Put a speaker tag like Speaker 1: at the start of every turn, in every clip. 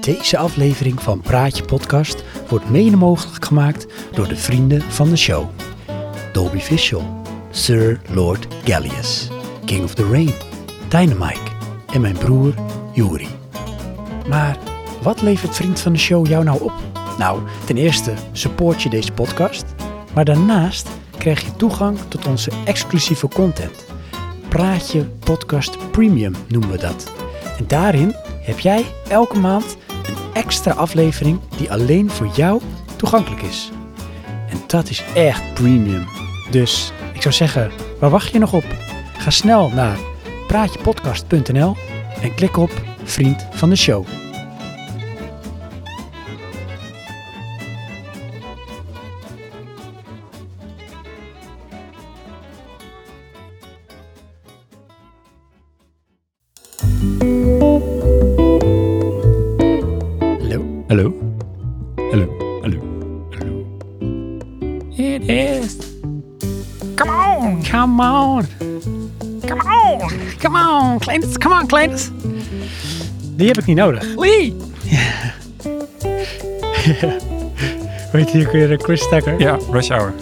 Speaker 1: Deze aflevering van Praatje Podcast wordt mede mogelijk gemaakt door de vrienden van de show. Dolby Visual, Sir Lord Gallius, King of the Rain, Dynamite en mijn broer Yuri. Maar wat levert Vriend van de Show jou nou op? Nou, ten eerste support je deze podcast, maar daarnaast krijg je toegang tot onze exclusieve content. Praatje Podcast Premium noemen we dat. En daarin heb jij elke maand een extra aflevering die alleen voor jou toegankelijk is. En dat is echt premium. Dus ik zou zeggen, waar wacht je nog op? Ga snel naar praatjepodcast.nl en klik op Vriend van de Show. Hallo,
Speaker 2: Hallo? Hallo? Hallo? Hallo? It is.
Speaker 1: come on! Come on! Come on, Clintus, come on, Clintus! Die heb ik niet nodig.
Speaker 2: Lee!
Speaker 1: Weet je, ook weer eh, Chris Tucker?
Speaker 2: Ja, Rush Hour.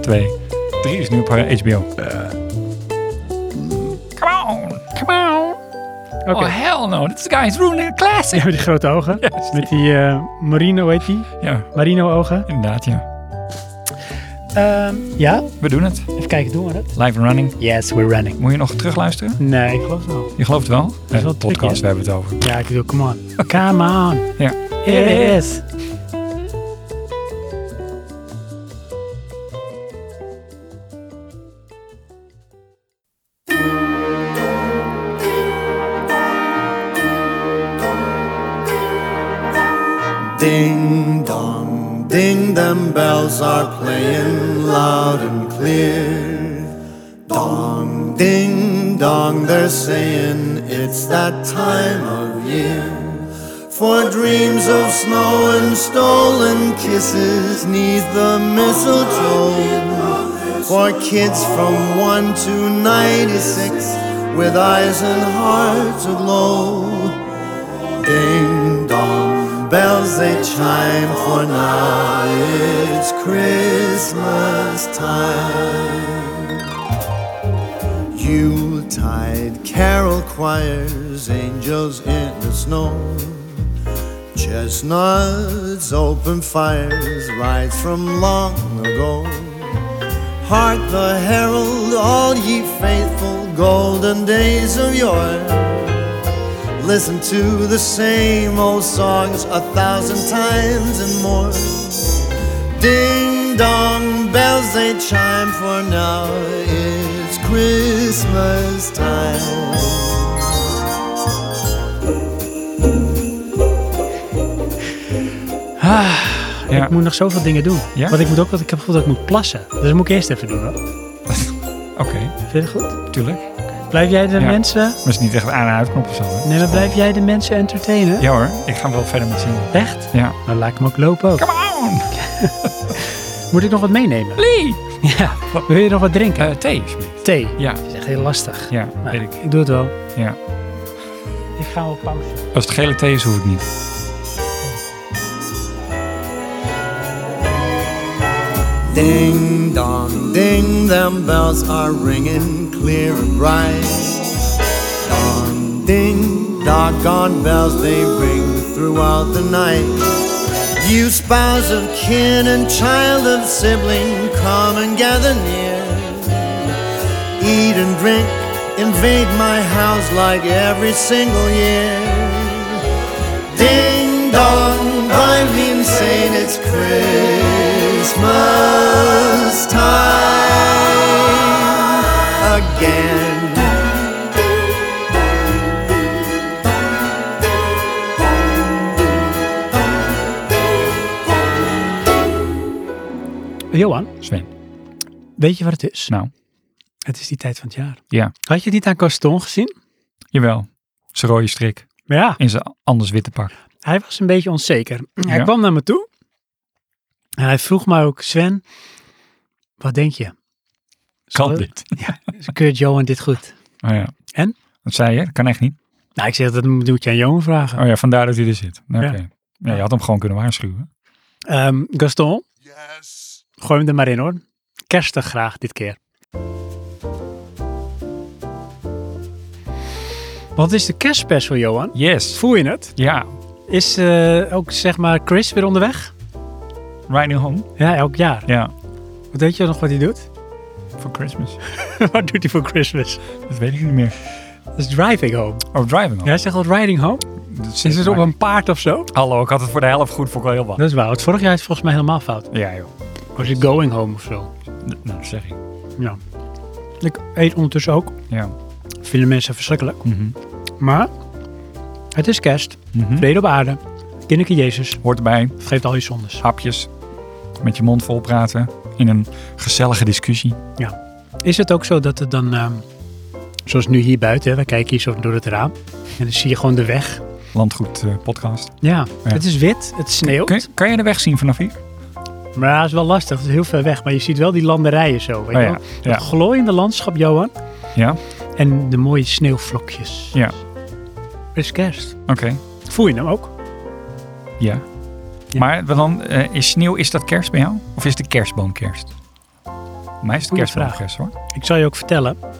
Speaker 2: Twee. Drie is nu op eh, HBO. Come on! Come on!
Speaker 1: Oké.
Speaker 2: Oh, hell no. This guy's ruining a classic.
Speaker 1: Ja, met die grote ogen.
Speaker 2: Yes.
Speaker 1: Met die eh, Marino, weet die?
Speaker 2: Ja,
Speaker 1: Marino ogen.
Speaker 2: inderdaad, ja.
Speaker 1: Ehm, ja,
Speaker 2: We doen het.
Speaker 1: even kijken, doen we dat?
Speaker 2: Live and running.
Speaker 1: Yes, we're running.
Speaker 2: Moet je nog terugluisteren?
Speaker 1: Nee, ik geloof het wel.
Speaker 2: Je gelooft wel? Dat
Speaker 1: is wel tricky,
Speaker 2: podcast,
Speaker 1: hè?
Speaker 2: we hebben het over.
Speaker 1: Ja, ik bedoel, come on. Come on.
Speaker 2: Ja.
Speaker 1: It is.
Speaker 3: Ding dong, ding, them bells are playing loud and clear. Dong, ding dong, they're saying it's that time of year. For dreams of snow and stolen kisses neath the mistletoe. For kids from 1 to 96 with eyes and hearts aglow. Ding dong, bells they chime, for now it's Christmas time. Yuletide carol choirs, angels in the snow. Chestnuts, open fires, rides from long ago. Hark the herald, all ye faithful, golden days of yore. Listen to the same old songs a thousand times and more. Ding dong bells they chime, for now it's Christmas time.
Speaker 2: Ja.
Speaker 1: Ik moet nog zoveel dingen doen.
Speaker 2: Ja?
Speaker 1: Want ik moet ook, want ik heb het gevoel dat ik moet plassen. Dus dat moet ik eerst even doen. Hoor.
Speaker 2: Oké,
Speaker 1: Vind je dat goed?
Speaker 2: tuurlijk.
Speaker 1: Blijf jij de
Speaker 2: Ja.
Speaker 1: mensen,
Speaker 2: Maar het is niet echt aan- en uitknop of zo. hè?
Speaker 1: nee, maar blijf jij de mensen entertainen?
Speaker 2: Ja hoor, ik ga wel verder met zien.
Speaker 1: Echt?
Speaker 2: Ja.
Speaker 1: Nou, laat ik hem ook lopen ook.
Speaker 2: Come on!
Speaker 1: Moet ik nog wat meenemen?
Speaker 2: Lee!
Speaker 1: Ja. Wil je nog wat drinken?
Speaker 2: Eh, thee, alsjeblieft.
Speaker 1: Thee.
Speaker 2: Ja,
Speaker 1: Dat is echt heel lastig.
Speaker 2: ja,
Speaker 1: Nou,
Speaker 2: weet ik.
Speaker 1: doe het wel.
Speaker 2: Ja.
Speaker 1: Ik ga wel pauze.
Speaker 2: Als het gele thee is, hoef ik niet.
Speaker 3: Ding dong, ding, them bells are ringing clear and bright. Dong, ding, doggone bells they ring throughout the night. You spouse of kin and child of sibling, come and gather near. Eat and drink, invade my house like every single year. Ding dong, I'm insane, it's Christmas time again.
Speaker 1: Johan,
Speaker 2: Sven.
Speaker 1: weet je wat het is?
Speaker 2: Nou,
Speaker 1: Het is die tijd van het jaar.
Speaker 2: ja.
Speaker 1: Had je het niet aan Gaston gezien?
Speaker 2: Jawel. Zijn rode strik
Speaker 1: Ja.
Speaker 2: in zijn anders witte pak.
Speaker 1: Hij was een beetje onzeker. Hij
Speaker 2: Ja.
Speaker 1: kwam naar me toe. En hij vroeg mij ook, Sven, wat denk je?
Speaker 2: Kan
Speaker 1: Zal-
Speaker 2: dit?
Speaker 1: Keurt Johan dit goed?
Speaker 2: Oh ja.
Speaker 1: En?
Speaker 2: Dat zei je, dat kan echt niet.
Speaker 1: Nou, ik zeg, dat moet je aan Johan vragen.
Speaker 2: Oh ja, vandaar dat hij er zit. Oké.
Speaker 1: Ja.
Speaker 2: Ja. je had hem gewoon kunnen waarschuwen.
Speaker 1: Ehm, Gaston,
Speaker 4: Yes.
Speaker 1: gooi hem er maar in hoor. Kerstig graag dit keer. Wat is de kerstspecial, Johan?
Speaker 2: Yes.
Speaker 1: Voel je het?
Speaker 2: Ja.
Speaker 1: Is eh, ook zeg maar Chris weer onderweg?
Speaker 2: Riding home.
Speaker 1: Ja, elk jaar.
Speaker 2: Ja.
Speaker 1: Weet je nog wat hij doet?
Speaker 2: For Christmas.
Speaker 1: wat doet hij voor Christmas?
Speaker 2: Dat weet ik niet meer.
Speaker 1: Dat is driving home.
Speaker 2: Oh, driving home.
Speaker 1: Jij zegt al riding home?
Speaker 2: Dat
Speaker 1: Is het op
Speaker 2: maar-
Speaker 1: een paard of zo?
Speaker 2: Hallo, ik had het voor de helft goed voor heel wat.
Speaker 1: Dat is waar. Want vorig jaar is het volgens mij helemaal fout.
Speaker 2: Ja joh.
Speaker 1: Was het going home of zo?
Speaker 2: D- Nou, dat zeg ik.
Speaker 1: Ja. Ik eet ondertussen ook.
Speaker 2: Ja.
Speaker 1: Vinden mensen verschrikkelijk.
Speaker 2: Mhm.
Speaker 1: Maar het is kerst.
Speaker 2: Mhm.
Speaker 1: Vrede op aarde. Kinderke Jezus.
Speaker 2: Hoort erbij.
Speaker 1: Vergeeft al je zondes.
Speaker 2: Hapjes. Met je mond vol praten. In een gezellige discussie.
Speaker 1: Is het ook zo dat het dan... ehm, zoals nu hier buiten. hè, We kijken hier zo door het raam. En dan zie je gewoon de weg.
Speaker 2: Landgoed eh, podcast.
Speaker 1: Ja.
Speaker 2: Ja.
Speaker 1: Het is wit. Het sneeuwt.
Speaker 2: Kun, je- kan je de weg zien vanaf hier?
Speaker 1: Maar dat is wel lastig. Het is heel ver weg. Maar je ziet wel die landerijen zo. Weet
Speaker 2: Oh
Speaker 1: je
Speaker 2: ja.
Speaker 1: wel?
Speaker 2: Ja.
Speaker 1: Dat glooiende landschap, Johan.
Speaker 2: Ja.
Speaker 1: En de mooie sneeuwvlokjes.
Speaker 2: Ja.
Speaker 1: Het is kerst.
Speaker 2: Oké.
Speaker 1: Voel je hem ook?
Speaker 2: Ja.
Speaker 1: Ja.
Speaker 2: Maar dan eh, is sneeuw, is dat kerst bij jou? Of is de kerstboom kerst? Mij is de
Speaker 1: Goeie
Speaker 2: kerstboom
Speaker 1: vraag.
Speaker 2: kerst hoor.
Speaker 1: Ik zal je ook vertellen. Kijk,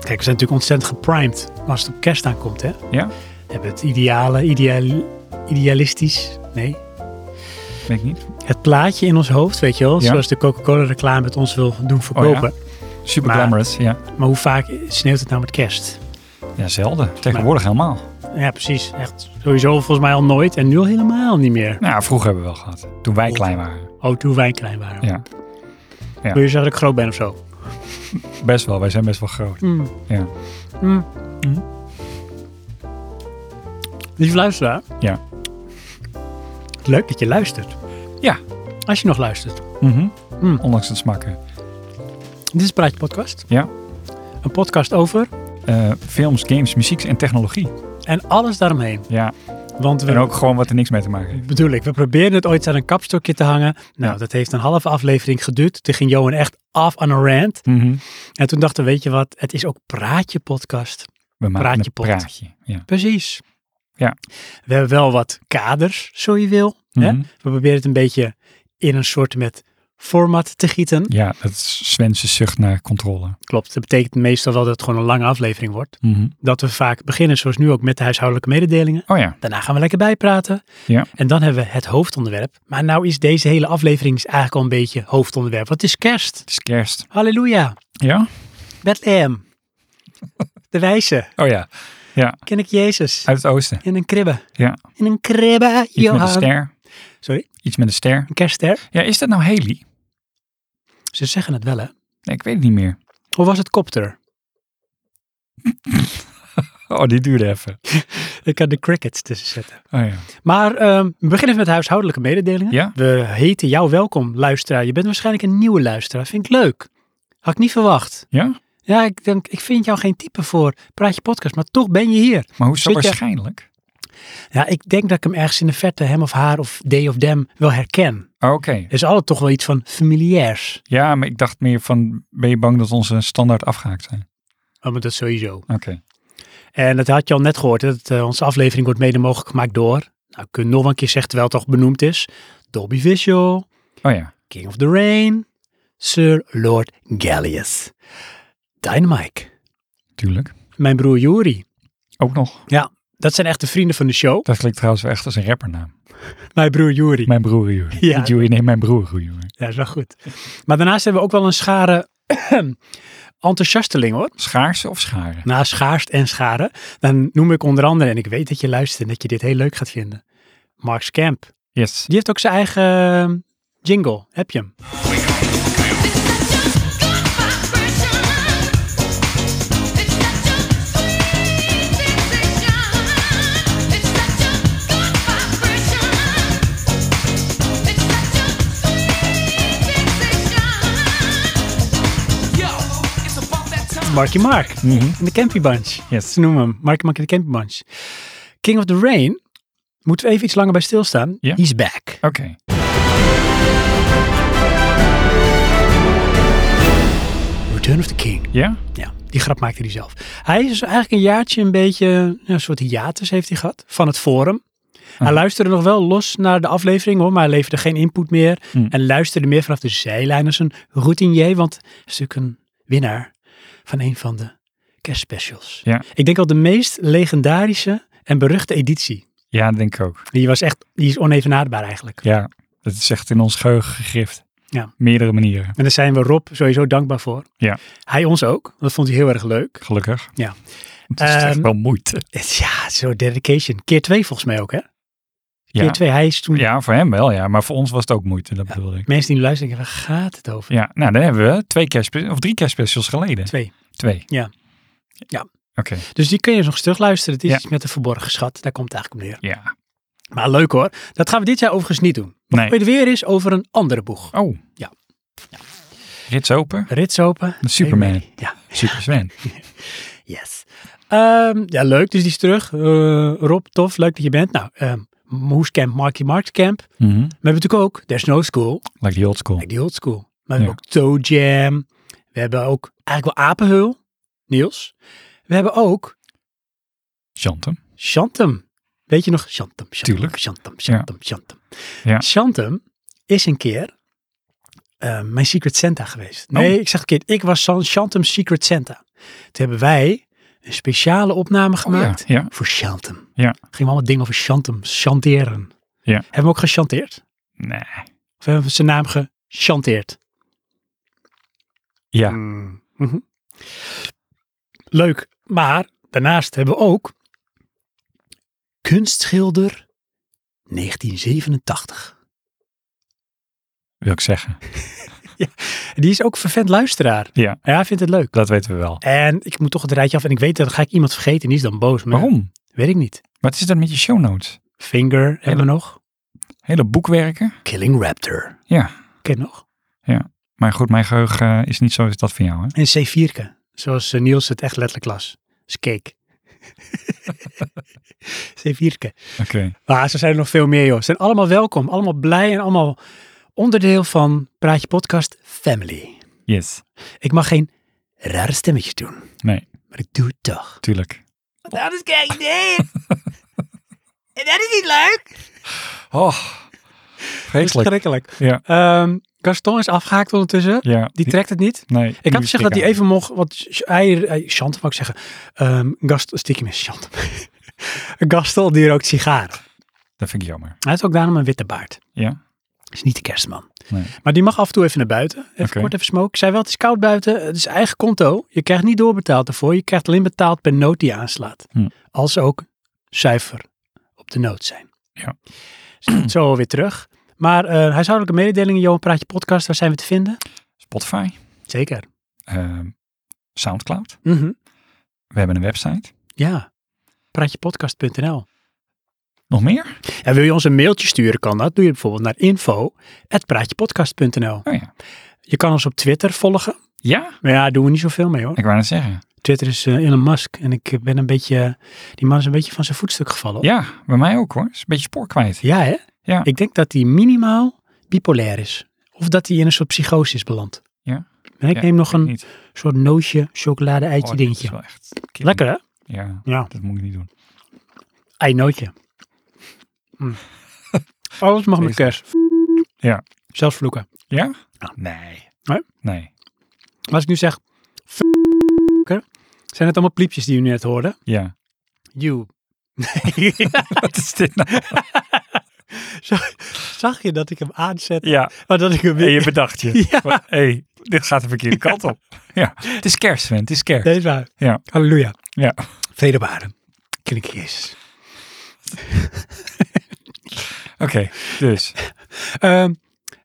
Speaker 1: we zijn natuurlijk ontzettend geprimed als het op kerst aankomt, hè?
Speaker 2: Ja?
Speaker 1: We hebben het ideale, ideal, idealistisch, nee,
Speaker 2: Weet ik niet.
Speaker 1: het plaatje in ons hoofd, weet je wel,
Speaker 2: Ja. Oh,
Speaker 1: zoals de Coca-Cola reclame het ons wil doen verkopen.
Speaker 2: Super
Speaker 1: Maar-
Speaker 2: glamorous, ja.
Speaker 1: Maar hoe vaak sneeuwt het nou met kerst?
Speaker 2: Ja, zelden. Tegenwoordig helemaal.
Speaker 1: Ja, precies. Echt sowieso volgens mij al nooit en nu al helemaal niet meer.
Speaker 2: Nou, vroeger hebben we wel gehad. Toen wij klein waren.
Speaker 1: Oh, toen wij klein waren.
Speaker 2: Ja. Ja.
Speaker 1: Wil je zeggen dat ik groot ben of zo?
Speaker 2: Best wel, wij zijn best wel groot.
Speaker 1: Mm.
Speaker 2: Ja.
Speaker 1: Lieve luisteraar.
Speaker 2: Ja.
Speaker 1: Leuk dat je luistert.
Speaker 2: Ja.
Speaker 1: Als je nog luistert.
Speaker 2: Mhm.
Speaker 1: Mm.
Speaker 2: Ondanks het smakken.
Speaker 1: Dit is Praatje Podcast.
Speaker 2: Ja.
Speaker 1: Een podcast over
Speaker 2: Eh, films, games, muziek en technologie.
Speaker 1: en alles daaromheen.
Speaker 2: Ja.
Speaker 1: Want we,
Speaker 2: En ook gewoon wat er niks mee te maken heeft.
Speaker 1: bedoel ik, we probeerden het ooit aan een kapstokje te hangen. Nou, dat heeft een halve aflevering geduurd. Toen ging Johan echt af aan een rant.
Speaker 2: Mhm.
Speaker 1: En toen dachten we, weet je wat, het is ook Praatje Podcast.
Speaker 2: We maken
Speaker 1: Praatje
Speaker 2: een
Speaker 1: pot.
Speaker 2: praatje. Ja.
Speaker 1: Precies.
Speaker 2: Ja.
Speaker 1: We hebben wel wat kaders, zo je wil. hè?
Speaker 2: Mhm.
Speaker 1: We proberen het een beetje in een soort met format te gieten.
Speaker 2: ja, dat is Sven's zucht naar controle.
Speaker 1: Klopt, dat betekent meestal wel dat het gewoon een lange aflevering wordt.
Speaker 2: Mhm.
Speaker 1: Dat we vaak beginnen, zoals nu ook, met de huishoudelijke mededelingen.
Speaker 2: Oh ja.
Speaker 1: Daarna gaan we lekker bijpraten.
Speaker 2: Ja.
Speaker 1: En dan hebben we het hoofdonderwerp. Maar nou is deze hele aflevering eigenlijk al een beetje hoofdonderwerp. Want het is kerst.
Speaker 2: Het is kerst.
Speaker 1: Halleluja.
Speaker 2: Ja?
Speaker 1: Bethlehem. De wijze.
Speaker 2: Oh ja. Ja.
Speaker 1: Ken ik Jezus.
Speaker 2: Uit het oosten.
Speaker 1: In een kribbe.
Speaker 2: Ja.
Speaker 1: In een kribbe,
Speaker 2: Iets met een
Speaker 1: Johan.
Speaker 2: ster.
Speaker 1: Sorry,
Speaker 2: Iets met een ster.
Speaker 1: een kerstster.
Speaker 2: Ja, is dat nou Haley?
Speaker 1: Ze zeggen het wel, hè?
Speaker 2: Nee, ik weet het niet meer.
Speaker 1: Of was het kopter?
Speaker 2: Oh, die duurde even.
Speaker 1: Ik had de crickets tussen zetten.
Speaker 2: Oh ja.
Speaker 1: Maar ehm, we beginnen even met huishoudelijke mededelingen.
Speaker 2: Ja?
Speaker 1: We heten jou welkom, luisteraar. Je bent waarschijnlijk een nieuwe luisteraar. Vind ik leuk. Had ik niet verwacht.
Speaker 2: Ja?
Speaker 1: Ja, ik denk, ik vind jou geen type voor Praatje Podcast, maar toch ben je hier.
Speaker 2: Maar hoe is
Speaker 1: Zit
Speaker 2: dat
Speaker 1: je-
Speaker 2: waarschijnlijk?
Speaker 1: Ja, ik denk dat ik hem ergens in de verte, hem of haar of de of dem, wel herken.
Speaker 2: Oh, Oké.
Speaker 1: Er is altijd toch wel iets van familiairs.
Speaker 2: Ja, maar ik dacht meer van, ben je bang dat onze standaard afgehaakt zijn?
Speaker 1: Oh, maar dat sowieso.
Speaker 2: Oké.
Speaker 1: En dat had je al net gehoord, hè, dat eh, onze aflevering wordt mede mogelijk gemaakt door, nou, ik kan nog een keer zeggen terwijl het toch benoemd is, Dolby Visual,
Speaker 2: Oh ja.
Speaker 1: King of the Rain, Sir Lord Gallius, Dynamike,
Speaker 2: Tuurlijk.
Speaker 1: mijn broer Juri.
Speaker 2: Ook nog.
Speaker 1: Dat zijn echt de vrienden van de show.
Speaker 2: Dat klinkt trouwens wel echt als een rappernaam.
Speaker 1: Mijn broer Juri.
Speaker 2: Mijn broer Joeri.
Speaker 1: Ja.
Speaker 2: Niet Joeri, nee, mijn broer Joeri.
Speaker 1: Ja, is wel goed. Maar daarnaast hebben we ook wel een schare enthousiasteling hoor.
Speaker 2: Schaarsen of scharen?
Speaker 1: Na schaarst en scharen, dan noem ik onder andere, en ik weet dat je luistert en dat je dit heel leuk gaat vinden, Marks Camp.
Speaker 2: Yes.
Speaker 1: Die heeft ook zijn eigen eh, jingle. Heb je hem?
Speaker 5: It's
Speaker 1: Marky Mark.
Speaker 2: Mhm.
Speaker 1: En de Campy Bunch.
Speaker 2: Yes.
Speaker 1: Ze noemen hem Marky Mark en de Campy Bunch. King of the Rain. Moeten we even iets langer bij stilstaan?
Speaker 2: Ja.
Speaker 1: He's back.
Speaker 2: Oké.
Speaker 1: Return of the King.
Speaker 2: Ja?
Speaker 1: Ja. Die grap maakte hij zelf. Hij is dus eigenlijk een jaartje een beetje nou, een soort hiatus heeft hij gehad van het forum. Hij
Speaker 2: Ah.
Speaker 1: luisterde nog wel los naar de aflevering hoor, maar hij leverde geen input meer.
Speaker 2: Hmm.
Speaker 1: En luisterde meer vanaf de zijlijn als een routinier, want hij is natuurlijk een winnaar van een van de kerstspecials.
Speaker 2: Ja.
Speaker 1: Ik denk wel de meest legendarische en beruchte editie.
Speaker 2: Ja, dat denk ik ook.
Speaker 1: Die was echt, die is onevenaardbaar eigenlijk.
Speaker 2: Ja, dat is echt in ons geheugen gegrift.
Speaker 1: Ja.
Speaker 2: Meerdere manieren,
Speaker 1: En daar zijn we Rob sowieso dankbaar voor.
Speaker 2: Ja.
Speaker 1: Hij ons ook. Dat vond hij heel erg leuk.
Speaker 2: gelukkig.
Speaker 1: Ja.
Speaker 2: Het is echt
Speaker 1: Ehm,
Speaker 2: wel moeite.
Speaker 1: Ja, zo dedication. Keer twee volgens mij ook, hè? Keer
Speaker 2: Ja.
Speaker 1: twee. Hij is toen...
Speaker 2: ja, voor hem wel, ja. Maar voor ons was het ook moeite, dat bedoel ik.
Speaker 1: Mensen die nu luisteren, denken, waar gaat het over?
Speaker 2: Ja, nou, dan hebben we twee kerstspecials, of drie kerstspecials geleden.
Speaker 1: Twee.
Speaker 2: Twee.
Speaker 1: Ja. Ja.
Speaker 2: Oké,
Speaker 1: Dus die kun je nog eens terugluisteren. Het is
Speaker 2: Ja.
Speaker 1: iets met een verborgen schat. Daar komt het eigenlijk op neer.
Speaker 2: ja.
Speaker 1: Maar leuk hoor. Dat gaan we dit jaar overigens niet doen.
Speaker 2: Nee.
Speaker 1: Het weer is over een andere boeg.
Speaker 2: Oh.
Speaker 1: Ja.
Speaker 2: Rits open.
Speaker 1: Rits open.
Speaker 2: Met Superman.
Speaker 1: Hey, Mary. ja.
Speaker 2: Super Sven.
Speaker 1: Yes. Ehm, ja, leuk. Dus die is terug. Eh, Rob, tof. Leuk dat je bent. Nou, ehm Moes Camp, Marky Marks Camp. Maar
Speaker 2: Mhm.
Speaker 1: we hebben natuurlijk ook There's No School.
Speaker 2: Like the old school.
Speaker 1: Like the old school. Maar we hebben ook Toe Jam. We hebben ook eigenlijk wel Apenhul. Niels. We hebben ook
Speaker 2: Chantem.
Speaker 1: Chantem. Weet je nog? Chantem, Chantem,
Speaker 2: Tuurlijk.
Speaker 1: Chantem, Chantem, Chantem.
Speaker 2: Ja.
Speaker 1: Chantem is een keer eh, mijn Secret Santa
Speaker 2: Oh.
Speaker 1: geweest. Nee, ik zeg het verkeerd. Ik was San- Chantem's Secret Santa. Toen hebben wij een speciale opname gemaakt
Speaker 2: Oh, ja.
Speaker 1: voor Chantem.
Speaker 2: Ja.
Speaker 1: Ging allemaal dingen over Chantem, chanteren.
Speaker 2: Ja.
Speaker 1: Hebben we hem ook gechanteerd?
Speaker 2: Nee.
Speaker 1: Of hebben we zijn naam gechanteerd?
Speaker 2: Ja.
Speaker 1: Mm. Mhm. Leuk. Maar daarnaast hebben we ook kunstschilder 1987.
Speaker 2: wil ik zeggen.
Speaker 1: Die is ook vervent luisteraar.
Speaker 2: Ja.
Speaker 1: Ja, hij vindt het leuk.
Speaker 2: Dat weten we wel.
Speaker 1: En ik moet toch het rijtje af en ik weet dat dan ga ik iemand vergeten. Die is dan boos. Maar
Speaker 2: Waarom?
Speaker 1: Weet ik niet.
Speaker 2: Wat is dat met je show notes?
Speaker 1: Finger hebben we nog.
Speaker 2: Hele boekwerken?
Speaker 1: Killing Raptor.
Speaker 2: Ja.
Speaker 1: Ken je nog?
Speaker 2: Maar goed, mijn geheugen eh, is niet zoals dat van jou, hè?
Speaker 1: En C4. Zoals eh, Niels het echt letterlijk las. Dus cake. C4.
Speaker 2: Oké.
Speaker 1: Maar zo zijn er nog veel meer, joh. Ah, Ze zijn allemaal welkom, allemaal blij en allemaal onderdeel van Praatje Podcast Family.
Speaker 2: Yes.
Speaker 1: Ik mag geen rare stemmetjes doen,
Speaker 2: Nee,
Speaker 1: maar ik doe het toch.
Speaker 2: tuurlijk.
Speaker 1: Want anders krijg je dit. en dat is niet leuk.
Speaker 2: Oh, vreselijk.
Speaker 1: Verschrikkelijk.
Speaker 2: Ja.
Speaker 1: Ehm, Gaston is afgehaakt ondertussen.
Speaker 2: Ja.
Speaker 1: Die trekt het niet.
Speaker 2: Nee.
Speaker 1: Ik
Speaker 2: die
Speaker 1: had gezegd dat hij
Speaker 2: stikken.
Speaker 1: even mocht, want Ch- hij, hij- Chant wou ik zeggen, Ehm Gast, stiekem is Chant. Gaston die rookt sigaren.
Speaker 2: Dat vind ik jammer.
Speaker 1: Hij heeft ook daarom een witte baard.
Speaker 2: Ja.
Speaker 1: Is niet de kerstman.
Speaker 2: Nee.
Speaker 1: Maar die mag af en toe even naar buiten. Even
Speaker 2: Oké.
Speaker 1: kort even smoken. Ik zei wel, het is koud buiten. Het is eigen conto. Je krijgt niet doorbetaald daarvoor. Je krijgt alleen betaald per noot die je aanslaat.
Speaker 2: Hm.
Speaker 1: Als ze ook zuiver op de noot zijn.
Speaker 2: Ja.
Speaker 1: Dus Zo alweer terug. Maar eh, huishoudelijke mededelingen, Johan Praatje Podcast. Waar zijn we te vinden?
Speaker 2: Spotify.
Speaker 1: Zeker.
Speaker 2: eh, Soundcloud.
Speaker 1: Mhm.
Speaker 2: We hebben een website.
Speaker 1: Ja. Praatjepodcast.nl
Speaker 2: Nog meer?
Speaker 1: En wil je ons een mailtje sturen, kan dat. Doe je bijvoorbeeld naar info.praatjepodcast.nl
Speaker 2: Oh ja.
Speaker 1: Je kan ons op Twitter volgen.
Speaker 2: Ja?
Speaker 1: Maar ja, daar doen we niet zoveel mee hoor.
Speaker 2: Ik wou net zeggen.
Speaker 1: Twitter is eh, Elon Musk en ik ben een beetje, die man is een beetje van zijn voetstuk gevallen.
Speaker 2: Ja, bij mij ook hoor. Is een beetje spoor kwijt.
Speaker 1: Ja, hè?
Speaker 2: Ja.
Speaker 1: Ik denk dat hij minimaal bipolair is. Of dat hij in een soort psychose is beland.
Speaker 2: Ja.
Speaker 1: En ik
Speaker 2: Ja,
Speaker 1: neem nog
Speaker 2: ik
Speaker 1: een
Speaker 2: niet.
Speaker 1: soort nootje, chocolade,
Speaker 2: Oh,
Speaker 1: eitje,
Speaker 2: dat
Speaker 1: dingetje.
Speaker 2: is wel echt killing.
Speaker 1: Lekker hè?
Speaker 2: Ja,
Speaker 1: Ja,
Speaker 2: dat moet ik niet doen.
Speaker 1: ei nootje. Hm. Alles mag met
Speaker 2: Deze.
Speaker 1: kerst.
Speaker 2: Ja.
Speaker 1: Zelfs vloeken.
Speaker 2: Ja?
Speaker 1: Ja.
Speaker 2: Nee.
Speaker 1: Ah. Nee?
Speaker 2: Nee.
Speaker 1: Maar als ik nu zeg, f- zijn het allemaal pliepjes die u net hoorde?
Speaker 2: Ja.
Speaker 1: You.
Speaker 2: Wat is dit nou?
Speaker 1: Zag je dat ik hem aanzet?
Speaker 2: Ja,
Speaker 1: Maar dat ik hem
Speaker 2: en
Speaker 1: weer...
Speaker 2: je bedacht je.
Speaker 1: Ja.
Speaker 2: Hé, hey, dit gaat de verkeerde kant op. Ja. Het is kerst, Sven. Het is kerst.
Speaker 1: Nee, is waar.
Speaker 2: Ja.
Speaker 1: Halleluja.
Speaker 2: Ja.
Speaker 1: Vrede baren. Klink Jezus.
Speaker 2: Oké, dus.
Speaker 1: Ehm,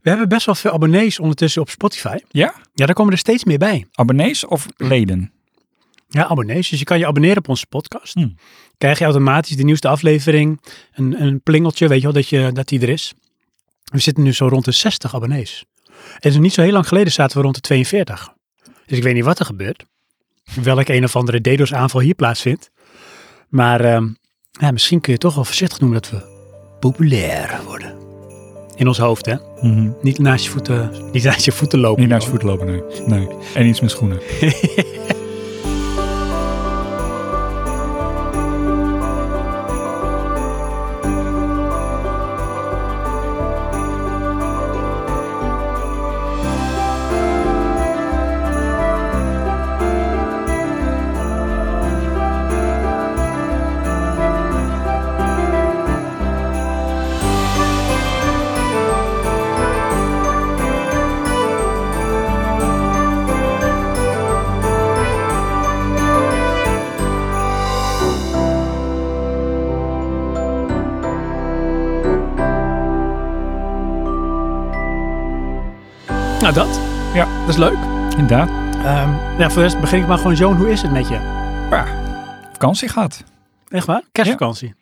Speaker 1: we hebben best wel veel abonnees ondertussen op Spotify.
Speaker 2: Ja?
Speaker 1: Ja, daar komen er steeds meer bij.
Speaker 2: Abonnees of leden?
Speaker 1: Ja, abonnees. Dus je kan je abonneren op onze podcast.
Speaker 2: Hmm.
Speaker 1: Krijg je automatisch de nieuwste aflevering. Een, een plingeltje, weet je wel, dat, je, dat die er is. We zitten nu zo rond de 60 abonnees. En zo niet zo heel lang geleden zaten we rond de 42. Dus ik weet niet wat er gebeurt. Welk een of andere DDoS aanval hier plaatsvindt. Maar ehm, ja, misschien kun je toch wel voorzichtig noemen dat we populair worden. In ons hoofd, hè?
Speaker 2: Mhm.
Speaker 1: Niet naast je voeten, niet naast je voeten lopen.
Speaker 2: Niet naast voet lopen, nee. nee. En iets met schoenen.
Speaker 1: Nou, dat.
Speaker 2: Ja.
Speaker 1: Dat is leuk.
Speaker 2: Inderdaad.
Speaker 1: Ehm, nou, voor de rest begin ik maar gewoon, Joan, hoe is het met je?
Speaker 2: Ja. Vakantie gehad?
Speaker 1: Echt waar? Kerstvakantie?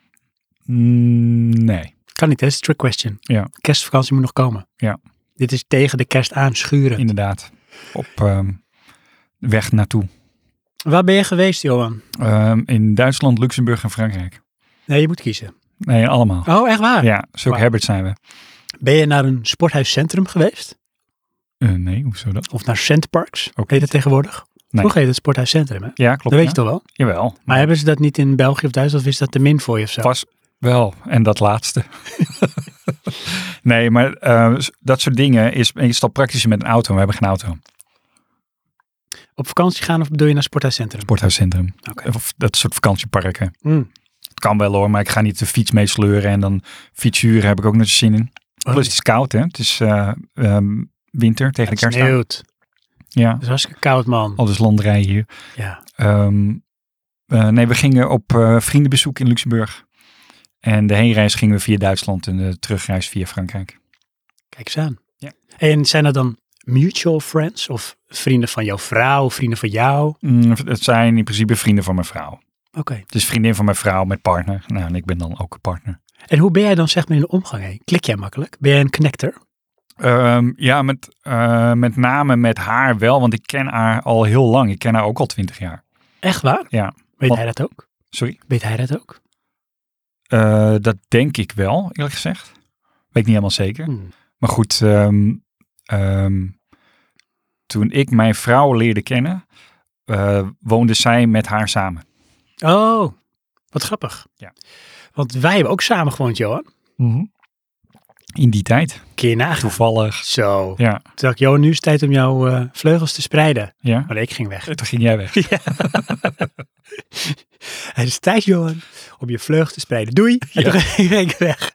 Speaker 2: Mm, nee.
Speaker 1: Kan niet, hè? Dat is een trick question.
Speaker 2: Ja.
Speaker 1: Kerstvakantie moet nog komen.
Speaker 2: Ja.
Speaker 1: Dit is tegen de kerst aanschuren.
Speaker 2: Inderdaad. Op ehm, weg naartoe.
Speaker 1: Waar ben je geweest, Johan?
Speaker 2: Ehm, in Duitsland, Luxemburg en Frankrijk.
Speaker 1: Nee, je moet kiezen.
Speaker 2: Nee, allemaal.
Speaker 1: Oh, echt waar?
Speaker 2: Ja, zulke
Speaker 1: Wauw.
Speaker 2: habits zijn we.
Speaker 1: Ben je naar een sporthuiscentrum geweest?
Speaker 2: Eh, nee, hoezo dat?
Speaker 1: Of naar Centparks?
Speaker 2: Ook
Speaker 1: Heet het tegenwoordig? Vroeger heette het sporthuiscentrum, hè?
Speaker 2: Ja, klopt.
Speaker 1: dat weet
Speaker 2: ja.
Speaker 1: je toch wel?
Speaker 2: Jawel.
Speaker 1: Maar hebben ze dat niet in België of Duitsland? Of is dat te min voor je of zo?
Speaker 2: Pas wel. En dat laatste. nee, maar eh, dat soort dingen is meestal praktischer met een auto. We hebben geen auto.
Speaker 1: Op vakantie gaan of bedoel je naar sporthuiscentrum?
Speaker 2: Sporthuiscentrum.
Speaker 1: Oké.
Speaker 2: Of dat soort vakantieparken.
Speaker 1: Mm.
Speaker 2: Het kan wel hoor, maar ik ga niet de fiets mee sleuren. En dan fietsuren heb ik ook nog eens zin in.
Speaker 1: Oh,
Speaker 2: Plus het is koud hè. Het is eh, ehm, winter tegen de
Speaker 1: het
Speaker 2: kerst. aan.
Speaker 1: sneeuwt.
Speaker 2: Ja,
Speaker 1: Het is hartstikke koud, man.
Speaker 2: al dus landerij hier.
Speaker 1: Ja.
Speaker 2: Ehm, eh, nee, we gingen op eh, vriendenbezoek in Luxemburg. En de heenreis gingen we via Duitsland en de terugreis via Frankrijk.
Speaker 1: Kijk eens aan.
Speaker 2: Ja.
Speaker 1: En zijn dat dan mutual friends? Of vrienden van jouw vrouw? Vrienden van jou? Oké.
Speaker 2: Mm, het zijn in principe vrienden van mijn vrouw. Het is vriendin van mijn vrouw met partner. Nou, en ik ben dan ook een partner.
Speaker 1: En hoe ben jij dan zeg maar in de omgang heen? Klik jij makkelijk? Ben jij een connector?
Speaker 2: Ehm, ja, met, eh, met name met haar wel, want ik ken haar al heel lang. Ik ken haar ook al twintig jaar.
Speaker 1: Echt waar?
Speaker 2: Ja.
Speaker 1: Weet
Speaker 2: Wat-
Speaker 1: hij dat ook?
Speaker 2: Sorry.
Speaker 1: Weet hij dat ook?
Speaker 2: Eh, dat denk ik wel, eerlijk gezegd. Weet ik niet helemaal zeker.
Speaker 1: Hmm.
Speaker 2: Maar goed, ehm, ehm, toen ik mijn vrouw leerde kennen, eh, woonde zij met haar samen.
Speaker 1: Oh, wat grappig.
Speaker 2: Ja.
Speaker 1: Want wij hebben ook samen gewoond, Johan.
Speaker 2: In die tijd.
Speaker 1: Keer je nagaan.
Speaker 2: Toevallig.
Speaker 1: Zo.
Speaker 2: Ja,
Speaker 1: Toen dacht ik, Johan, nu is het tijd om jouw eh, vleugels te spreiden.
Speaker 2: ja.
Speaker 1: Maar nee, ik ging weg.
Speaker 2: Toen ging jij weg.
Speaker 1: Het is tijd, Johan, om je vleugels te spreiden. Doei. En
Speaker 2: Ja.
Speaker 1: toen ging ik weg.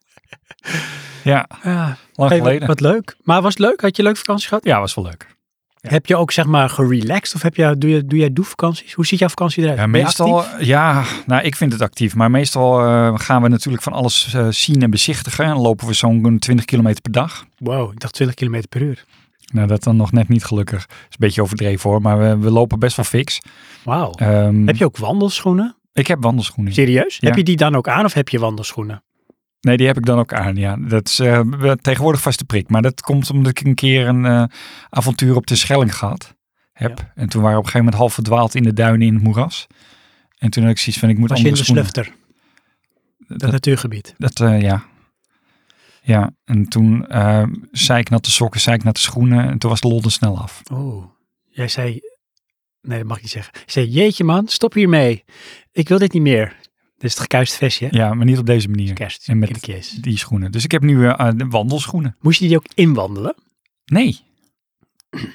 Speaker 2: Ja,
Speaker 1: Ah,
Speaker 2: lang
Speaker 1: hey, wat-
Speaker 2: geleden.
Speaker 1: wat, leuk. Maar was het leuk? Had je een leuke vakantie gehad?
Speaker 2: Ja, was wel leuk.
Speaker 1: Heb je ook zeg maar gerelaxed? Of heb je, doe, je, doe jij doe-vakanties? Hoe ziet jouw vakantie eruit?
Speaker 2: Ja,
Speaker 1: Ben je
Speaker 2: meestal,
Speaker 1: actief?
Speaker 2: ja, nou, ik vind het actief. Maar meestal eh, gaan we natuurlijk van alles eh, zien en bezichtigen. En lopen we zo'n 20 kilometer per dag.
Speaker 1: Wow, ik dacht 20 km per uur.
Speaker 2: Nou, dat dan nog net niet gelukkig. Is een beetje overdreven hoor. Maar we, we lopen best wel fix.
Speaker 1: Wauw.
Speaker 2: Ehm,
Speaker 1: Heb je ook wandelschoenen?
Speaker 2: Ik heb wandelschoenen.
Speaker 1: Serieus?
Speaker 2: Ja.
Speaker 1: Heb je die dan ook aan of heb je wandelschoenen?
Speaker 2: Nee, die heb ik dan ook aan. Ja, dat is eh, we- tegenwoordig vast de prik. Maar dat komt omdat ik een keer een eh, avontuur op de Schelling gehad heb. En toen waren we op een gegeven moment half verdwaald in de duinen in het moeras. En toen had ik zoiets van, ik moet
Speaker 1: Was je in
Speaker 2: andere
Speaker 1: de
Speaker 2: schoenen.
Speaker 1: slufter, dat,
Speaker 2: Dat,
Speaker 1: natuurgebied?
Speaker 2: dat eh, ja. Ja, en toen eh zei ik natte sokken, zei ik natte schoenen. En toen was de lol er snel af.
Speaker 1: Oh, jij zei... Nee, dat mag ik niet zeggen. Je zei, jeetje man, stop hiermee. Ik wil dit niet meer. Dit is het gekuist vestje, hè?
Speaker 2: Ja, maar niet op deze manier.
Speaker 1: Kerst,
Speaker 2: En met-
Speaker 1: kindertjes.
Speaker 2: Die schoenen. Dus ik heb nu eh, eh, de wandelschoenen.
Speaker 1: Moest je die ook inwandelen?
Speaker 2: Nee.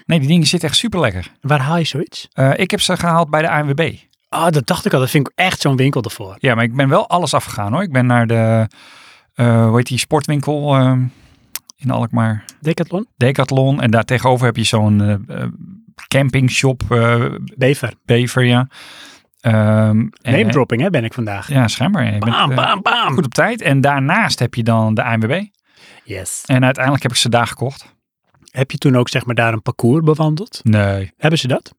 Speaker 2: Nee, die dingen zitten echt super lekker.
Speaker 1: Waar haal je zoiets?
Speaker 2: ik heb ze gehaald bij de ANWB.
Speaker 1: Ah, dat dacht ik al. Dat vind ik echt zo'n winkel ervoor.
Speaker 2: Ja, maar ik ben wel alles afgegaan hoor. Ik ben naar de, eh hoe heet die, sportwinkel ehm, in Alkmaar.
Speaker 1: Decathlon?
Speaker 2: Decathlon. En daar tegenover heb je zo'n eh, eh, campingshop, eh
Speaker 1: Bever.
Speaker 2: Bever, ja. Ehm, en-
Speaker 1: Name dropping, hè, ben ik vandaag.
Speaker 2: Ja, schijnbaar. ja. Je bent,
Speaker 1: Bam,
Speaker 2: eh,
Speaker 1: bam, bam.
Speaker 2: goed op tijd. En daarnaast heb je dan de ANWB.
Speaker 1: Yes.
Speaker 2: En uiteindelijk heb ik ze daar gekocht.
Speaker 1: Heb je toen ook, zeg maar, daar een parcours bewandeld?
Speaker 2: Nee.
Speaker 1: Hebben ze dat?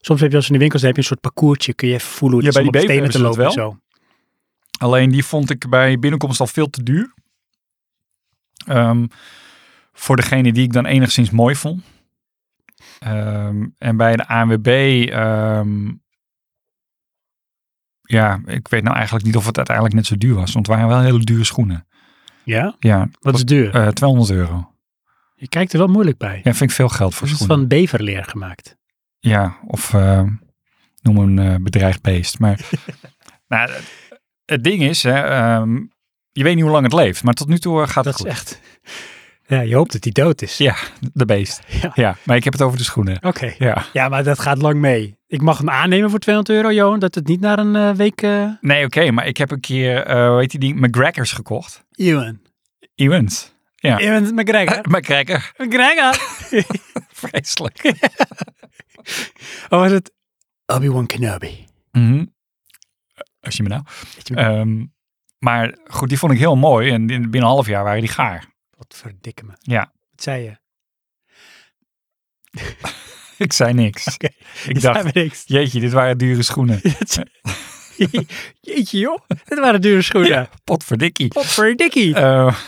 Speaker 1: Soms heb je als in de winkels, dan heb je een soort parcoursje. Kun je even voelen hoe het
Speaker 2: Ja,
Speaker 1: is om
Speaker 2: bij
Speaker 1: op
Speaker 2: die
Speaker 1: stenen
Speaker 2: Bever
Speaker 1: te
Speaker 2: hebben
Speaker 1: lopen
Speaker 2: ze
Speaker 1: en
Speaker 2: dat
Speaker 1: zo.
Speaker 2: Alleen die vond ik bij binnenkomst al veel te duur. Ehm, voor degene die ik dan enigszins mooi vond. Ehm, en bij de ANWB, ehm, ja, ik weet nou eigenlijk niet of het uiteindelijk net zo duur was. Want het waren wel hele dure schoenen.
Speaker 1: Ja?
Speaker 2: Ja,
Speaker 1: Wat is duur?
Speaker 2: eh, 200 euro.
Speaker 1: Je kijkt er wel moeilijk bij.
Speaker 2: Ja, vind ik veel geld voor
Speaker 1: is het
Speaker 2: schoenen.
Speaker 1: van beverleer gemaakt?
Speaker 2: Ja, of ehm, noem een eh, bedreigd beest. Maar nou, het- het ding is, hè, ehm, je weet niet hoe lang het leeft. Maar tot nu toe eh, gaat het
Speaker 1: Dat
Speaker 2: goed.
Speaker 1: is echt... Ja, je hoopt dat die dood is.
Speaker 2: Ja, de beest.
Speaker 1: Ja.
Speaker 2: Ja. maar ik heb het over de schoenen.
Speaker 1: Oké.
Speaker 2: Ja.
Speaker 1: Ja, maar dat gaat lang mee. Ik mag hem aannemen voor 200 euro, Johan, dat het niet naar een eh, week... eh
Speaker 2: Nee, oké, maar ik heb een keer, eh hoe heet die ding, McGregor's gekocht.
Speaker 1: Ewan.
Speaker 2: Iwens. Ja.
Speaker 1: Ewan McGregor.
Speaker 2: McGregor,
Speaker 1: McGregor.
Speaker 2: vreselijk. Oh,
Speaker 1: Of was het Obi-Wan Kenobi?
Speaker 2: Mhm. Als je me nou.
Speaker 1: Weet je,
Speaker 2: Ehm, maar goed, die vond ik heel mooi en in- binnen een half jaar waren die gaar.
Speaker 1: wat verdikke me.
Speaker 2: Ja.
Speaker 1: Wat zei je?
Speaker 2: ik zei niks.
Speaker 1: Je
Speaker 2: ik
Speaker 1: zei
Speaker 2: dacht,
Speaker 1: me niks.
Speaker 2: jeetje, dit waren dure schoenen.
Speaker 1: Jeetje joh, dit waren dure schoenen.
Speaker 2: Potverdikkie.
Speaker 1: Potverdikkie.
Speaker 2: Eh,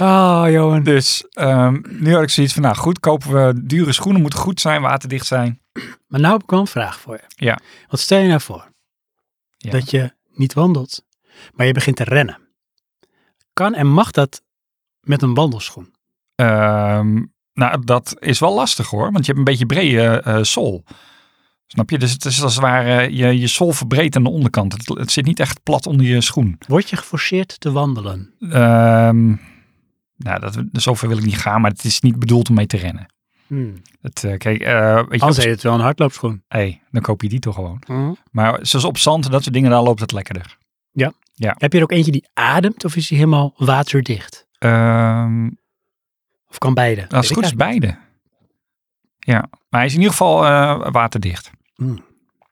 Speaker 1: Oh Johan.
Speaker 2: dus ehm, nu had ik zoiets van, nou goed, kopen we dure schoenen, moeten goed zijn, waterdicht zijn.
Speaker 1: Maar nou heb ik wel een vraag voor je.
Speaker 2: Ja.
Speaker 1: Want stel je nou voor
Speaker 2: Ja.
Speaker 1: dat je niet wandelt, maar je begint te rennen. Kan en mag dat met een wandelschoen?
Speaker 2: Ehm, nou, dat is wel lastig hoor, want je hebt een beetje brede eh sol. Snap je? Dus het is als het ware, eh, je, je sol verbreedt aan de onderkant. Het, het zit niet echt plat onder je schoen.
Speaker 1: Word je geforceerd te wandelen?
Speaker 2: Ehm, nou, dat, zover wil ik niet gaan, maar het is niet bedoeld om mee te rennen.
Speaker 1: Hmm.
Speaker 2: Het, eh, kijk, eh, weet je,
Speaker 1: Anders
Speaker 2: op,
Speaker 1: heet het wel een hardloopschoen.
Speaker 2: hey, dan koop je die toch gewoon.
Speaker 1: Hmm.
Speaker 2: Maar zoals op zand en dat soort dingen, daar loopt het lekkerder.
Speaker 1: Heb je er ook eentje die ademt of is die helemaal waterdicht?
Speaker 2: Ehm
Speaker 1: Of kan beide? Weet
Speaker 2: als
Speaker 1: ik
Speaker 2: het goed is,
Speaker 1: eigenlijk.
Speaker 2: beide. Ja, maar hij is in ieder geval eh, waterdicht.
Speaker 1: Hmm.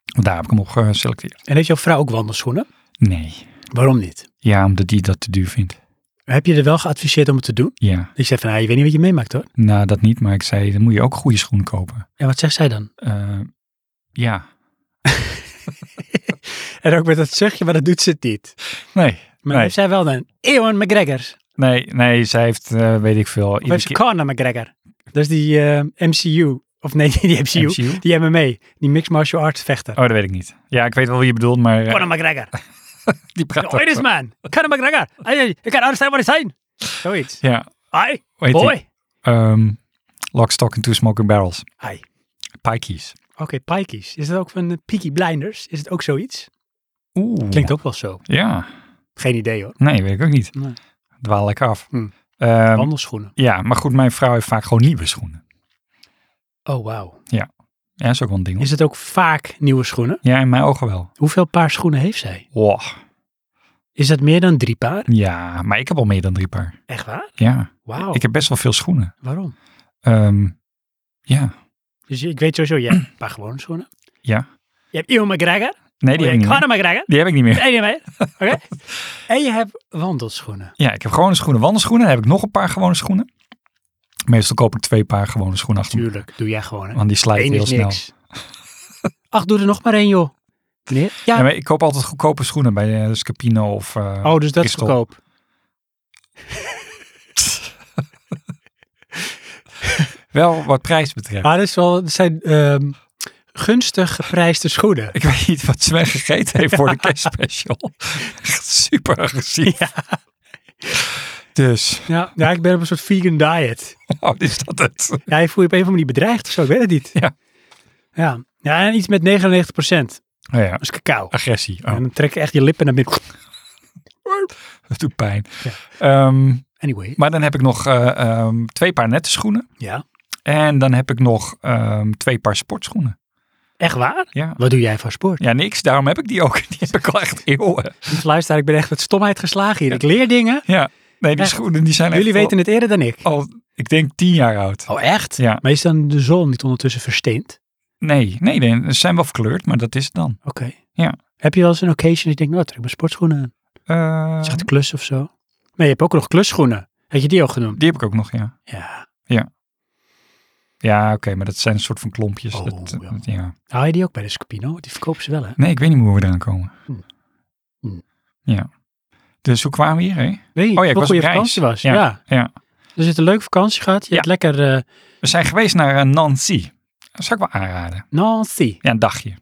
Speaker 2: Daar heb ik hem op geselecteerd.
Speaker 1: En heeft jouw vrouw ook wandelschoenen?
Speaker 2: Nee.
Speaker 1: Waarom niet?
Speaker 2: Ja, omdat hij dat te duur vindt.
Speaker 1: Heb je er wel geadviseerd om het te doen?
Speaker 2: Ja,
Speaker 1: Ik zei van, nou, je weet niet wat je meemaakt hoor.
Speaker 2: nou dat niet, maar ik zei, dan moet je ook goede schoenen kopen.
Speaker 1: En wat zegt zij dan?
Speaker 2: Eh, ja.
Speaker 1: En ook met dat zuchtje, maar dat doet ze het niet.
Speaker 2: Nee,
Speaker 1: Maar
Speaker 2: Nee.
Speaker 1: heeft zij wel een Ewan McGregor?
Speaker 2: nee, nee, zij heeft, eh, weet ik veel.
Speaker 1: Of heeft ze
Speaker 2: iedere
Speaker 1: Conor McGregor? Dat is die eh, MCU. Of nee, die
Speaker 2: keer-
Speaker 1: MCU.
Speaker 2: MCU?
Speaker 1: Die MMA. Die Mixed Martial Arts vechter.
Speaker 2: Oh, dat weet ik niet. Ja, ik weet wel wie je bedoelt, maar eh,
Speaker 1: Conor McGregor.
Speaker 2: die praat
Speaker 1: The
Speaker 2: ook wel.
Speaker 1: Irishman. Conor McGregor. I, I can't understand what he's saying. Zoiets.
Speaker 2: Ja,
Speaker 1: Hi,
Speaker 2: weet je.
Speaker 1: boy.
Speaker 2: Ehm, Lock, Stock and Two Smoking Barrels.
Speaker 1: Hi.
Speaker 2: Pikeys.
Speaker 1: Oké, Pikeys. Is dat ook van eh, Peaky Blinders? Is het ook zoiets?
Speaker 2: Oeh.
Speaker 1: Klinkt ook wel zo.
Speaker 2: Ja,
Speaker 1: Geen idee hoor.
Speaker 2: nee, weet ik ook niet.
Speaker 1: Nee.
Speaker 2: Dwaal lekker af.
Speaker 1: Hm.
Speaker 2: Ehm,
Speaker 1: Wandelschoenen.
Speaker 2: ja, maar goed, mijn vrouw heeft vaak gewoon nieuwe schoenen.
Speaker 1: Oh, wauw.
Speaker 2: Ja, dat is ook wel een ding. hoor.
Speaker 1: Is het ook vaak nieuwe schoenen?
Speaker 2: Ja, in mijn ogen wel.
Speaker 1: Hoeveel paar schoenen heeft zij?
Speaker 2: Wow.
Speaker 1: Is dat meer dan drie paar?
Speaker 2: Ja, maar ik heb al meer dan drie paar.
Speaker 1: Echt waar?
Speaker 2: Ja,
Speaker 1: Wauw.
Speaker 2: ik heb best wel veel schoenen.
Speaker 1: Waarom?
Speaker 2: Ehm, ja,
Speaker 1: Dus je- ik weet sowieso, je hebt een paar gewone schoenen.
Speaker 2: ja.
Speaker 1: Je hebt Ewan McGregor.
Speaker 2: Nee, die
Speaker 1: Oh, je
Speaker 2: heb ik
Speaker 1: hebt
Speaker 2: niet meer.
Speaker 1: Conor McGregor.
Speaker 2: Die heb ik niet meer.
Speaker 1: En je hebt- Oké. En je hebt wandelschoenen.
Speaker 2: Ja, ik heb gewone schoenen, wandelschoenen. Dan heb ik nog een paar gewone schoenen. Meestal koop ik twee paar gewone schoenen achter elkaar,
Speaker 1: Tuurlijk, doe jij gewoon. Hè.
Speaker 2: Want die slijten
Speaker 1: Eén
Speaker 2: heel
Speaker 1: is
Speaker 2: snel.
Speaker 1: niks. Ach, doe er nog maar één, joh. Meneer? Ja.
Speaker 2: Ja, maar ik koop altijd goedkope schoenen bij eh, Scapino of... eh,
Speaker 1: oh, dus dat is
Speaker 2: Christel.
Speaker 1: goedkoop.
Speaker 2: Wel wat prijs betreft.
Speaker 1: Maar Ah, dat is wel, dat zijn ehm, gunstig geprijsde schoenen.
Speaker 2: Ik weet niet wat Sven gegeten heeft voor de kerstspecial. Echt Super agressief. Dus,
Speaker 1: Ja, ja, ik ben op een soort vegan diet.
Speaker 2: oh, is dat het?
Speaker 1: Ja, je voel je op een of andere manier bedreigd of zo, ik weet het niet.
Speaker 2: Ja.
Speaker 1: Ja, ja en iets met 99%.
Speaker 2: Oh ja,
Speaker 1: Dat is cacao.
Speaker 2: agressie. Oh,
Speaker 1: En dan trek je echt je lippen naar binnen.
Speaker 2: dat doet pijn.
Speaker 1: Ja.
Speaker 2: Ehm,
Speaker 1: Anyway.
Speaker 2: maar dan heb ik nog eh, ehm, twee paar nette schoenen.
Speaker 1: Ja.
Speaker 2: En dan heb ik nog ehm, twee paar sportschoenen.
Speaker 1: Echt waar?
Speaker 2: Ja.
Speaker 1: Wat doe jij voor sport?
Speaker 2: ja, niks. Daarom heb ik die ook. Die heb ik al echt eeuwen.
Speaker 1: Lieve Luisteraar, ik ben echt met stomheid geslagen hier. Ik leer dingen.
Speaker 2: Ja, nee, die
Speaker 1: Echt?
Speaker 2: schoenen die zijn
Speaker 1: Jullie
Speaker 2: echt al-
Speaker 1: weten het eerder dan ik.
Speaker 2: al, ik denk, tien jaar oud.
Speaker 1: Oh, echt?
Speaker 2: Ja.
Speaker 1: Maar is dan de zon niet ondertussen versteend?
Speaker 2: Nee, nee, nee, ze zijn wel verkleurd, maar dat is het dan.
Speaker 1: Oké.
Speaker 2: Ja.
Speaker 1: Heb je wel eens een occasion dat je denkt, nou, trek mijn sportschoenen aan.
Speaker 2: Eh,
Speaker 1: Zegt de klus of zo. Nee, je hebt ook nog klusschoenen. Had je die al genoemd?
Speaker 2: die heb ik ook nog, ja.
Speaker 1: Ja.
Speaker 2: Ja, oké, maar dat zijn een soort van klompjes.
Speaker 1: Oh,
Speaker 2: dat,
Speaker 1: ja.
Speaker 2: dat- ja.
Speaker 1: Hou je die ook bij de Scopino? Want Die verkopen ze wel, hè?
Speaker 2: Nee, ik weet niet meer hoe we eraan komen.
Speaker 1: Hm. Hm.
Speaker 2: Ja. Dus hoe kwamen we hier, hè?
Speaker 1: Nee,
Speaker 2: Oh ja, ik was
Speaker 1: wat goede
Speaker 2: op reis.
Speaker 1: vakantie was. Ja.
Speaker 2: Ja, ja.
Speaker 1: Dus je hebt een leuke vakantie gehad. Je
Speaker 2: Ja.
Speaker 1: hebt lekker eh,
Speaker 2: We zijn geweest naar eh, Nancy. Dat zou ik wel aanraden.
Speaker 1: Nancy.
Speaker 2: Ja, een dagje.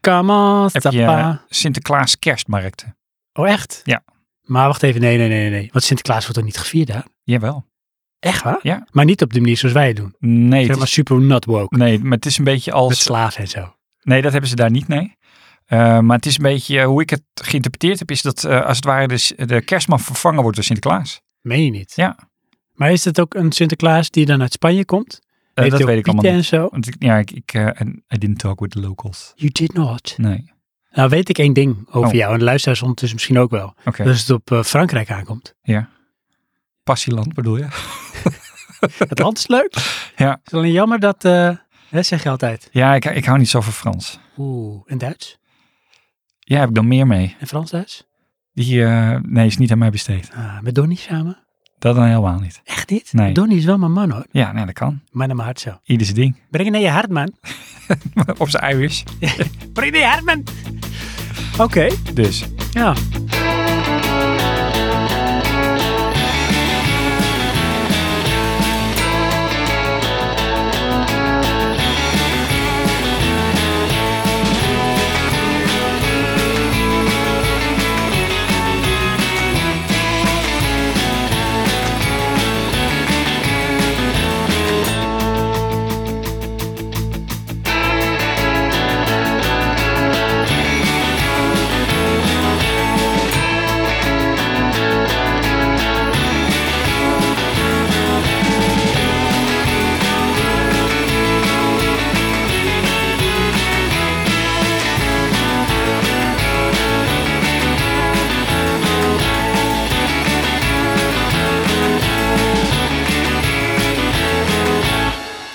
Speaker 1: Come on,
Speaker 2: Heb je
Speaker 1: papa.
Speaker 2: eh, Sinterklaas kerstmarkten.
Speaker 1: Oh, echt?
Speaker 2: Ja.
Speaker 1: Maar wacht even, nee, nee, nee, nee, nee. Want Sinterklaas wordt toch niet gevierd daar?
Speaker 2: Jawel.
Speaker 1: Echt waar?
Speaker 2: Ja.
Speaker 1: Maar niet op de manier zoals wij het doen.
Speaker 2: Nee,
Speaker 1: Zeg
Speaker 2: het
Speaker 1: maar
Speaker 2: is,
Speaker 1: super not woke.
Speaker 2: nee, maar het is een beetje
Speaker 1: Met
Speaker 2: als...
Speaker 1: slaven en zo.
Speaker 2: Nee, dat hebben ze daar niet, nee. Eh, maar het is een beetje, eh, hoe ik het geïnterpreteerd heb, is dat eh, als het ware de, s- de kerstman vervangen wordt door Sinterklaas. Eh,
Speaker 1: Meen je niet?
Speaker 2: Ja.
Speaker 1: Maar is dat ook een Sinterklaas die dan uit Spanje komt?
Speaker 2: Eh, dat
Speaker 1: Heeft hij ook
Speaker 2: weet ik allemaal
Speaker 1: pieten
Speaker 2: niet.
Speaker 1: en zo?
Speaker 2: Want ik, ja, ik, ik eh, and I didn't talk with the locals.
Speaker 1: You did not.
Speaker 2: Nee,
Speaker 1: Nou weet ik één ding over
Speaker 2: Oh.
Speaker 1: jou. En de luisteraars ondertussen misschien ook wel.
Speaker 2: oké.
Speaker 1: Dat het op eh, Frankrijk aankomt.
Speaker 2: Passieland bedoel je?
Speaker 1: Het land is leuk.
Speaker 2: Ja.
Speaker 1: Het is alleen jammer dat... eh, hè, zeg je altijd.
Speaker 2: Ja, ik, ik hou niet zo van Frans.
Speaker 1: Oeh. En Duits?
Speaker 2: Ja, heb ik dan meer mee.
Speaker 1: En Frans-Duits?
Speaker 2: Die, eh, nee, is niet aan mij besteed.
Speaker 1: Ah, met Donnie samen?
Speaker 2: Dat dan helemaal niet.
Speaker 1: Echt niet?
Speaker 2: Nee.
Speaker 1: Donnie is wel mijn man hoor.
Speaker 2: Ja, nee, dat kan.
Speaker 1: Maar naar mijn hart zo.
Speaker 2: Ieder zijn ding.
Speaker 1: Breng het naar je hart man.
Speaker 2: Op zijn uiers.
Speaker 1: Breng het naar je hart man. Oké.
Speaker 2: Dus,
Speaker 1: Ja.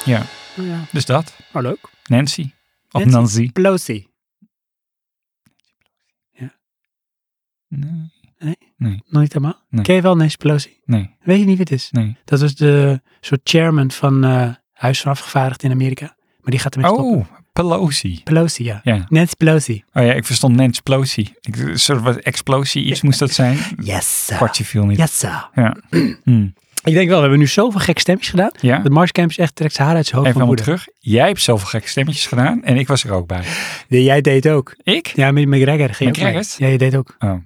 Speaker 2: ja.
Speaker 1: ja.
Speaker 2: Dus dat.
Speaker 1: Oh, leuk.
Speaker 2: Nancy. Of
Speaker 1: Nancy.
Speaker 2: Nancy.
Speaker 1: Pelosi.
Speaker 2: Nee.
Speaker 1: Nooit helemaal?
Speaker 2: Nee.
Speaker 1: Ken je wel Nancy Pelosi?
Speaker 2: Nee.
Speaker 1: Weet je niet wie het is?
Speaker 2: nee.
Speaker 1: Dat was de soort chairman van eh Huis van Afgevaardigden in Amerika. Maar die gaat ermee stoppen.
Speaker 2: Oh, Pelosi.
Speaker 1: Pelosi, ja.
Speaker 2: Ja.
Speaker 1: Nancy Pelosi.
Speaker 2: Oh ja, ik verstond Nancy Pelosi. Ik, een soort wat explosie iets moest dat zijn.
Speaker 1: Yes, sir.
Speaker 2: Kwartje viel niet.
Speaker 1: Yes, sir.
Speaker 2: Ja. Hmm.
Speaker 1: Ik denk wel, we hebben nu zoveel gek stemmetjes gedaan.
Speaker 2: Ja.
Speaker 1: De Mars Camp is echt trekt zijn haar uit zijn hoofd
Speaker 2: Even
Speaker 1: van
Speaker 2: helemaal
Speaker 1: woede.
Speaker 2: terug. Jij hebt zoveel gekke stemmetjes gedaan en ik was er ook bij.
Speaker 1: Nee, jij deed ook.
Speaker 2: Ik?
Speaker 1: Ja, met McGregor ging je ook mee.
Speaker 2: McGregor?
Speaker 1: Ja, je deed ook.
Speaker 2: Oh,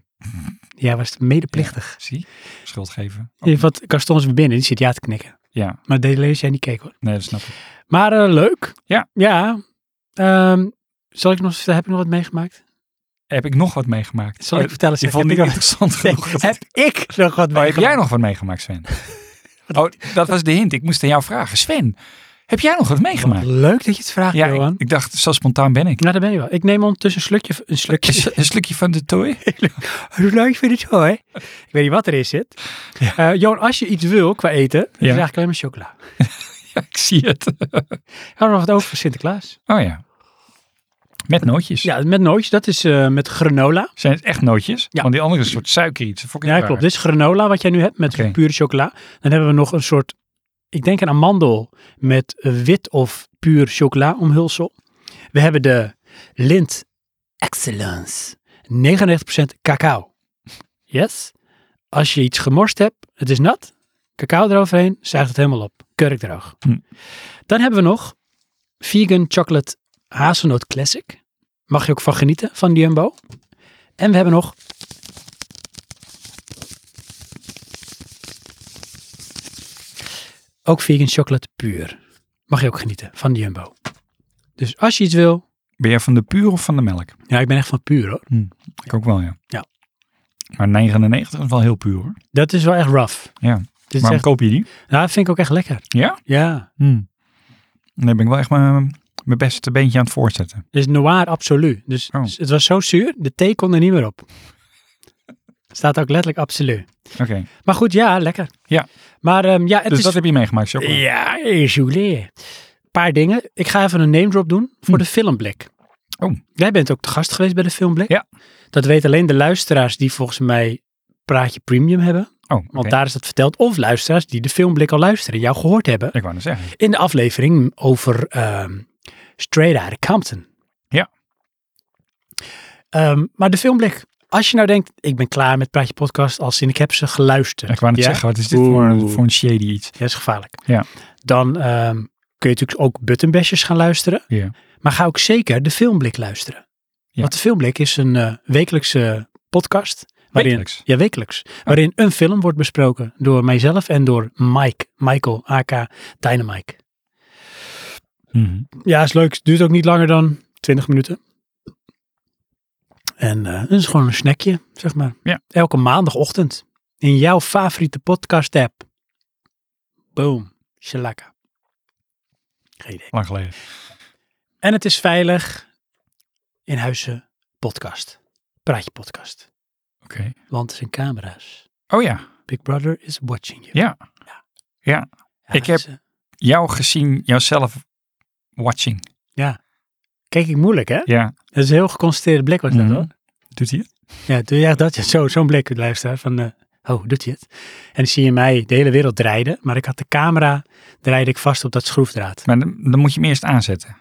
Speaker 1: Jij was medeplichtig.
Speaker 2: zie? Schuld geven.
Speaker 1: Je Wat Gaston is weer binnen, die zit ja te knikken.
Speaker 2: Ja,
Speaker 1: Maar deed lees jij niet keek hoor.
Speaker 2: nee, dat snap ik.
Speaker 1: Maar eh, leuk.
Speaker 2: Ja.
Speaker 1: Ja. Ehm, zal ik nog, heb ik nog wat meegemaakt?
Speaker 2: Heb ik nog wat meegemaakt?
Speaker 1: Zal ik
Speaker 2: Oh,
Speaker 1: vertellen,
Speaker 2: Je
Speaker 1: zeg,
Speaker 2: vond
Speaker 1: heb
Speaker 2: niet
Speaker 1: ik-
Speaker 2: interessant genoeg. dat-
Speaker 1: heb ik nog wat
Speaker 2: Maar heb
Speaker 1: meegemaakt?
Speaker 2: jij nog wat meegemaakt, Sven? Oh, dat was de hint. Ik moest aan jou vragen. Sven, heb jij nog wat meegemaakt?
Speaker 1: Leuk dat je het vraagt,
Speaker 2: Ja,
Speaker 1: Johan.
Speaker 2: ik, ik dacht, zo spontaan ben ik.
Speaker 1: Nou, daar ben je wel. Ik neem ondertussen een slukje. Een slukje.
Speaker 2: Een stukje van de tooi?
Speaker 1: Hoe leuk vind je het hoor? Ik weet niet wat erin zit. Eh, Johan, als je iets wil qua eten, dan
Speaker 2: Ja.
Speaker 1: vraag ik alleen maar chocola.
Speaker 2: Ja, ik zie het.
Speaker 1: Houden we nog wat over voor Sinterklaas?
Speaker 2: Oh ja. Met nootjes.
Speaker 1: Ja, met nootjes. Dat is eh, met granola.
Speaker 2: Zijn het echt nootjes?
Speaker 1: Ja.
Speaker 2: Want die andere is een soort suiker iets. Dat vond ik
Speaker 1: Ja,
Speaker 2: raar.
Speaker 1: klopt. Dit is granola wat jij nu hebt met
Speaker 2: Oké.
Speaker 1: pure chocola. Dan hebben we nog een soort, ik denk een amandel met wit of puur chocola omhulsel. We hebben de Lint Excellence. 99% cacao. Yes. Als je iets gemorst hebt, het is nat. Cacao eroverheen, zuigt het helemaal op. Kurkdroog.
Speaker 2: Hm.
Speaker 1: Dan hebben we nog Vegan Chocolate Hazelnoot Classic. Mag je ook van genieten van die Jumbo. En we hebben nog Ook vegan chocolate puur. Mag je ook genieten van de Jumbo. Dus als je iets wil.
Speaker 2: Ben jij van de puur of van de melk?
Speaker 1: Ja, ik ben echt van puur hoor.
Speaker 2: Ik ook wel, ja.
Speaker 1: Ja.
Speaker 2: Maar 99 is wel heel puur hoor.
Speaker 1: Dat is wel echt rough.
Speaker 2: Ja.
Speaker 1: Dit is
Speaker 2: Waarom
Speaker 1: echt,
Speaker 2: koop je die?
Speaker 1: nou, dat vind ik ook echt lekker.
Speaker 2: Ja?
Speaker 1: Ja.
Speaker 2: Hmm. Nee, ben ik wel echt mijn, mijn beste beentje aan het voortzetten.
Speaker 1: Het is noir absolu. Dus
Speaker 2: Oh.
Speaker 1: het was zo zuur, de thee kon er niet meer op. Staat ook letterlijk absolu.
Speaker 2: Oké.
Speaker 1: Maar goed, ja, lekker.
Speaker 2: Ja.
Speaker 1: Maar ehm, ja, het
Speaker 2: Dus
Speaker 1: is...
Speaker 2: dat heb je meegemaakt, chocola.
Speaker 1: Ja, Julien. Paar dingen. Ik ga even een name drop doen voor de filmblik.
Speaker 2: Hm. Oh.
Speaker 1: Jij bent ook te gast geweest bij de filmblik.
Speaker 2: Ja.
Speaker 1: Dat weten alleen de luisteraars die volgens mij Praatje Premium hebben.
Speaker 2: Oh, oké.
Speaker 1: Want daar is dat verteld. Of luisteraars die de filmblik al luisteren, jou gehoord hebben.
Speaker 2: Ik wou net zeggen.
Speaker 1: In de aflevering over ehm Straight Outta Compton.
Speaker 2: Ja.
Speaker 1: Ehm, maar de filmblik. Als je nou denkt, ik ben klaar met Praatje Podcast, als in ik heb ze geluisterd.
Speaker 2: Ik wou net
Speaker 1: Ja?
Speaker 2: zeggen, wat is dit voor, een-
Speaker 1: Oeh.
Speaker 2: voor een shady iets?
Speaker 1: Ja, dat is gevaarlijk.
Speaker 2: Ja.
Speaker 1: Dan ehm, kun je natuurlijk ook buttonbashers gaan luisteren.
Speaker 2: Ja.
Speaker 1: Maar ga ook zeker de Filmblik luisteren.
Speaker 2: Ja.
Speaker 1: Want de Filmblik is een eh, wekelijkse podcast.
Speaker 2: Wekelijks?
Speaker 1: Ja, wekelijks. Waarin een film wordt besproken door mijzelf en door Mike. Michael, aka Dynamike. Ja, is leuk. Duurt ook niet langer dan 20 minuten. En eh het is gewoon een snackje, zeg maar.
Speaker 2: Ja.
Speaker 1: Elke maandagochtend. In jouw favoriete podcast app. Boom. Shalaka. Geen idee.
Speaker 2: Lang geleden.
Speaker 1: En het is veilig in huizen podcast. Praatje podcast.
Speaker 2: Oké.
Speaker 1: Want er zijn camera's.
Speaker 2: Oh ja,
Speaker 1: Big Brother is watching you.
Speaker 2: Ja. Ja.
Speaker 1: Ja,
Speaker 2: Ik
Speaker 1: dat is,
Speaker 2: heb-
Speaker 1: eh,
Speaker 2: jou gezien, jouzelf watching.
Speaker 1: Kijk ik moeilijk, hè?
Speaker 2: Ja.
Speaker 1: Dat is een heel geconcentreerde blik was dat,
Speaker 2: Mhm.
Speaker 1: hoor.
Speaker 2: Doet hij het?
Speaker 1: Ja, doe je echt dat? Ja, zo- Zo'n blik, luisteraar. Van, eh, oh, doet hij het? En dan zie je mij de hele wereld draaien, maar ik had de camera, draaide ik vast op dat schroefdraad.
Speaker 2: Maar dan, dan moet je hem eerst aanzetten.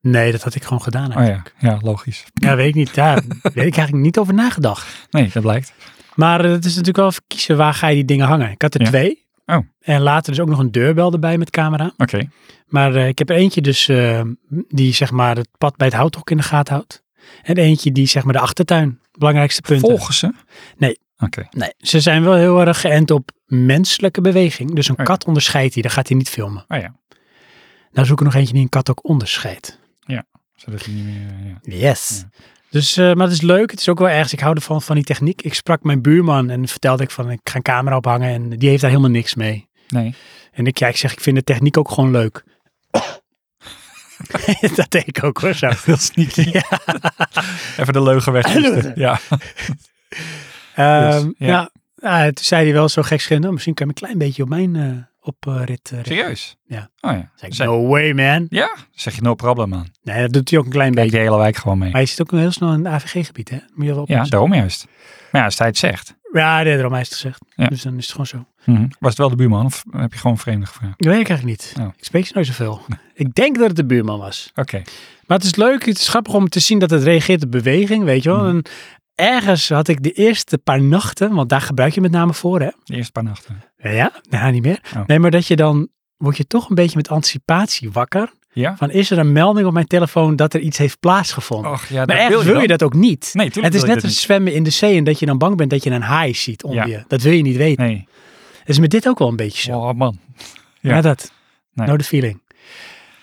Speaker 1: Nee, dat had ik gewoon gedaan
Speaker 2: Oh ja,
Speaker 1: eigenlijk.
Speaker 2: ja, logisch.
Speaker 1: ja. weet ik niet. Daar weet ik eigenlijk niet over nagedacht.
Speaker 2: Nee, dat blijkt.
Speaker 1: Maar eh, het is natuurlijk wel even kiezen waar ga je die dingen hangen. Ik had er
Speaker 2: Ja.
Speaker 1: twee.
Speaker 2: Oh.
Speaker 1: En later dus ook nog een deurbel erbij met camera.
Speaker 2: Oké.
Speaker 1: Maar eh, ik heb er eentje dus eh, die zeg maar het pad bij het houthok in de gaten houdt. En eentje die zeg maar de achtertuin, belangrijkste punten.
Speaker 2: Volgen ze?
Speaker 1: Nee.
Speaker 2: Oké.
Speaker 1: Nee, ze zijn wel heel erg geënt op menselijke beweging. Dus een
Speaker 2: Oh ja.
Speaker 1: kat onderscheidt die, dan gaat hij niet filmen.
Speaker 2: Oh ja,
Speaker 1: Nou zoek ik nog eentje die een kat ook onderscheidt.
Speaker 2: zodat hij niet meer... eh, ja.
Speaker 1: Yes. Dus, eh, maar het is leuk. Het is ook wel ergens. Ik hou ervan van die techniek. Ik sprak mijn buurman en vertelde ik van ik ga een camera ophangen en die heeft daar helemaal niks mee.
Speaker 2: Nee.
Speaker 1: En ik, ja, ik zeg, ik vind de techniek ook gewoon leuk. dat deed ik ook hoor zo.
Speaker 2: Heel sneaky. Even de leugen weg. Ja.
Speaker 1: Ehm,
Speaker 2: Dus, ja.
Speaker 1: ja. ah, toen zei hij wel zo gek schindel. Misschien kan je hem een klein beetje op mijn eh op, eh, rit. eh, richten."
Speaker 2: Serieus?
Speaker 1: Ja.
Speaker 2: Oh ja.
Speaker 1: Zei ik,
Speaker 2: Zeg-
Speaker 1: no way man.
Speaker 2: Ja, zeg je no problem man.
Speaker 1: Nee, dat doet hij ook een klein
Speaker 2: Kijk
Speaker 1: beetje.
Speaker 2: de hele wijk gewoon mee.
Speaker 1: Maar je zit ook heel snel in het AVG-gebied, hè? Moet je wel
Speaker 2: Ja,
Speaker 1: oppassen.
Speaker 2: daarom juist. Maar ja, als hij het zegt,
Speaker 1: Ja, dat daarom hij is het gezegd.
Speaker 2: Ja.
Speaker 1: Dus dan is het gewoon zo.
Speaker 2: mhm, was het wel de buurman of heb je gewoon vreemde gevraagd?
Speaker 1: Dat weet ik eigenlijk niet.
Speaker 2: Oh.
Speaker 1: Ik spreek ze nooit zoveel. Ik denk dat het de buurman was.
Speaker 2: Oké.
Speaker 1: Maar het is leuk, het is grappig om te zien dat het reageert op beweging, weet je wel.
Speaker 2: Mm.
Speaker 1: En ergens had ik de eerste paar nachten, want daar gebruik je met name voor, hè?
Speaker 2: De eerste paar nachten.
Speaker 1: Ja, nou niet meer.
Speaker 2: Oh.
Speaker 1: Nee, maar dat je dan, word je toch een beetje met anticipatie wakker.
Speaker 2: Ja?
Speaker 1: Van is er een melding op mijn telefoon dat er iets heeft plaatsgevonden?
Speaker 2: Och ja,
Speaker 1: maar
Speaker 2: Oh, dat
Speaker 1: ergens wil je,
Speaker 2: dan.
Speaker 1: dat ook niet.
Speaker 2: Nee, tuurlijk
Speaker 1: het is
Speaker 2: wil je
Speaker 1: net
Speaker 2: dat
Speaker 1: als zwemmen in de zee en dat je dan bang bent dat je een haai ziet onder
Speaker 2: Ja.
Speaker 1: je. Dat wil je niet weten.
Speaker 2: Nee.
Speaker 1: Het is met dit ook wel een beetje zo.
Speaker 2: Oh man.
Speaker 1: Ja,
Speaker 2: Ja.
Speaker 1: dat.
Speaker 2: Nee.
Speaker 1: Nou, de feeling.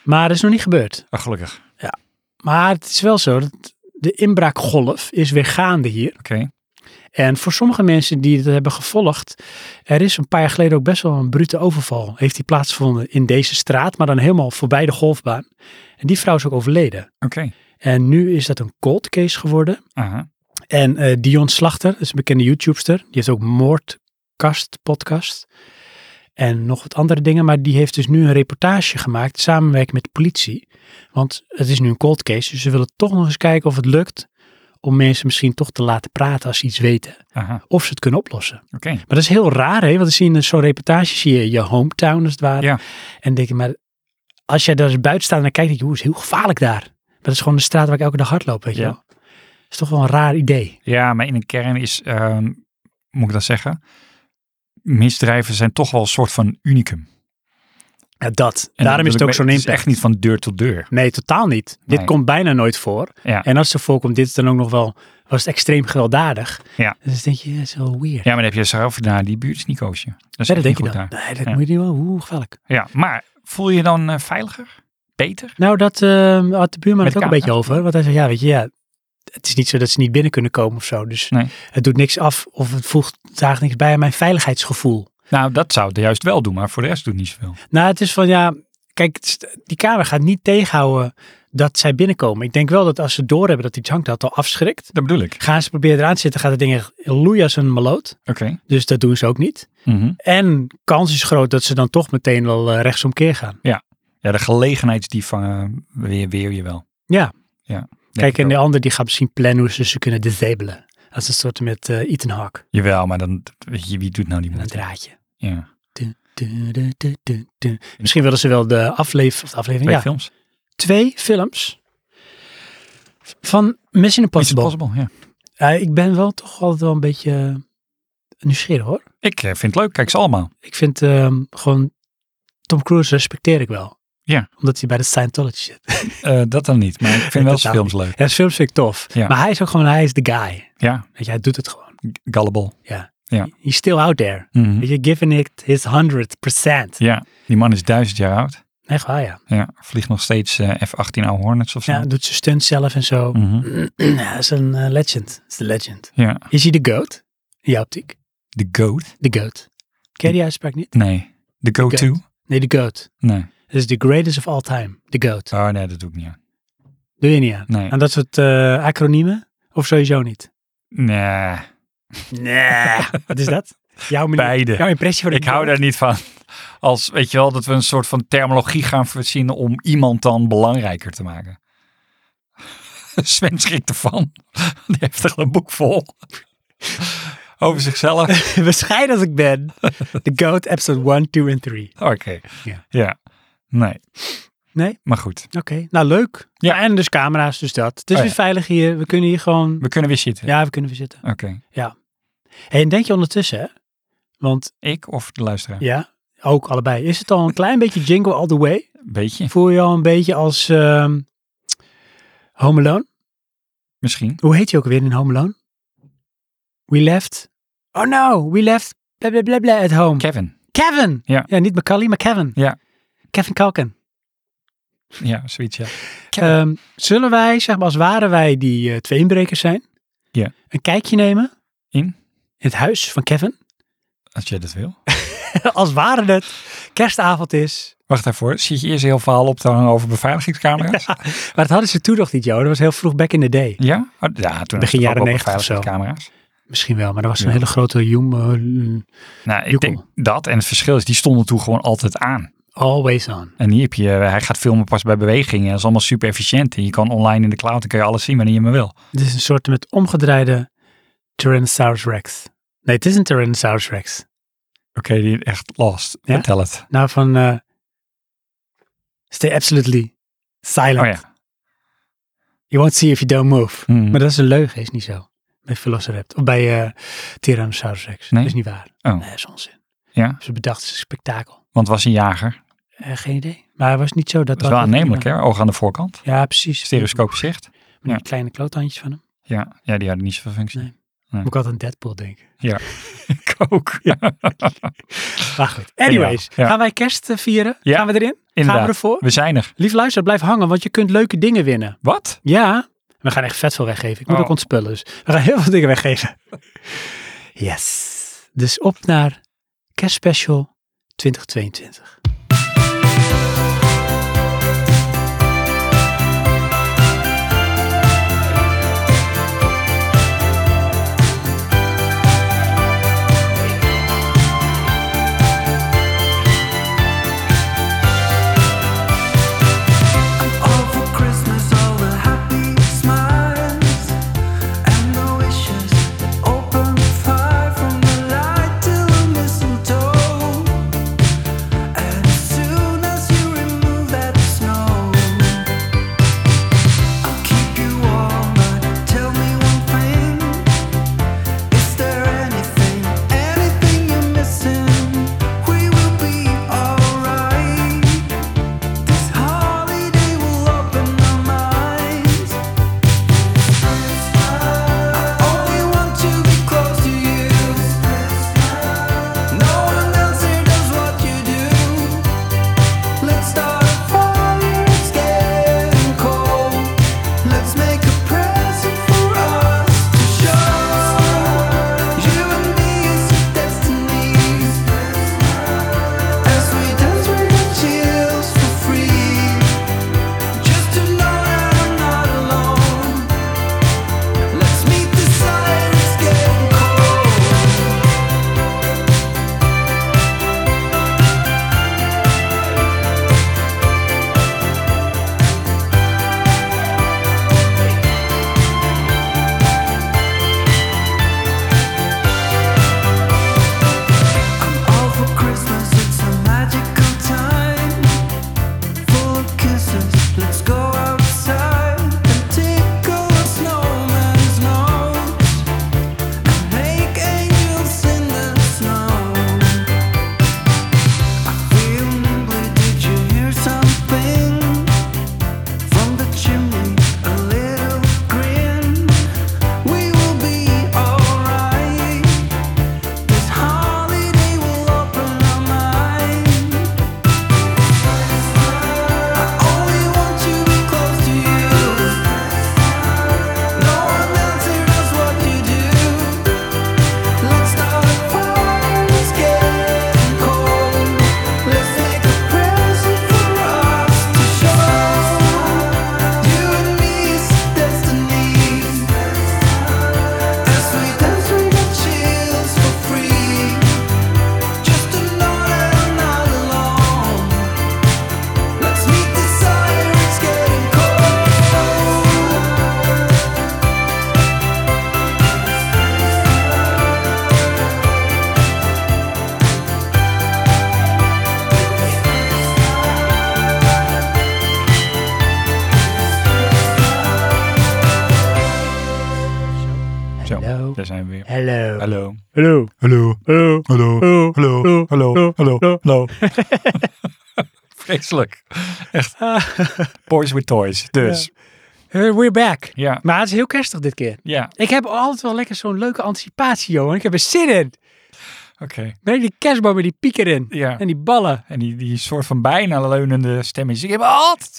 Speaker 1: Maar dat is nog niet gebeurd.
Speaker 2: Oh, gelukkig.
Speaker 1: Maar het is wel zo dat de inbraakgolf is weer gaande hier.
Speaker 2: Oké.
Speaker 1: En voor sommige mensen die het hebben gevolgd, er is een paar jaar geleden ook best wel een brute overval. Heeft die plaatsgevonden in deze straat, maar dan helemaal voorbij de golfbaan. En die vrouw is ook overleden.
Speaker 2: Oké.
Speaker 1: En nu is dat een cold case geworden.
Speaker 2: Aha.
Speaker 1: En eh, Dion Slachter, dat is een bekende YouTubester. Die heeft ook Moordkast podcast. En nog wat andere dingen. Maar die heeft dus nu een reportage gemaakt. Samenwerking met de politie. Want het is nu een cold case. Dus ze willen toch nog eens kijken of het lukt. Om mensen misschien toch te laten praten als ze iets weten.
Speaker 2: Aha.
Speaker 1: Of ze het kunnen oplossen.
Speaker 2: Oké.
Speaker 1: Maar dat is heel raar, hè? Want dan zie je in zo'n reportage zie je je hometown als het ware.
Speaker 2: Ja.
Speaker 1: En denk je, maar als jij daar eens buiten staat en dan kijkt, denk je, hoe is heel gevaarlijk daar. Maar dat is gewoon de straat waar ik elke dag hardloop, weet je
Speaker 2: Ja.
Speaker 1: wel. Dat is toch wel een raar idee.
Speaker 2: Ja, maar in de kern is, ehm, moet ik dat zeggen, misdrijven zijn toch wel een soort van unicum. En
Speaker 1: Ja, dat.
Speaker 2: dat
Speaker 1: Daarom is het
Speaker 2: bedoel
Speaker 1: ook
Speaker 2: ik
Speaker 1: zo'n
Speaker 2: mee-
Speaker 1: impact.
Speaker 2: Het is echt niet van deur tot deur.
Speaker 1: Nee, totaal niet.
Speaker 2: Nee.
Speaker 1: Dit komt bijna nooit voor.
Speaker 2: Ja.
Speaker 1: En als het voorkomt, dit is dan ook nog wel, was het extreem gewelddadig.
Speaker 2: Ja.
Speaker 1: Dus denk je, dat is wel
Speaker 2: Ja,
Speaker 1: weird.
Speaker 2: maar dan heb je zelf naar die buurt is Nicoosje. Dat is
Speaker 1: Nee,
Speaker 2: echt
Speaker 1: dat denk je
Speaker 2: niet
Speaker 1: dan.
Speaker 2: goed daar.
Speaker 1: Nee, dat
Speaker 2: Ja.
Speaker 1: moet je niet wel. Hoe gevaarlijk.
Speaker 2: Ja, maar voel je je dan eh, veiliger? Beter?
Speaker 1: Nou, dat eh, had de buurman
Speaker 2: Met
Speaker 1: het
Speaker 2: camera's?
Speaker 1: ook een beetje over. Want hij zei, ja, weet je, ja, het is niet zo dat ze niet binnen kunnen komen of zo. Dus
Speaker 2: Nee.
Speaker 1: het doet niks af of het voegt daar niks bij aan mijn veiligheidsgevoel.
Speaker 2: Nou, dat zou het juist wel doen, maar voor de rest doet het niet zoveel.
Speaker 1: Nou, het is van, ja, kijk, het is- die kamer gaat niet tegenhouden dat zij binnenkomen. Ik denk wel dat als ze doorhebben dat iets hangt, dat al afschrikt.
Speaker 2: Dat bedoel ik.
Speaker 1: Gaan ze proberen eraan te zitten, gaat het ding echt loeien als een maloot.
Speaker 2: Oké.
Speaker 1: Dus dat doen ze ook niet.
Speaker 2: Mhm.
Speaker 1: En kans is groot dat ze dan toch meteen al eh, rechtsomkeer gaan.
Speaker 2: Ja, de gelegenheidsdief eh, weer, weer je wel.
Speaker 1: Ja.
Speaker 2: ja denk
Speaker 1: Kijk,
Speaker 2: ik
Speaker 1: en
Speaker 2: ook.
Speaker 1: de ander die gaat misschien plannen hoe ze ze kunnen disabelen. Als een soort met eh Ethan Hawke.
Speaker 2: Jawel, maar dan, weet je, wie doet nou die
Speaker 1: En een
Speaker 2: moeite?
Speaker 1: draadje.
Speaker 2: Ja.
Speaker 1: Du, du, du, du, du. Misschien willen ze wel de, aflever, of de aflevering.
Speaker 2: Twee
Speaker 1: Ja,
Speaker 2: films.
Speaker 1: twee films van Mission
Speaker 2: Mission
Speaker 1: Impossible.
Speaker 2: Impossible, ja.
Speaker 1: Ja, ik ben wel toch altijd wel een beetje eh, nieuwsgierig hoor.
Speaker 2: Ik eh, vind het leuk. Kijk ze allemaal.
Speaker 1: Ik vind ehm, gewoon Tom Cruise respecteer ik wel.
Speaker 2: Ja.
Speaker 1: Omdat hij bij de Scientology zit.
Speaker 2: Eh, dat dan niet, maar ik vind wel
Speaker 1: Dat
Speaker 2: zijn
Speaker 1: dan
Speaker 2: films leuk.
Speaker 1: Ja, zijn films vind ik tof.
Speaker 2: Ja.
Speaker 1: Maar hij is ook gewoon, hij is de guy.
Speaker 2: Ja,
Speaker 1: Weet je, hij doet het gewoon.
Speaker 2: Gullible. Ja.
Speaker 1: He's still out there.
Speaker 2: Mhm.
Speaker 1: Weet je, giving it his 100%.
Speaker 2: Ja, die man is duizend jaar oud.
Speaker 1: Echt waar, ja.
Speaker 2: Ja, vliegt nog steeds eh, F-18 oude Hornets of zo.
Speaker 1: ja. Doet zijn stunt zelf en zo.
Speaker 2: Mhm.
Speaker 1: Ja, is een eh, legend. Is de legend.
Speaker 2: Ja.
Speaker 1: Is hij de goat? In jouw optiek?
Speaker 2: De Goat?
Speaker 1: De goat. Ken je die uitspraak niet?
Speaker 2: Nee. De Go-To?
Speaker 1: Nee, de goat.
Speaker 2: Nee.
Speaker 1: Dat is the greatest of all time. De goat.
Speaker 2: Oh nee, dat doe ik niet aan.
Speaker 1: Doe je niet aan.
Speaker 2: Nee.
Speaker 1: Aan dat soort eh, acroniemen? Of sowieso niet?
Speaker 2: Nee,
Speaker 1: Nee. Wat is dat? Jouw manier-
Speaker 2: Beide.
Speaker 1: Jouw impressie van de
Speaker 2: ik hou
Speaker 1: goat?
Speaker 2: daar niet van. Als, weet je wel, dat we een soort van terminologie gaan verzinnen om iemand dan belangrijker te maken. Sven schrikt ervan. Die heeft er een boek vol. Over zichzelf?
Speaker 1: Bescheiden als ik ben. The Goat, episode 1, 2 en 3.
Speaker 2: Oké.
Speaker 1: Ja.
Speaker 2: Ja. Nee.
Speaker 1: Nee?
Speaker 2: Maar goed.
Speaker 1: Oké, nou leuk.
Speaker 2: Ja.
Speaker 1: En dus camera's, dus dat. Het is
Speaker 2: Oh,
Speaker 1: weer
Speaker 2: ja.
Speaker 1: veilig hier. We kunnen hier gewoon...
Speaker 2: We kunnen weer zitten.
Speaker 1: Ja, we kunnen weer zitten.
Speaker 2: Oké.
Speaker 1: Hey, en denk je ondertussen, hè? Want
Speaker 2: Ik of de luisteraar?
Speaker 1: ja, ook allebei. Is het al een klein beetje jingle all the way?
Speaker 2: Beetje.
Speaker 1: Voel je je al een beetje als ehm Home Alone?
Speaker 2: Misschien.
Speaker 1: Hoe heet je ook weer in Home Alone? We left... Oh no, we left bla bla bla bla at home.
Speaker 2: Kevin.
Speaker 1: Kevin!
Speaker 2: Ja.
Speaker 1: niet McCully, maar Kevin.
Speaker 2: Ja.
Speaker 1: Kevin Kalken.
Speaker 2: Ja, zoiets ja.
Speaker 1: Ehm, zullen wij, zeg maar, als waren wij die eh, twee inbrekers zijn,
Speaker 2: Ja.
Speaker 1: een kijkje nemen
Speaker 2: In?
Speaker 1: in het huis van Kevin?
Speaker 2: Als jij dat wil.
Speaker 1: als waren het kerstavond is.
Speaker 2: Wacht daarvoor. Zie je eerst heel verhaal op te hangen over beveiligingscamera's? Ja?
Speaker 1: Maar dat hadden ze toen nog niet, joh. Dat was heel vroeg back in the day.
Speaker 2: Ja, Oh, ja toen
Speaker 1: Begin
Speaker 2: was het
Speaker 1: jaren
Speaker 2: ook al
Speaker 1: 90 of zo.
Speaker 2: beveiligingscamera's.
Speaker 1: Misschien wel, maar dat was een
Speaker 2: Ja.
Speaker 1: hele grote mm, Hume
Speaker 2: Nou, ik
Speaker 1: Joekel.
Speaker 2: denk dat. En het verschil is, die stonden toen gewoon altijd aan.
Speaker 1: Always on.
Speaker 2: En hier heb je, eh, hij gaat filmen pas bij bewegingen. Dat is allemaal super efficiënt. En je kan online in de cloud, dan kun je alles zien wanneer je maar wil.
Speaker 1: Dit is een soort met omgedraaide Tyrannosaurus Rex. Nee, het is een Tyrannosaurus Rex.
Speaker 2: Oké, die is echt lost.
Speaker 1: Ja?
Speaker 2: Vertel het.
Speaker 1: Nou, van eh, Stay absolutely silent.
Speaker 2: Oh ja.
Speaker 1: You won't see if you don't move.
Speaker 2: Hmm.
Speaker 1: Maar dat is een leugen, is niet zo. Bij Velociraptor. Of bij eh Tyrannosaurus Rex.
Speaker 2: Nee?
Speaker 1: Dat is niet waar.
Speaker 2: Oh.
Speaker 1: Nee, dat is onzin.
Speaker 2: Ja?
Speaker 1: Ze bedachten een spektakel.
Speaker 2: Want was een jager.
Speaker 1: Eh, geen idee. Maar het was niet zo dat
Speaker 2: Dat is wel
Speaker 1: dat-
Speaker 2: aannemelijk, hè? Oog aan de voorkant.
Speaker 1: Ja, precies.
Speaker 2: Stereoscoop zicht.
Speaker 1: Met
Speaker 2: ja.
Speaker 1: die kleine kloothandjes van hem.
Speaker 2: Ja. ja, die hadden niet zoveel functie.
Speaker 1: Nee. Moet ik altijd aan Deadpool denken.
Speaker 2: Ik ook. Ja.
Speaker 1: Maar goed. Anyways,
Speaker 2: Ja.
Speaker 1: gaan wij kerst eh, vieren?
Speaker 2: Ja,
Speaker 1: Gaan we erin? Gaan
Speaker 2: inderdaad.
Speaker 1: we ervoor?
Speaker 2: We zijn er.
Speaker 1: Lief luister, blijf hangen, want je kunt leuke dingen winnen.
Speaker 2: Wat?
Speaker 1: Ja, we gaan echt vet veel weggeven. Ik moet
Speaker 2: Oh.
Speaker 1: ook ontspullen, dus we gaan heel veel dingen weggeven. Yes. Dus op naar kerstspecial 2022.
Speaker 4: All for Christmas, all the happy smiles and the wishes. Open fire from the light till mistletoe, and
Speaker 2: Hallo.
Speaker 1: Hallo.
Speaker 2: Hallo.
Speaker 1: Hallo.
Speaker 2: Hallo.
Speaker 1: Hallo.
Speaker 2: Hallo. Hallo. Hallo.
Speaker 1: hallo.
Speaker 2: Hallo. Vreselijk. Echt. Boys with toys. Dus.
Speaker 1: Eh, We're back.
Speaker 2: Ja.
Speaker 1: Maar het is heel kerstig dit keer.
Speaker 2: Ja.
Speaker 1: Ik heb altijd wel lekker zo'n leuke anticipatie, Johan. Ik heb er zin in.
Speaker 2: Oké.
Speaker 1: Weet je, die kerstboom met die pieken in.
Speaker 2: Ja.
Speaker 1: En die ballen.
Speaker 2: En die, die soort van bijna leunende stemmetjes. Ik heb altijd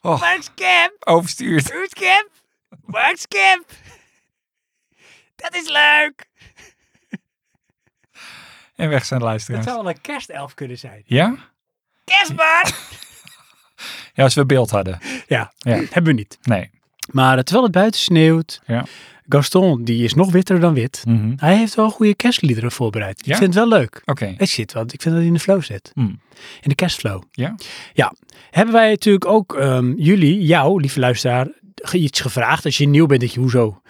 Speaker 2: oh,
Speaker 1: Max Kemp.
Speaker 2: overstuurd.
Speaker 1: Max Kemp. Max Kemp. Dat is leuk.
Speaker 2: En weg zijn de
Speaker 1: Dat
Speaker 2: luisteraars.
Speaker 1: zou wel een kerstelf kunnen zijn.
Speaker 2: Ja?
Speaker 1: Kerstman!
Speaker 2: Ja, als we beeld hadden.
Speaker 1: Ja,
Speaker 2: Ja.
Speaker 1: hebben we niet.
Speaker 2: Nee.
Speaker 1: Maar eh, terwijl het buiten sneeuwt,
Speaker 2: Ja.
Speaker 1: Gaston, die is nog witter dan wit.
Speaker 2: Mhm.
Speaker 1: Hij heeft wel goede kerstliederen voorbereid.
Speaker 2: Ja?
Speaker 1: Ik vind het wel leuk.
Speaker 2: Oké.
Speaker 1: Het zit wat. Ik vind dat hij in de flow zit.
Speaker 2: Hm.
Speaker 1: In de kerstflow.
Speaker 2: Ja.
Speaker 1: Ja. Hebben wij natuurlijk ook ehm, jullie, jou, lieve luisteraar, ge- iets gevraagd. Als je nieuw bent, denk je, hoezo?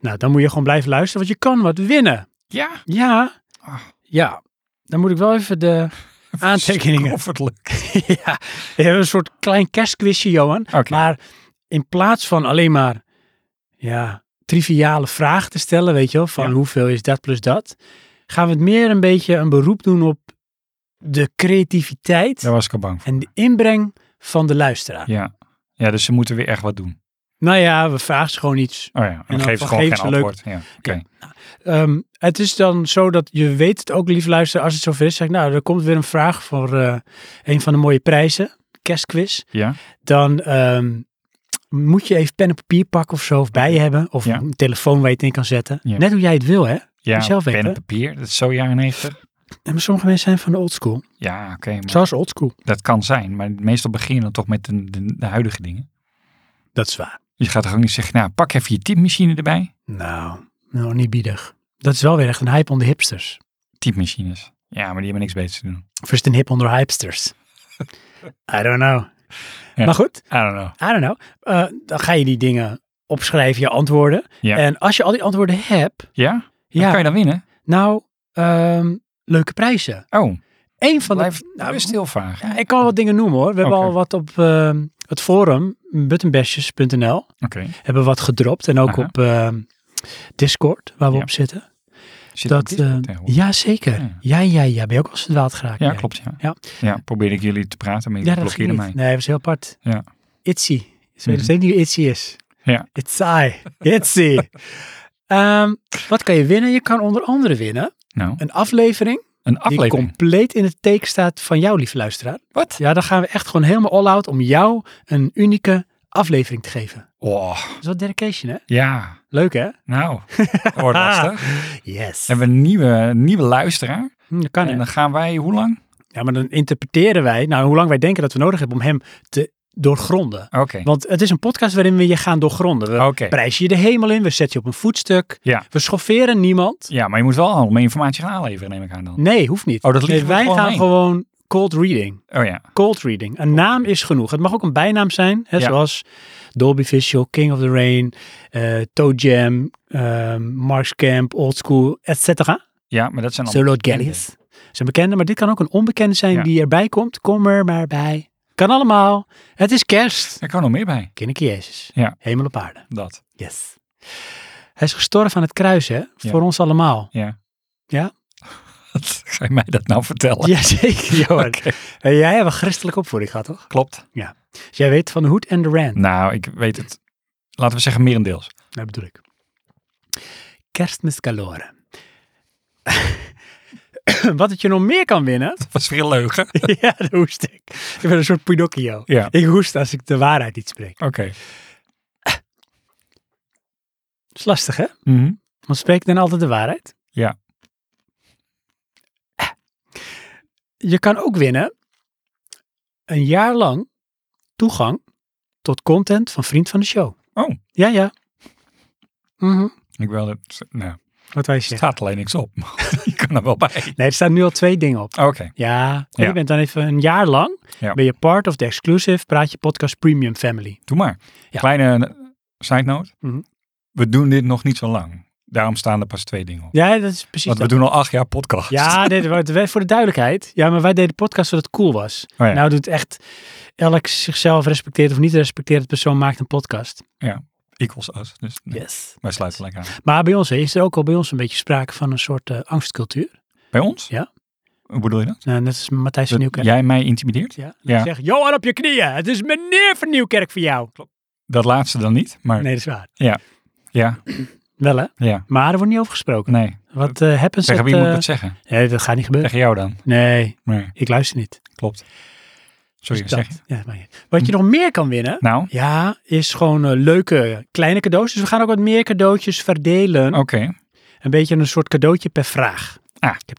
Speaker 1: Nou, dan moet je gewoon blijven luisteren, want je kan wat winnen.
Speaker 2: Ja.
Speaker 1: Ja.
Speaker 2: Ah.
Speaker 1: Ja. Dan moet ik wel even de aantekeningen.
Speaker 2: Of het lukt.
Speaker 1: ja. We hebben een soort klein kerstquizje, Johan.
Speaker 2: Oké.
Speaker 1: Maar in plaats van alleen maar ja, triviale vragen te stellen, weet je wel, van
Speaker 2: Ja.
Speaker 1: hoeveel is dat plus dat, gaan we het meer een beetje een beroep doen op de creativiteit
Speaker 2: Daar was ik al bang voor.
Speaker 1: en de inbreng van de luisteraar.
Speaker 2: Ja. Ja, dus ze moeten weer echt wat doen.
Speaker 1: Nou ja, we vragen ze gewoon iets.
Speaker 2: Oh ja. En,
Speaker 1: dan
Speaker 2: dan geven ze gewoon
Speaker 1: geven
Speaker 2: geen
Speaker 1: ze leuk-
Speaker 2: antwoord. Ja. Oké.
Speaker 1: Ehm, het is dan zo dat je weet het ook, lief luisteren, als het zover is, zeg ik, nou, er komt weer een vraag voor eh, een van de mooie prijzen, kerstquiz.
Speaker 2: Ja.
Speaker 1: Dan ehm, moet je even pen en papier pakken of zo, of bij je hebben, of
Speaker 2: Ja.
Speaker 1: een telefoon waar je het in kan zetten.
Speaker 2: Ja.
Speaker 1: Net hoe jij het wil, hè?
Speaker 2: Ja,
Speaker 1: Zelf
Speaker 2: pen
Speaker 1: weten.
Speaker 2: en papier. Dat is zo jaren 90.
Speaker 1: En maar sommige mensen zijn van de old school.
Speaker 2: Ja, oké. maar
Speaker 1: Zoals old school.
Speaker 2: dat kan zijn. Maar meestal begin je dan toch met de, de, de huidige dingen.
Speaker 1: Dat is waar.
Speaker 2: Je gaat toch ook niet zeggen, nou, pak even je typemachine erbij.
Speaker 1: Nou, nou niet biedig. Dat is wel weer echt een hype onder hipsters.
Speaker 2: Typemachines. Ja, maar die hebben niks beters te doen.
Speaker 1: Of is het een hip onder hipsters? I don't know.
Speaker 2: Ja.
Speaker 1: Maar goed,
Speaker 2: I don't know.
Speaker 1: I don't know. Eh, dan ga je die dingen opschrijven, je antwoorden.
Speaker 2: Ja.
Speaker 1: En als je al die antwoorden hebt,
Speaker 2: Ja? Dan
Speaker 1: ja,
Speaker 2: kan je dan winnen?
Speaker 1: nou, ehm, leuke prijzen.
Speaker 2: Oh,
Speaker 1: Eén van
Speaker 2: blijf
Speaker 1: de...
Speaker 2: nou,
Speaker 1: Nou,
Speaker 2: best heel vaag.
Speaker 1: ja, ik kan wat dingen noemen hoor. We hebben
Speaker 2: Oké.
Speaker 1: al wat op ehm, het forum, buttonbashes.nl,
Speaker 2: Oké.
Speaker 1: hebben wat gedropt. En ook
Speaker 2: Aha.
Speaker 1: op ehm, Discord, waar we
Speaker 2: Ja.
Speaker 1: op zitten.
Speaker 2: Zit
Speaker 1: dat,
Speaker 2: dat,
Speaker 1: eh,
Speaker 2: tegenwoordig?
Speaker 1: ja, zeker.
Speaker 2: Ja.
Speaker 1: Ja. ja, ja, Ben je ook wel eens verdwaald geraakt?
Speaker 2: Ja,
Speaker 1: jij?
Speaker 2: klopt. Ja.
Speaker 1: Ja.
Speaker 2: ja, probeerde ik jullie te praten, maar jullie
Speaker 1: Ja, dat ging
Speaker 2: blokkeerden
Speaker 1: niet.
Speaker 2: mij.
Speaker 1: Nee, dat is heel apart.
Speaker 2: Ja. Mhm.
Speaker 1: Itzy. Ze weten nog steeds niet wie Itzy is.
Speaker 2: Ja.
Speaker 1: It's I. Itzy. Ehm, wat kan je winnen? Je kan onder andere winnen
Speaker 2: Nou,
Speaker 1: een aflevering,
Speaker 2: een
Speaker 1: die
Speaker 2: aflevering.
Speaker 1: compleet in het teken staat van jou, lieve luisteraar.
Speaker 2: Wat?
Speaker 1: Ja, dan gaan we echt gewoon helemaal all-out om jou een unieke aflevering te geven.
Speaker 2: Oh,
Speaker 1: Dat is wel dedication, hè?
Speaker 2: ja.
Speaker 1: Leuk, hè?
Speaker 2: Nou, dat wordt
Speaker 1: Ah.
Speaker 2: lastig.
Speaker 1: Yes.
Speaker 2: Hebben we een nieuwe, nieuwe luisteraar.
Speaker 1: Hm, dat kan,
Speaker 2: En
Speaker 1: hè?
Speaker 2: dan gaan wij, hoe lang?
Speaker 1: Ja, maar dan interpreteren wij, nou, hoe lang wij denken dat we nodig hebben om hem te doorgronden.
Speaker 2: Oké.
Speaker 1: Want het is een podcast waarin we je gaan doorgronden. We
Speaker 2: Oh, Oké.
Speaker 1: prijs je de hemel in, we zetten je op een voetstuk.
Speaker 2: Ja.
Speaker 1: We schofferen niemand.
Speaker 2: ja, maar je moet wel allemaal meer informatie gaan aanleveren, neem ik aan dan.
Speaker 1: Nee, hoeft niet.
Speaker 2: Oh, dat liegen
Speaker 1: Nee,
Speaker 2: we
Speaker 1: wij
Speaker 2: gewoon
Speaker 1: gaan
Speaker 2: heen.
Speaker 1: gewoon cold reading.
Speaker 2: Oh ja.
Speaker 1: Cold reading. Een naam is genoeg. Het mag ook een bijnaam zijn, hè,
Speaker 2: Ja.
Speaker 1: zoals Dolby Visual, King of the Rain, eh Toe Jam, ehm Marsh Camp, Old School, et cetera.
Speaker 2: Ja, maar dat zijn allemaal...
Speaker 1: Solo
Speaker 2: bekende.
Speaker 1: Gallius. Zijn bekende, maar dit kan ook een onbekende zijn
Speaker 2: Ja.
Speaker 1: die erbij komt. Kom er maar bij. Kan allemaal. Het is kerst.
Speaker 2: Er kan nog meer bij.
Speaker 1: Kinderke Jezus.
Speaker 2: Ja.
Speaker 1: Hemel op aarde.
Speaker 2: Dat.
Speaker 1: Yes. Hij is gestorven aan het kruis, hè? Voor ons allemaal.
Speaker 2: Ja.
Speaker 1: Ja?
Speaker 2: Ga je mij dat nou vertellen?
Speaker 1: Jazeker, Johan.
Speaker 2: Oké.
Speaker 1: En jij hebt een christelijke opvoeding gehad, toch?
Speaker 2: Klopt.
Speaker 1: Dus jij weet van de hoed en de rand.
Speaker 2: Nou, ik weet het. Laten we zeggen merendeels.
Speaker 1: Dat bedoel ik. Kerstmis Calore. Wat het je nog meer kan winnen.
Speaker 2: Dat was weer een leugen.
Speaker 1: ja, dat hoest ik. Ik ben een soort Pinocchio.
Speaker 2: Ja.
Speaker 1: Ik hoest als ik de waarheid niet spreek.
Speaker 2: Oké.
Speaker 1: Dat is lastig, hè?
Speaker 2: Mhm.
Speaker 1: Want spreek ik dan altijd de waarheid?
Speaker 2: Ja.
Speaker 1: Je kan ook winnen een jaar lang toegang tot content van Vriend van de Show.
Speaker 2: Oh.
Speaker 1: Ja, ja. Mhm.
Speaker 2: Ik wil het. Nou,
Speaker 1: Wat wij
Speaker 2: er
Speaker 1: zeggen.
Speaker 2: staat alleen niks op. maar Je kan er wel bij.
Speaker 1: Nee, er staan nu al twee dingen op.
Speaker 2: Oké.
Speaker 1: Ja, en
Speaker 2: Ja.
Speaker 1: je bent dan even een jaar lang,
Speaker 2: Ja.
Speaker 1: ben je part of the exclusive Praatje Podcast Premium Family.
Speaker 2: Doe maar.
Speaker 1: Ja.
Speaker 2: Kleine eh, side note.
Speaker 1: Mhm.
Speaker 2: We doen dit nog niet zo lang. Daarom staan er pas twee dingen op.
Speaker 1: Ja, dat is precies
Speaker 2: Want we
Speaker 1: dat.
Speaker 2: doen al acht jaar podcast.
Speaker 1: Ja, nee, dat wa- voor de duidelijkheid. Ja, maar wij deden podcast zodat het cool was.
Speaker 2: Oh ja.
Speaker 1: Nou doet echt, elk zichzelf respecteert of niet respecteert persoon maakt een podcast.
Speaker 2: Ja. equals us. Dus nee,
Speaker 1: Yes.
Speaker 2: wij sluiten lekker aan.
Speaker 1: Maar bij ons is er ook al bij ons een beetje sprake van een soort eh, angstcultuur.
Speaker 2: Bij ons?
Speaker 1: Ja.
Speaker 2: Hoe bedoel je dat?
Speaker 1: Nou, net als Matthijs
Speaker 2: Dat
Speaker 1: van Nieuwkerk.
Speaker 2: jij mij intimideert?
Speaker 1: Ja.
Speaker 2: Ja.
Speaker 1: Zeg, Johan op je knieën. Het is meneer van Nieuwkerk voor jou.
Speaker 2: Dat laatste dan niet, maar
Speaker 1: Nee, dat is waar.
Speaker 2: ja,
Speaker 1: Wel hè?
Speaker 2: ja,
Speaker 1: Maar er wordt niet over gesproken.
Speaker 2: nee.
Speaker 1: Wat eh happens
Speaker 2: Tegen
Speaker 1: at,
Speaker 2: wie moet ik
Speaker 1: eh,
Speaker 2: dat zeggen?
Speaker 1: Nee, dat gaat niet gebeuren.
Speaker 2: Tegen jou dan?
Speaker 1: Nee,
Speaker 2: Nee,
Speaker 1: ik luister niet.
Speaker 2: klopt. Sorry,
Speaker 1: Dus
Speaker 2: zeg je? Hm.
Speaker 1: dat- ja, maar ja. Wat je nog meer kan winnen,
Speaker 2: Nou,
Speaker 1: ja, is gewoon eh, leuke kleine cadeaus. Dus we gaan ook wat meer cadeautjes verdelen.
Speaker 2: oké.
Speaker 1: Een beetje een soort cadeautje per vraag.
Speaker 2: Ah.
Speaker 1: Ik heb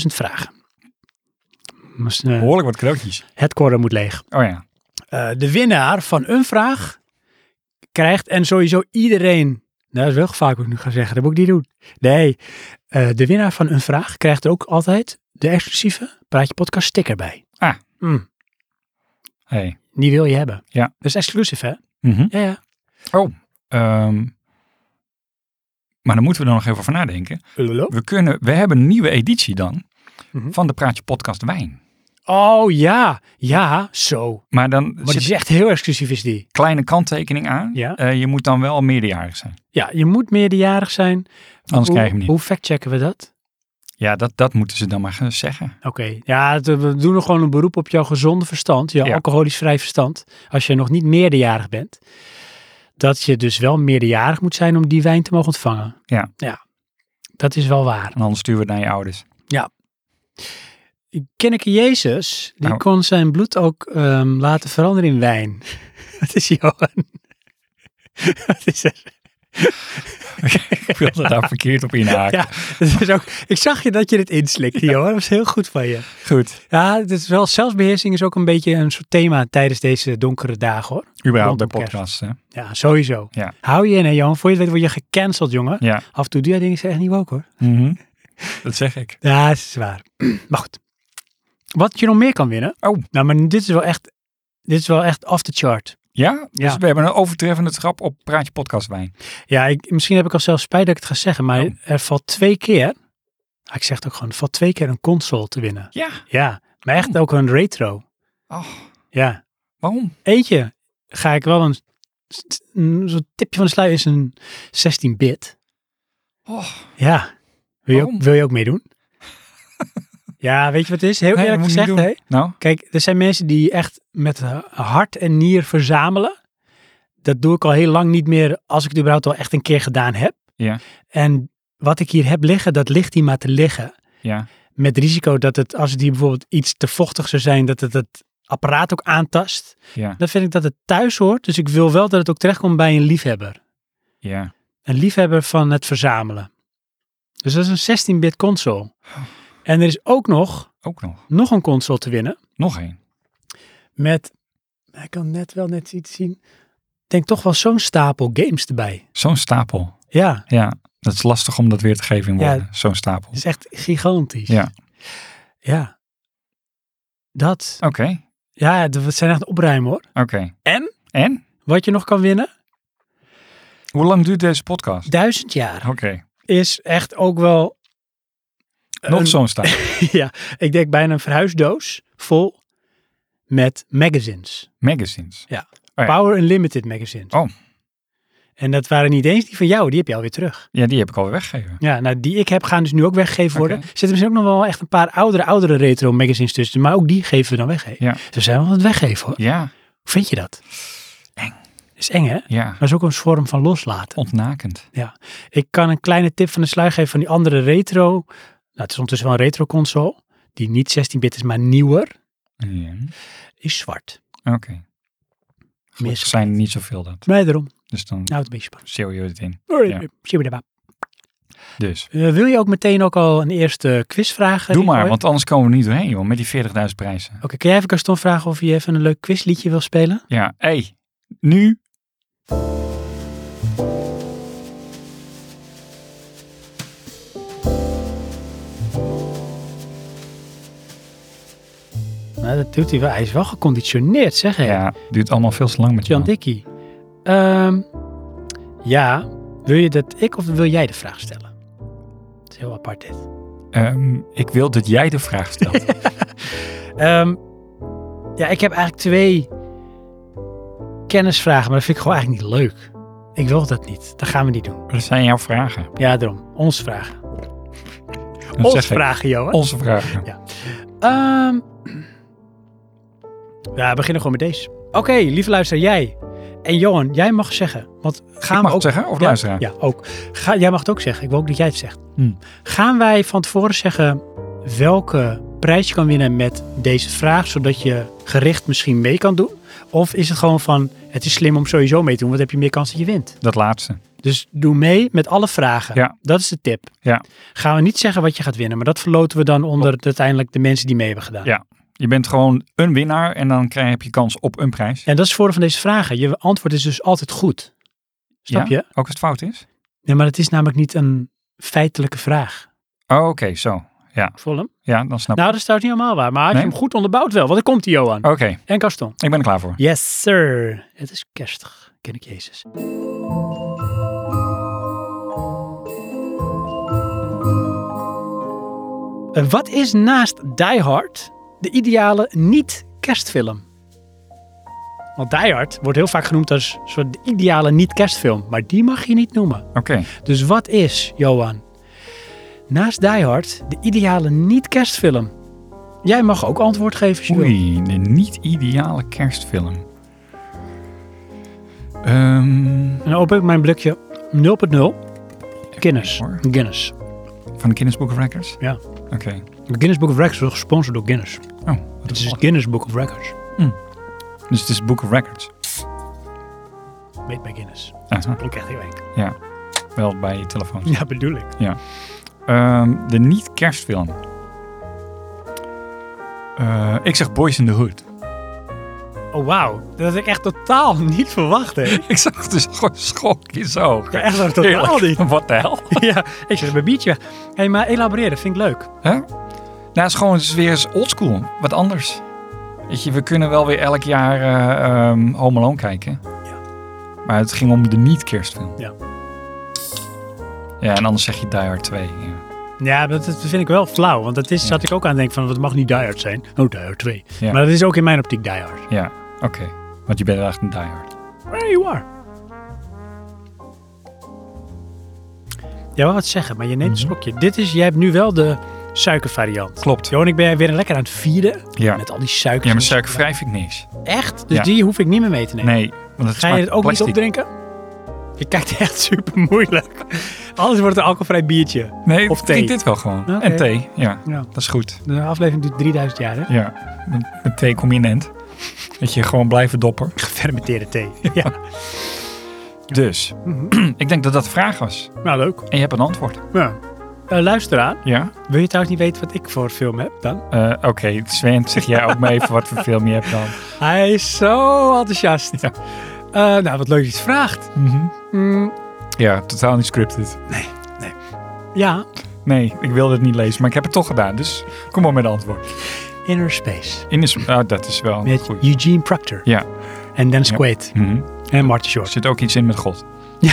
Speaker 1: 20.000 vragen. Dus, eh,
Speaker 2: Behoorlijk wat cadeautjes.
Speaker 1: het koren moet leeg.
Speaker 2: Oh ja.
Speaker 1: Eh, de winnaar van een vraag krijgt en sowieso iedereen. Nou, dat is wel gevaarlijk wat ik nu ga zeggen. Dat moet ik niet doen. Nee, Eh, de winnaar van een vraag krijgt er ook altijd de exclusieve Praatje Podcast sticker bij.
Speaker 2: Ah.
Speaker 1: Mm,
Speaker 2: Hey.
Speaker 1: die wil je hebben.
Speaker 2: Ja.
Speaker 1: Dat is exclusief, hè?
Speaker 2: Mhm.
Speaker 1: Ja, ja.
Speaker 2: Ehm, maar daar moeten we dan nog even over nadenken.
Speaker 1: Lululul.
Speaker 2: We, kunnen, we hebben een nieuwe editie dan
Speaker 1: Mhm.
Speaker 2: van de Praatje Podcast Wijn.
Speaker 1: Oh ja, ja, zo.
Speaker 2: Maar dan
Speaker 1: Maar die
Speaker 2: zit
Speaker 1: is echt heel exclusief, is die.
Speaker 2: een kleine kanttekening aan.
Speaker 1: Ja.
Speaker 2: Eh, je moet dan wel meerderjarig zijn.
Speaker 1: Ja, je moet meerderjarig zijn.
Speaker 2: Anders
Speaker 1: hoe,
Speaker 2: krijg je hem niet.
Speaker 1: Hoe factchecken we dat?
Speaker 2: Ja, dat, dat moeten ze dan maar gaan zeggen.
Speaker 1: Oké, ja, het- we doen er gewoon een beroep op jouw gezonde verstand, jouw
Speaker 2: Ja.
Speaker 1: alcoholisch vrij verstand, als je nog niet meerderjarig bent. Dat je dus wel meerderjarig moet zijn om die wijn te mogen ontvangen.
Speaker 2: Ja.
Speaker 1: Ja, dat is wel waar.
Speaker 2: En anders sturen we het naar je ouders.
Speaker 1: Kenneke Jezus, die
Speaker 2: Nou.
Speaker 1: kon zijn bloed ook ehm, laten veranderen in wijn. Wat is Johan? Wat is er?
Speaker 2: Ik wilde daar verkeerd op inhaken.
Speaker 1: Ja, dat is ook, ik zag je dat je dit inslikte, Johan. Dat was heel goed van je.
Speaker 2: Goed.
Speaker 1: Ja, het is wel, zelfbeheersing is ook een beetje een soort thema tijdens deze donkere dagen hoor.
Speaker 2: Überhaupt bij
Speaker 1: Rondom kerst.
Speaker 2: podcasts. hè?
Speaker 1: Ja, sowieso.
Speaker 2: Ja.
Speaker 1: Hou je in, hè, Johan. Voor je het weet word je gecanceld, jongen.
Speaker 2: Ja.
Speaker 1: Af en toe doe jij dingen die zijn echt niet ook, hoor.
Speaker 2: Mhm. Dat zeg ik.
Speaker 1: Ja, dat is waar. Maar goed. Wat je nog meer kan winnen.
Speaker 2: Oh.
Speaker 1: Nou, maar dit is wel echt, dit is wel echt off the chart.
Speaker 2: Ja? Dus
Speaker 1: Ja.
Speaker 2: we hebben een overtreffende trap op Praatje Podcast Wijn.
Speaker 1: Ja, ik, misschien heb ik al zelfs spijt dat ik het ga zeggen, maar
Speaker 2: Oh.
Speaker 1: er valt twee keer, Ah, ik zeg het ook gewoon, er valt twee keer een console te winnen.
Speaker 2: Ja.
Speaker 1: Ja, maar echt ook een retro.
Speaker 2: Oh,
Speaker 1: Ja.
Speaker 2: waarom?
Speaker 1: Eentje ga ik wel een, een soort tipje van de sluier is een 16-bit.
Speaker 2: Oh,
Speaker 1: Ja. Wil je,
Speaker 2: Waarom?
Speaker 1: ook, wil je ook meedoen? ja, weet je wat het is? Heel
Speaker 2: nee,
Speaker 1: eerlijk
Speaker 2: dat moet je niet
Speaker 1: gezegd,
Speaker 2: doen.
Speaker 1: hè?
Speaker 2: Nou,
Speaker 1: Kijk, er zijn mensen die echt met eh, hart en nier verzamelen. Dat doe ik al heel lang niet meer als ik het überhaupt al echt een keer gedaan heb.
Speaker 2: Ja.
Speaker 1: En wat ik hier heb liggen, dat ligt hier maar te liggen.
Speaker 2: ja.
Speaker 1: Met risico dat het, als het hier bijvoorbeeld iets te vochtig zou zijn, dat het het apparaat ook aantast
Speaker 2: Ja.
Speaker 1: dan vind ik dat het thuis hoort. Dus ik wil wel dat het ook terechtkomt bij een liefhebber.
Speaker 2: Ja.
Speaker 1: Een liefhebber van het verzamelen. Dus dat is een 16-bit console. En er is ook nog,
Speaker 2: Ook nog.
Speaker 1: nog een console te winnen.
Speaker 2: Nog één.
Speaker 1: Met, ik kan net wel net iets zien. Ik denk toch wel zo'n stapel games erbij.
Speaker 2: Zo'n stapel.
Speaker 1: Ja,
Speaker 2: Ja. Dat is lastig om dat weer te geven in
Speaker 1: Ja.
Speaker 2: woorden. Zo'n stapel.
Speaker 1: dat is echt gigantisch.
Speaker 2: Ja.
Speaker 1: Ja. Dat.
Speaker 2: Oké.
Speaker 1: Ja, dat zijn echt opruimen hoor.
Speaker 2: Oké.
Speaker 1: En?
Speaker 2: En?
Speaker 1: Wat je nog kan winnen?
Speaker 2: Hoe lang duurt deze podcast?
Speaker 1: Duizend jaar.
Speaker 2: Oké.
Speaker 1: Is echt ook wel
Speaker 2: Nog
Speaker 1: Een-
Speaker 2: zo'n stapel.
Speaker 1: ja, ik denk bijna een verhuisdoos vol met magazines.
Speaker 2: Magazines. Oh ja.
Speaker 1: Power Unlimited magazines.
Speaker 2: Oh.
Speaker 1: En dat waren niet eens die van jou, die heb je alweer terug.
Speaker 2: Ja, die heb ik alweer weggegeven.
Speaker 1: Ja, nou die ik heb gaan dus nu ook weggegeven worden.
Speaker 2: Oké.
Speaker 1: Er zitten misschien ook nog wel echt een paar oudere, oudere retro magazines tussen. Maar ook die geven we dan weg. hè.
Speaker 2: Ja.
Speaker 1: Ze zijn wel aan het weggeven hoor.
Speaker 2: Ja.
Speaker 1: Hoe vind je dat?
Speaker 2: Eng.
Speaker 1: Is eng hè?
Speaker 2: Ja.
Speaker 1: Maar is ook een vorm van loslaten.
Speaker 2: Ontnakend.
Speaker 1: Ja, ik kan een kleine tip van de sluier geven van die andere retro. Nou, het is ondertussen wel een retro console. Die niet 16-bit is, maar nieuwer.
Speaker 2: Ja.
Speaker 1: Is zwart.
Speaker 2: Oké. Er
Speaker 1: Mis.
Speaker 2: zijn er niet zoveel dat.
Speaker 1: Nee, daarom.
Speaker 2: Dus dan
Speaker 1: Nou, het beetje spannend.
Speaker 2: zeel je het in. Ja.
Speaker 1: Shibidaba.
Speaker 2: Dus.
Speaker 1: Eh, wil je ook meteen ook al een eerste quizvraag?
Speaker 2: Doe
Speaker 1: eh,
Speaker 2: maar,
Speaker 1: ingooien?
Speaker 2: want anders komen we er niet doorheen, joh. Met die 40.000 prijzen.
Speaker 1: Oké, kun jij even Gaston vragen of hij even een leuk quizliedje wil spelen?
Speaker 2: Ja, hé, nu.
Speaker 1: Nou, dat doet hij wel. Hij is wel geconditioneerd, zeg hè?
Speaker 2: Ja, duurt allemaal veel te lang met
Speaker 1: Jan
Speaker 2: jou.
Speaker 1: Dikkie. Ehm, ja, wil je dat ik of wil jij de vraag stellen? Het is heel apart dit.
Speaker 2: Ehm, ik wil dat jij de vraag stelt.
Speaker 1: Ehm, ja, ik heb eigenlijk twee kennisvragen, maar dat vind ik gewoon eigenlijk niet leuk. Ik wil dat niet. Dat gaan we niet doen.
Speaker 2: Maar dat zijn jouw vragen.
Speaker 1: Ja, daarom. Ons vragen.
Speaker 2: Dat
Speaker 1: Ons
Speaker 2: zeg ik.
Speaker 1: vragen, Johan.
Speaker 2: Onze vragen.
Speaker 1: Ehm, ja, we beginnen gewoon met deze. Oké, lieve luisteraar, jij en Johan, jij mag zeggen. Want gaan
Speaker 2: Ik
Speaker 1: we
Speaker 2: mag
Speaker 1: ook
Speaker 2: het zeggen? Of
Speaker 1: ja,
Speaker 2: luisteraar?
Speaker 1: Ja, ook. Ga, jij mag het ook zeggen. Ik wil ook dat jij het zegt.
Speaker 2: Hmm.
Speaker 1: Gaan wij van tevoren zeggen welke prijs je kan winnen met deze vraag, zodat je gericht misschien mee kan doen? Of is het gewoon van, het is slim om sowieso mee te doen, want dan heb je meer kans dat je wint.
Speaker 2: Dat laatste.
Speaker 1: Dus doe mee met alle vragen.
Speaker 2: Ja.
Speaker 1: Dat is de tip.
Speaker 2: Ja.
Speaker 1: Gaan we niet zeggen wat je gaat winnen, maar dat verloten we dan onder de- uiteindelijk de mensen die mee hebben gedaan.
Speaker 2: Ja. Je bent gewoon een winnaar en dan krijg, heb je kans op een prijs.
Speaker 1: En dat is het voordeel van deze vragen. Je antwoord is dus altijd goed. Snap
Speaker 2: Ja?
Speaker 1: je?
Speaker 2: Ook als het fout is?
Speaker 1: Nee, maar het is namelijk niet een feitelijke vraag.
Speaker 2: Oh, oké, zo.
Speaker 1: Voel hem?
Speaker 2: Ja, dan snap ik.
Speaker 1: Nou, dat is trouwens niet helemaal waar. Maar als
Speaker 2: Nee? Oh.
Speaker 1: je hem goed onderbouwt wel. Want er komt die Johan.
Speaker 2: Oké,
Speaker 1: En Gaston.
Speaker 2: ik ben er klaar voor.
Speaker 1: Yes, sir. Het is kerstig. Ken ik Jezus. Eh, Wat is naast Die Hard de ideale niet-kerstfilm? Want Die Hard wordt heel vaak genoemd als een soort de ideale niet-kerstfilm. Maar die mag je niet noemen.
Speaker 2: Oké.
Speaker 1: Dus wat is, Johan, naast Die Hard de ideale niet-kerstfilm? Jij mag ook antwoord geven als je wil.
Speaker 2: Oei, de niet-ideale kerstfilm. Ehm,
Speaker 1: En dan open ik mijn blikje 0.0 Guinness.
Speaker 2: hoor.
Speaker 1: Guinness.
Speaker 2: van de Guinness Book of Records?
Speaker 1: Ja.
Speaker 2: Oké.
Speaker 1: De Guinness Book of Records wordt gesponsord door Guinness.
Speaker 2: Oh, wat
Speaker 1: Het
Speaker 2: is
Speaker 1: is het Guinness Book of Records.
Speaker 2: Dus het is Book of Records.
Speaker 1: Weet bij Guinness.
Speaker 2: Aha,
Speaker 1: Klinkt echt heel eng.
Speaker 2: Ja, wel bij je telefoon.
Speaker 1: Ja, bedoel ik.
Speaker 2: Ehm, de niet-kerstfilm. Eh, ik zeg Boys in the Hood.
Speaker 1: Oh, wauw. Dat had ik echt totaal niet verwacht, hè.
Speaker 2: Ik zag dus gewoon schok in zijn ogen.
Speaker 1: Ja, echt dat totaal
Speaker 2: Heerlijk.
Speaker 1: niet.
Speaker 2: Wat de hel?
Speaker 1: Ja, ik zeg mijn biertje weg. Hé, hey, maar elaboreren vind ik leuk.
Speaker 2: Hè? Nou, het is gewoon het is weer eens oldschool. Wat anders. Weet je, we kunnen wel weer elk jaar eh ehm, Home Alone kijken. Maar het ging om de niet-kerstfilm.
Speaker 1: Ja.
Speaker 2: Ja, en anders zeg je Die Hard 2. Ja.
Speaker 1: Ja, dat, dat vind ik wel flauw. Want dat is, zat ik ook aan het denken van, dat mag niet Die Hard zijn. Oh, Die Hard 2.
Speaker 2: Ja.
Speaker 1: Maar dat is ook in mijn optiek Die Hard.
Speaker 2: Ja, oké. Want je bent echt een Die Hard.
Speaker 1: Where you are. Jij wou wat zeggen, maar je
Speaker 2: Mhm.
Speaker 1: neemt een slokje. Dit is, jij hebt nu wel de suikervariant.
Speaker 2: Klopt.
Speaker 1: Johan, ik ben weer lekker aan het vieren.
Speaker 2: Ja,
Speaker 1: Met al die suikers.
Speaker 2: ja maar suikervrij vind ik niks.
Speaker 1: Echt? Dus
Speaker 2: Ja.
Speaker 1: die hoef ik niet meer mee te nemen.
Speaker 2: Nee, want het
Speaker 1: Ga je
Speaker 2: smaakt
Speaker 1: het ook
Speaker 2: plastic.
Speaker 1: niet opdrinken? Je kijkt echt super moeilijk. Anders wordt het een alcoholvrij biertje.
Speaker 2: Nee,
Speaker 1: Of
Speaker 2: of drink
Speaker 1: thee?
Speaker 2: dit wel gewoon.
Speaker 1: Oké.
Speaker 2: En thee, ja.
Speaker 1: Ja.
Speaker 2: Dat is goed.
Speaker 1: De aflevering duurt 3000 jaar, hè?
Speaker 2: Ja, met, met thee kom je in end. Dat je gewoon blijven doppen.
Speaker 1: Gefermenteerde thee. Ja.
Speaker 2: Dus, ik denk dat dat de vraag was.
Speaker 1: Nou, leuk.
Speaker 2: En je hebt een antwoord.
Speaker 1: Ja. Eh, luister aan.
Speaker 2: Ja?
Speaker 1: Wil je trouwens niet weten wat ik voor film heb dan?
Speaker 2: Eh, Oké, Sven, zeg jij ook maar even wat voor film je hebt dan.
Speaker 1: Hij is zo enthousiast. Eh, nou, wat leuk dat je het vraagt. Mm,
Speaker 2: Ja, totaal niet scripted.
Speaker 1: ja,
Speaker 2: Nee, ik wilde het niet lezen, maar ik heb het toch gedaan. Dus kom op met het antwoord.
Speaker 1: Inner Space.
Speaker 2: In is, ah, dat is wel
Speaker 1: Met
Speaker 2: goed.
Speaker 1: Eugene Proctor
Speaker 2: Ja.
Speaker 1: en Dennis
Speaker 2: Ja.
Speaker 1: Quaid
Speaker 2: Mhm.
Speaker 1: en Martin
Speaker 2: Er
Speaker 1: Short.
Speaker 2: zit ook iets in met God.
Speaker 1: Now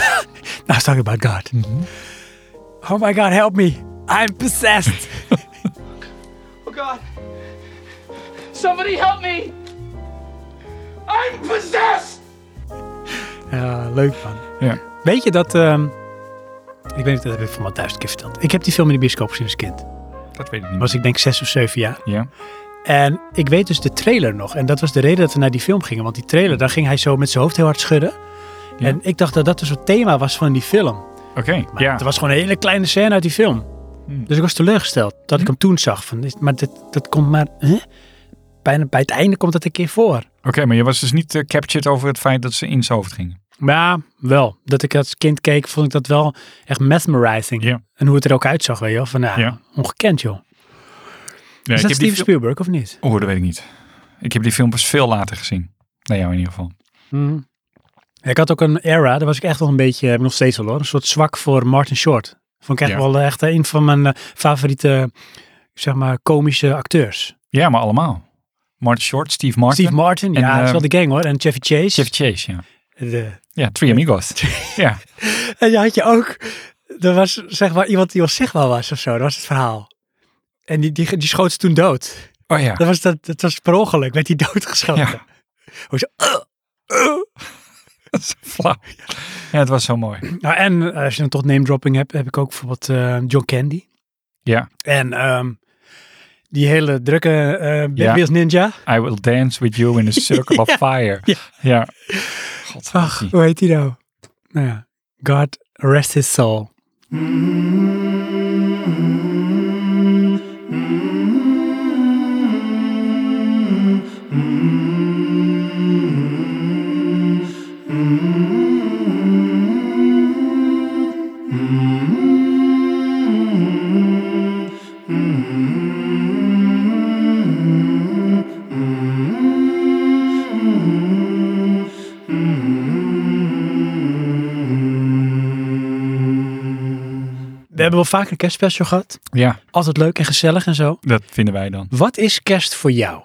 Speaker 1: it's talking about God.
Speaker 2: Mhm.
Speaker 1: Oh my God, help me. I'm possessed.
Speaker 5: Oh God! Somebody help me! I'm possessed!
Speaker 1: Ja, leuk man.
Speaker 2: Ja.
Speaker 1: Weet je dat... ehm, ik weet niet, dat heb ik voor mij duizend keer verteld. Ik heb die film in de bioscoop gezien als kind.
Speaker 2: Dat weet ik niet.
Speaker 1: Was ik denk zes of zeven jaar.
Speaker 2: Ja.
Speaker 1: En ik weet dus de trailer nog. En dat was de reden dat we naar die film gingen. Want die trailer, daar ging hij zo met zijn hoofd heel hard schudden.
Speaker 2: Ja.
Speaker 1: En ik dacht dat dat dus het thema was van die film.
Speaker 2: Oké.
Speaker 1: Maar
Speaker 2: Ja.
Speaker 1: het was gewoon een hele kleine scène uit die film.
Speaker 2: Hmm.
Speaker 1: Dus ik was teleurgesteld dat ik hem toen zag. Van, dit- maar dit, dat komt maar... hè? Bijna bij het einde komt dat een keer voor.
Speaker 2: Oké, maar je was dus niet eh, captured over het feit dat ze in zijn hoofd gingen.
Speaker 1: Maar ja, wel. Dat ik als kind keek, vond ik dat wel echt mesmerizing.
Speaker 2: Ja.
Speaker 1: En hoe het er ook uitzag, weet je wel. Van, nou,
Speaker 2: Ja.
Speaker 1: Ongekend, joh.
Speaker 2: Ja, ik heb
Speaker 1: Is dat
Speaker 2: die
Speaker 1: Steven
Speaker 2: film...
Speaker 1: Spielberg of niet?
Speaker 2: Oh, dat weet ik niet. Ik heb die film pas veel later gezien. Nou jou in ieder geval.
Speaker 1: Hmm. Ik had ook een era, daar was ik echt wel een beetje, heb ik nog steeds wel hoor, een soort zwak voor Martin Short. Vond ik echt
Speaker 2: Ja.
Speaker 1: wel eh, echt eh, een van mijn eh, favoriete, zeg maar, komische acteurs.
Speaker 2: Ja, maar allemaal. Martin Short, Steve Martin.
Speaker 1: Steve Martin,
Speaker 2: En,
Speaker 1: ja, dat is wel
Speaker 2: eh,
Speaker 1: de gang hoor. En Chevy Chase.
Speaker 2: Jeff Chase, ja.
Speaker 1: De-
Speaker 2: Ja, Three Amigos. ja.
Speaker 1: En je had je ook, er was zeg maar iemand die onzichtbaar was of zo, dat was het verhaal. En die, die, die schoot ze toen dood.
Speaker 2: Oh ja.
Speaker 1: Dat was, dat, dat was per ongeluk, werd hij doodgeschoten.
Speaker 2: Ja.
Speaker 1: Hoe zo, "Ugh, ugh."
Speaker 2: Dat is flauw. Ja, het was zo mooi.
Speaker 1: Nou, en als je dan toch name dropping hebt, heb ik ook bijvoorbeeld eh, John Candy.
Speaker 2: Ja.
Speaker 1: En ehm, die hele drukke eh Big
Speaker 2: Ja.
Speaker 1: Wheels Ninja.
Speaker 2: I will dance with you in a circle of fire.
Speaker 1: ja.
Speaker 2: Ja.
Speaker 1: Ach,
Speaker 2: God,
Speaker 1: hoe heet die nou? Nou ja, God rest his soul. We hebben wel vaker een kerstspecial gehad.
Speaker 2: ja,
Speaker 1: Altijd leuk en gezellig en zo.
Speaker 2: dat vinden wij dan.
Speaker 1: Wat is kerst voor jou?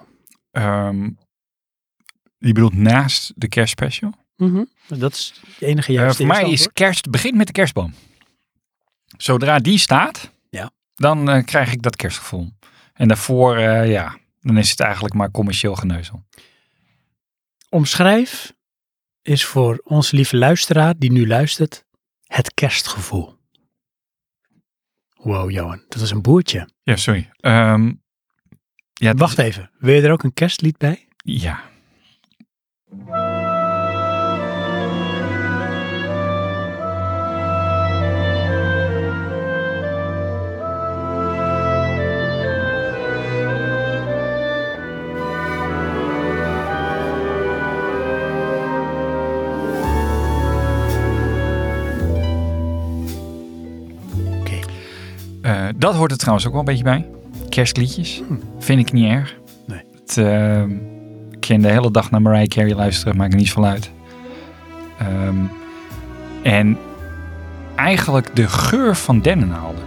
Speaker 2: Ehm, je bedoelt naast de kerstspecial?
Speaker 1: Mhm. Dat is het enige
Speaker 2: Eh,
Speaker 1: juiste
Speaker 2: voor mij
Speaker 1: eerste
Speaker 2: is kerst, begint met de kerstboom. Zodra die staat,
Speaker 1: Ja.
Speaker 2: dan eh, krijg ik dat kerstgevoel. En daarvoor, eh, ja, dan is het eigenlijk maar commercieel geneuzel.
Speaker 1: Omschrijf is voor onze lieve luisteraar die nu luistert het kerstgevoel. Wow, Johan, dat is een boertje.
Speaker 2: Ja, sorry. Ehm, ja, dat
Speaker 1: Wacht
Speaker 2: is-
Speaker 1: even, wil je er ook een kerstlied bij?
Speaker 2: Ja.
Speaker 1: Oké.
Speaker 2: Eh, dat hoort er trouwens ook wel een beetje bij. Kerstliedjes. Vind ik niet erg.
Speaker 1: Hm. Nee.
Speaker 2: Het, ehm, ik kan de hele dag naar Mariah Carey luisteren. Maakt er niets van uit. Ehm, en eigenlijk de geur van dennenaalden.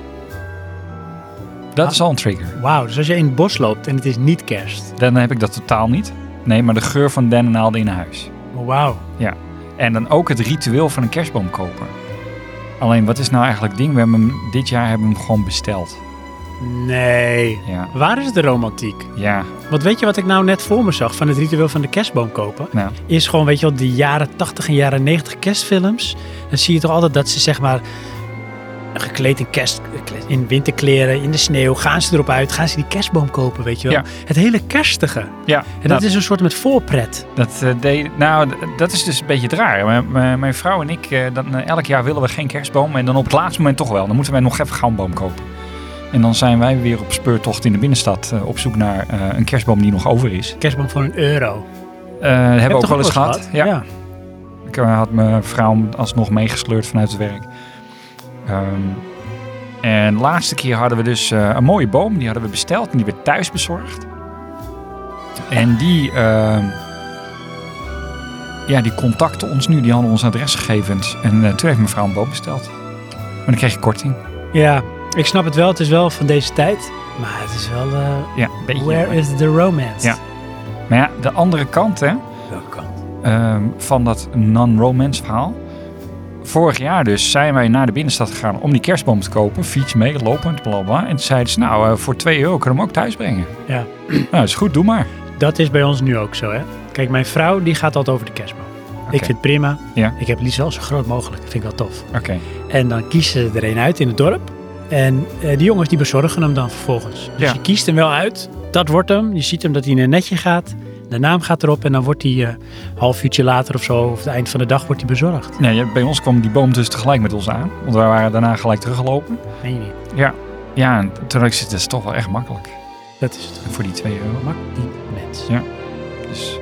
Speaker 2: Dat
Speaker 1: Ah.
Speaker 2: is al een trigger.
Speaker 1: Wauw, dus als je in het bos loopt en het is niet kerst.
Speaker 2: Dan heb ik dat totaal niet. Nee, maar de geur van dennenaalden in huis.
Speaker 1: Wauw.
Speaker 2: Ja. En dan ook het ritueel van een kerstboom kopen. Alleen, wat is nou eigenlijk het ding? We hebben hem, dit jaar hebben we hem gewoon besteld.
Speaker 1: Nee.
Speaker 2: Ja.
Speaker 1: Waar is de romantiek?
Speaker 2: Ja,
Speaker 1: Want weet je wat ik nou net voor me zag van het ritueel van de kerstboom kopen?
Speaker 2: nou.
Speaker 1: Is gewoon, weet je wel, die jaren 80 en jaren 90 kerstfilms. Dan zie je toch altijd dat ze zeg maar gekleed in, kerst, in winterkleren, in de sneeuw, gaan ze erop uit, gaan ze die kerstboom kopen, weet je wel.
Speaker 2: Ja.
Speaker 1: Het hele kerstige. En
Speaker 2: Ja,
Speaker 1: dat is een soort met voorpret.
Speaker 2: Dat, eh, deed- nou, d- dat is dus een beetje het rare. Mijn, mijn, mijn vrouw en ik, eh, dan, eh, elk jaar willen we geen kerstboom. En dan op het laatste moment toch wel. Dan moeten wij nog even gauw een boom kopen. En dan zijn wij weer op speurtocht in de binnenstad eh, op zoek naar eh, een kerstboom die nog over is.
Speaker 1: Kerstboom voor een euro.
Speaker 2: Eh, hebben we ook wel eens gehad. Ja.
Speaker 1: ja.
Speaker 2: Ik eh, had mijn vrouw alsnog meegesleurd vanuit het werk. Ehm, en de laatste keer hadden we dus eh, een mooie boom. Die hadden we besteld en die werd thuis bezorgd. En die, ehm, ja, die contacten ons nu. Die hadden ons adresgegevens. En eh, toen heeft mijn vrouw een boom besteld. Maar dan kreeg ik korting.
Speaker 1: Ja, ik snap het wel. Het is wel van deze tijd. Maar het is wel... eh,
Speaker 2: Ja, een beetje.
Speaker 1: where is the romance?
Speaker 2: Ja. Maar ja, de andere kant hè,
Speaker 1: Welke kant?
Speaker 2: ehm, van dat non-romance verhaal. Vorig jaar dus zijn wij naar de binnenstad gegaan om die kerstboom te kopen. Fiets mee, lopend, bla bla. En toen zeiden ze, nou, eh, voor 2 euro kunnen we hem ook thuis brengen.
Speaker 1: Ja.
Speaker 2: Nou, is goed, doe maar.
Speaker 1: Dat is bij ons nu ook zo, hè. Kijk, mijn vrouw die gaat altijd over de kerstboom. Ik vind het prima.
Speaker 2: Ja.
Speaker 1: Ik heb het liefst wel zo groot mogelijk. Dat vind ik wel tof.
Speaker 2: Oké,
Speaker 1: En dan kiezen ze er een uit in het dorp. En eh, die jongens die bezorgen hem dan vervolgens. Dus
Speaker 2: Ja.
Speaker 1: je kiest hem wel uit. Dat wordt hem. Je ziet hem dat hij in een netje gaat. De naam gaat erop en dan wordt hij eh, een half uurtje later of zo, of het eind van de dag, wordt hij bezorgd.
Speaker 2: nou, ja, bij ons kwam die boom dus tegelijk met ons aan. Want wij waren daarna gelijk teruggelopen.
Speaker 1: Meen je niet?
Speaker 2: Ja. Ja, en toen dacht ik, dat is toch wel echt makkelijk.
Speaker 1: Dat is het.
Speaker 2: Voor die 2 euro.
Speaker 1: Mak die mens.
Speaker 2: Ja. Dus,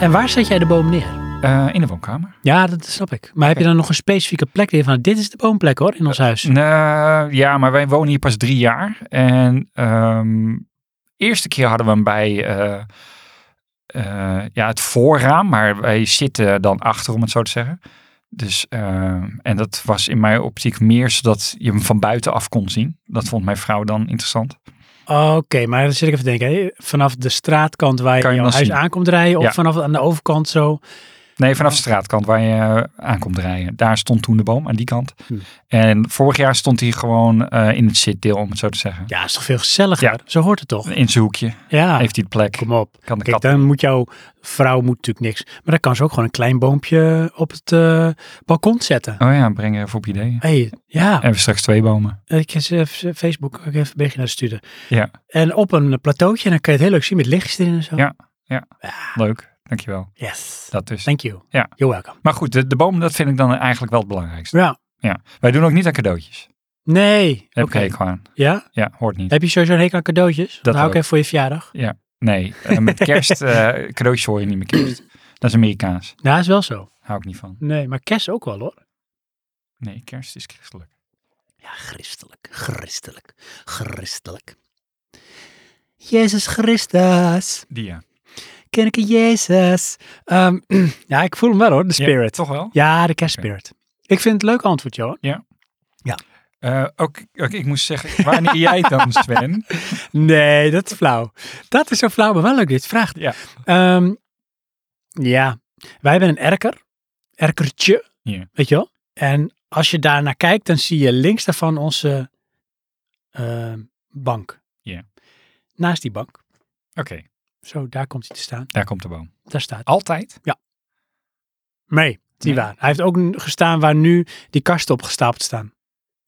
Speaker 1: En waar zet jij de boom neer?
Speaker 2: eh, in de woonkamer.
Speaker 1: Ja, dat snap ik. Maar heb je dan nog een specifieke plek die je van dit is de boomplek hoor, in ons huis?
Speaker 2: Nou, ja, maar wij wonen hier pas drie jaar. En ehm eerste keer hadden we hem bij eh, eh, ja, het voorraam, maar wij zitten dan achter, om het zo te zeggen. Dus, ehm, en dat was in mijn optiek meer zodat je hem van buitenaf kon zien. Dat vond mijn vrouw dan interessant.
Speaker 1: Oké, maar dan zit ik even te denken. hè. Vanaf de straatkant waar je,
Speaker 2: Kan je
Speaker 1: jouw
Speaker 2: hem dan
Speaker 1: huis
Speaker 2: zien?
Speaker 1: aankomt rijden, of
Speaker 2: Ja.
Speaker 1: vanaf aan de overkant zo.
Speaker 2: Nee, vanaf de straatkant waar je eh, aankomt rijden. Daar stond toen de boom, aan die kant.
Speaker 1: Hm.
Speaker 2: En vorig jaar stond hij gewoon eh, in het zitdeel, om het zo te zeggen.
Speaker 1: Ja, is toch veel gezelliger?
Speaker 2: Ja.
Speaker 1: Zo hoort het toch?
Speaker 2: In zijn hoekje
Speaker 1: Ja,
Speaker 2: heeft hij de plek.
Speaker 1: Ah. kom op.
Speaker 2: Kan de
Speaker 1: Kijk,
Speaker 2: kat.
Speaker 1: dan moet jouw vrouw moet natuurlijk niks. Maar dan kan ze ook gewoon een klein boompje op het eh, balkon zetten.
Speaker 2: Oh ja, breng even op ideeën.
Speaker 1: hey, ja.
Speaker 2: En we straks twee bomen.
Speaker 1: Ik heb ze even Facebook ook even een berichtje naar sturen.
Speaker 2: Ja.
Speaker 1: En op een plateautje. En dan kan je het heel leuk zien met lichtjes erin en zo.
Speaker 2: Ja. Leuk, dankjewel.
Speaker 1: Yes.
Speaker 2: Dat dus.
Speaker 1: Thank you.
Speaker 2: Ja.
Speaker 1: You're welcome.
Speaker 2: Maar goed, de, de boom, dat vind ik dan eigenlijk wel het belangrijkste.
Speaker 1: Ja.
Speaker 2: Ja. Wij doen ook niet aan cadeautjes.
Speaker 1: Nee. Oké.
Speaker 2: Heb ik ik gewoon.
Speaker 1: Ja?
Speaker 2: Ja, hoort niet.
Speaker 1: Heb je sowieso een hekel aan cadeautjes? Dat hou ik
Speaker 2: ook.
Speaker 1: even voor je verjaardag.
Speaker 2: Nee, eh, met kerst, eh, cadeautjes hoor je niet met kerst. Dat is Amerikaans.
Speaker 1: Ja, Nou, is wel zo.
Speaker 2: Hou ik niet van.
Speaker 1: Nee, maar kerst ook wel hoor.
Speaker 2: Nee, kerst is christelijk.
Speaker 1: Ja, christelijk. Christelijk. Christelijk. Jezus Christus.
Speaker 2: Die ja.
Speaker 1: Kenneke Jezus. Ehm, ja, ik voel hem wel hoor. De
Speaker 2: Ja,
Speaker 1: spirit.
Speaker 2: toch wel?
Speaker 1: Ja, de kerstspirit. Ik vind het een leuk antwoord, Johan.
Speaker 2: Eh, ook, ook ik moest zeggen, wanneer jij dan, Sven?
Speaker 1: Nee, dat is flauw. Dat is zo flauw, maar wel leuk dat je het vraagt.
Speaker 2: Ja.
Speaker 1: Ehm, ja, wij hebben een erker. Erkertje.
Speaker 2: Ja.
Speaker 1: Weet je wel? En als je daarnaar kijkt, dan zie je links daarvan onze ehm, bank.
Speaker 2: Ja.
Speaker 1: Naast die bank.
Speaker 2: Oké,
Speaker 1: Zo, daar komt hij te staan.
Speaker 2: daar komt de boom.
Speaker 1: Daar staat hij.
Speaker 2: Altijd?
Speaker 1: Nee, dat is niet
Speaker 2: Nee.
Speaker 1: waar. Hij heeft ook n- gestaan waar nu die kasten opgestapeld staan.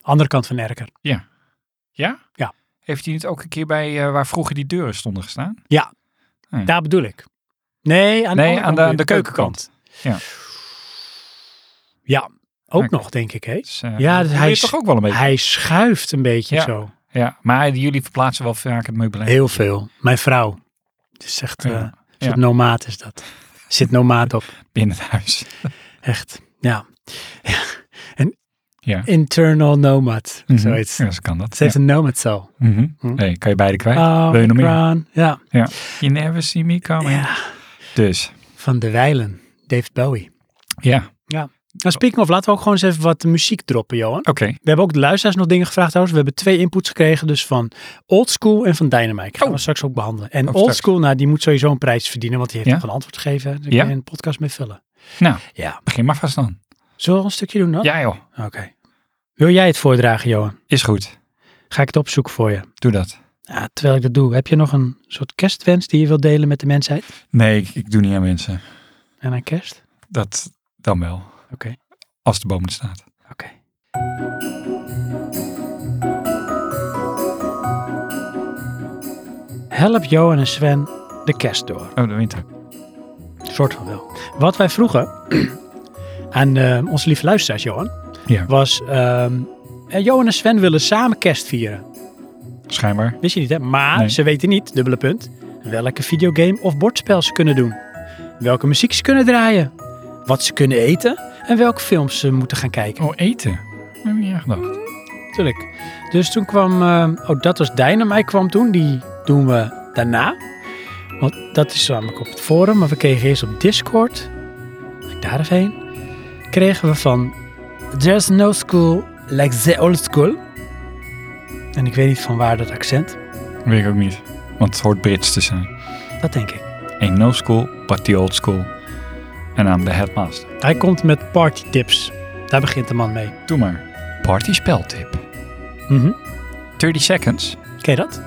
Speaker 1: Andere kant van de erker.
Speaker 2: Ja?
Speaker 1: Ja.
Speaker 2: Heeft hij niet ook een keer bij eh, waar vroeger die deuren stonden gestaan? Ja.
Speaker 1: Daar bedoel ik. Nee, aan de,
Speaker 2: Nee,
Speaker 1: andere
Speaker 2: aan de-
Speaker 1: kant
Speaker 2: aan de
Speaker 1: weer,
Speaker 2: keukenkant.
Speaker 1: keukenkant. Ja. Ja, ook
Speaker 2: Oké.
Speaker 1: nog, denk ik. Hè?
Speaker 2: Dus, eh,
Speaker 1: Ja,
Speaker 2: dat
Speaker 1: dus
Speaker 2: doe
Speaker 1: hij
Speaker 2: je
Speaker 1: is-
Speaker 2: toch ook wel een beetje.
Speaker 1: Hij schuift een beetje
Speaker 2: Ja.
Speaker 1: zo.
Speaker 2: Ja, maar jullie verplaatsen wel vaak het meubilair.
Speaker 1: Heel veel. Mijn vrouw. Het is echt,
Speaker 2: Ja.
Speaker 1: eh, een soort
Speaker 2: Ja.
Speaker 1: nomaat is dat. Zit nomaat op.
Speaker 2: binnen het huis.
Speaker 1: Echt. Ja. Ja. Een
Speaker 2: Ja.
Speaker 1: internal nomad.
Speaker 2: Mhm.
Speaker 1: Zoiets.
Speaker 2: Ja, zo kan dat.
Speaker 1: Ze heeft een nomad cel.
Speaker 2: Ja. Mhm.
Speaker 1: Hm?
Speaker 2: Nee, kan je beide kwijt.
Speaker 1: Oh,
Speaker 2: Wil je nog meer?
Speaker 1: Kran. Ja.
Speaker 2: You never see me coming.
Speaker 1: ja.
Speaker 2: Dus,
Speaker 1: Van de Weilen. David Bowie.
Speaker 2: ja,
Speaker 1: Nou, speaking of, laten we ook gewoon eens even wat muziek droppen, Johan.
Speaker 2: oké.
Speaker 1: We hebben ook de luisteraars nog dingen gevraagd trouwens. We hebben twee inputs gekregen, dus van Old School en van Dynamite. Gaan we
Speaker 2: Oh.
Speaker 1: straks ook behandelen. En
Speaker 2: Oh,
Speaker 1: Old
Speaker 2: straks.
Speaker 1: School, nou, die moet sowieso een prijs verdienen, want die heeft
Speaker 2: Ja?
Speaker 1: nog een antwoord gegeven. Daar
Speaker 2: Ja?
Speaker 1: kun je een podcast mee vullen.
Speaker 2: Nou,
Speaker 1: Ja.
Speaker 2: begin maar vast dan.
Speaker 1: Zullen we een stukje doen dan?
Speaker 2: Ja joh,
Speaker 1: Oké. Wil jij het voordragen, Johan?
Speaker 2: is goed.
Speaker 1: Ga ik het opzoeken voor je.
Speaker 2: Doe dat.
Speaker 1: Ja, terwijl ik dat doe, heb je nog een soort kerstwens die je wilt delen met de mensheid?
Speaker 2: Nee, ik, ik doe niet aan mensen.
Speaker 1: En aan kerst?
Speaker 2: Dat dan wel,
Speaker 1: Oké.
Speaker 2: als de boom er staat.
Speaker 1: Oké. Help Johan en Sven de kerst door.
Speaker 2: Oh, de winter.
Speaker 1: soort van wel. Wat wij vroegen aan eh, onze lieve luisteraars, Johan,
Speaker 2: Ja.
Speaker 1: was... ehm, eh, Johan en Sven willen samen kerst vieren.
Speaker 2: Schijnbaar.
Speaker 1: Wist je niet, hè? Maar
Speaker 2: Nee.
Speaker 1: ze weten niet, dubbele punt, welke videogame of bordspel ze kunnen doen. Welke muziek ze kunnen draaien. Wat ze kunnen eten. En welke films ze moeten gaan kijken.
Speaker 2: Oh, eten. Dat heb ik niet aan gedacht.
Speaker 1: Tuurlijk. Dus toen kwam, eh, oh dat was Dynamite kwam toen, die doen we daarna. Want dat is namelijk op het forum, maar we kregen eerst op Discord, ga ik daar even heen, kregen we van There's no school like the old school. En ik weet niet van waar dat accent,
Speaker 2: Weet ik ook niet. Want het hoort Brits te zijn.
Speaker 1: dat denk ik.
Speaker 2: Ain't no school, but the old school. En aan de headmaster.
Speaker 1: Hij komt met party tips, daar begint de man mee.
Speaker 2: Doe maar. Party speltip.
Speaker 1: Mhm.
Speaker 2: 30 seconds?
Speaker 1: Ken je dat?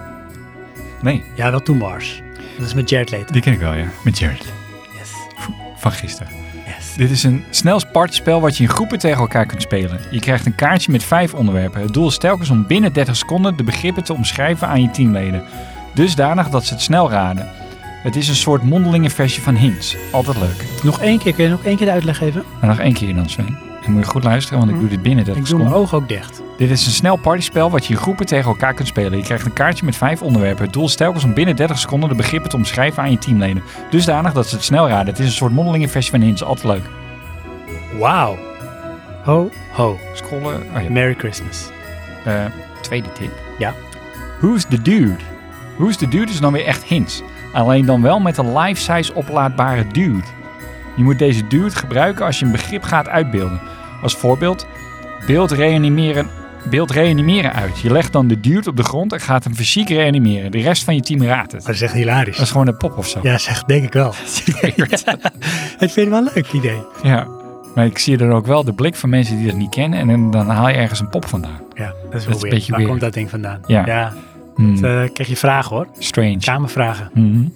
Speaker 2: Nee.
Speaker 1: Ja, wel toen Mars. Dat is met Jared Leto.
Speaker 2: Die ken ik wel, ja. Met Jared.
Speaker 1: Yes,
Speaker 2: Van gisteren.
Speaker 1: yes.
Speaker 2: Dit is een snel partyspel wat je in groepen tegen elkaar kunt spelen. Je krijgt een kaartje met vijf onderwerpen. Het doel is telkens om binnen 30 seconden de begrippen te omschrijven aan je teamleden. Dusdanig dat ze het snel raden. Het is een soort mondelinge versie van hints. Altijd leuk.
Speaker 1: Nog één keer, kun je nog één keer de uitleg geven?
Speaker 2: En nog één keer dan, Sven. En moet je goed luisteren, want ik doe dit binnen 30
Speaker 1: Ik doe mijn
Speaker 2: seconden.
Speaker 1: ogen ook dicht.
Speaker 2: Dit is een snel partyspel wat je in groepen tegen elkaar kunt spelen. Je krijgt een kaartje met vijf onderwerpen. Het doel is telkens om binnen 30 seconden de begrippen te omschrijven aan je teamleden. Dusdanig dat ze het snel raden. Het is een soort mondelinge versie van hints. Altijd leuk.
Speaker 1: Wauw. Ho, ho.
Speaker 2: Scrollen. Oh ja.
Speaker 1: Merry Christmas.
Speaker 2: Eh, tweede tip.
Speaker 1: Ja.
Speaker 2: Who's the dude? Who's the dude is dan weer echt hints. Alleen dan wel met een life-size oplaadbare dude. Je moet deze dude gebruiken als je een begrip gaat uitbeelden. Als voorbeeld, beeld reanimeren, beeld reanimeren uit. Je legt dan de dude op de grond en gaat hem fysiek reanimeren. De rest van je team raadt het.
Speaker 1: is echt hilarisch.
Speaker 2: Dat is gewoon een pop of zo.
Speaker 1: Ja, zeg, denk ik wel.
Speaker 2: Ja.
Speaker 1: Het vind ik wel een leuk idee.
Speaker 2: Ja. Maar ik zie er ook wel de blik van mensen die dat niet kennen. En dan, dan haal je ergens een pop vandaan.
Speaker 1: Ja, dat is wel
Speaker 2: een
Speaker 1: weird.
Speaker 2: beetje
Speaker 1: Waar
Speaker 2: weird.
Speaker 1: komt dat ding vandaan?
Speaker 2: Ja. Hmm.
Speaker 1: Dat, eh, krijg je vragen hoor.
Speaker 2: Strange.
Speaker 1: Kamervragen.
Speaker 2: Mhm.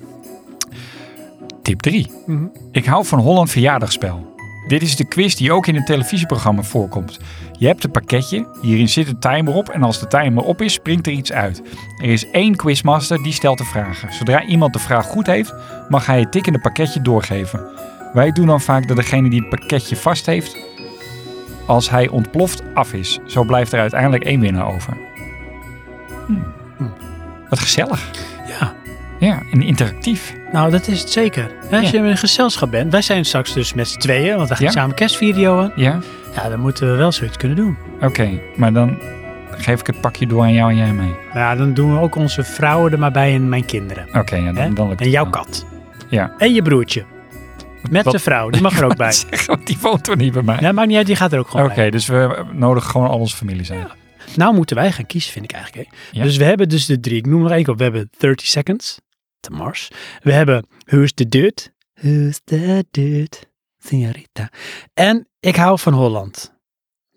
Speaker 2: Tip 3.
Speaker 1: Mhm.
Speaker 2: Ik hou van Holland Verjaardagspel. Dit is de quiz die ook in een televisieprogramma voorkomt. Je hebt een pakketje, hierin zit een timer op en als de timer op is, springt er iets uit. Er is één quizmaster die stelt de vragen. Zodra iemand de vraag goed heeft, mag hij het tikkende pakketje doorgeven. Wij doen dan vaak dat degene die het pakketje vast heeft, als hij ontploft, af is. Zo blijft er uiteindelijk één winnaar over. Hm. Wat gezellig.
Speaker 1: Ja.
Speaker 2: Ja, en interactief.
Speaker 1: Nou, dat is het zeker. Hè, Als
Speaker 2: Ja.
Speaker 1: je in een gezelschap bent. Wij zijn straks dus met z'n tweeën, want we gaan
Speaker 2: Ja.
Speaker 1: samen kerstvideo aan.
Speaker 2: Ja,
Speaker 1: Ja, dan moeten we wel zoiets kunnen doen.
Speaker 2: oké. Maar dan geef ik het pakje door aan jou en jij mee.
Speaker 1: Nou ja, dan doen we ook onze vrouwen er maar bij en mijn kinderen.
Speaker 2: Oké, ja,
Speaker 1: Hè?
Speaker 2: dan, dan lukt
Speaker 1: En
Speaker 2: het
Speaker 1: jouw
Speaker 2: wel.
Speaker 1: kat.
Speaker 2: Ja.
Speaker 1: En je broertje. Met
Speaker 2: Wat-
Speaker 1: de vrouw, die mag er ook bij.
Speaker 2: Zeg, want die woont er niet bij mij.
Speaker 1: Nee, maakt niet uit, die gaat er ook gewoon
Speaker 2: Oké,
Speaker 1: bij.
Speaker 2: dus we nodigen gewoon al onze families uit.
Speaker 1: Nou moeten wij gaan kiezen, vind ik eigenlijk. hè.
Speaker 2: Ja.
Speaker 1: Dus we hebben dus de drie. Ik noem er één op. We hebben 30 Seconds, de Mars. We hebben Who's the Dude? Who's the Dude? Signorita. En Ik hou van Holland.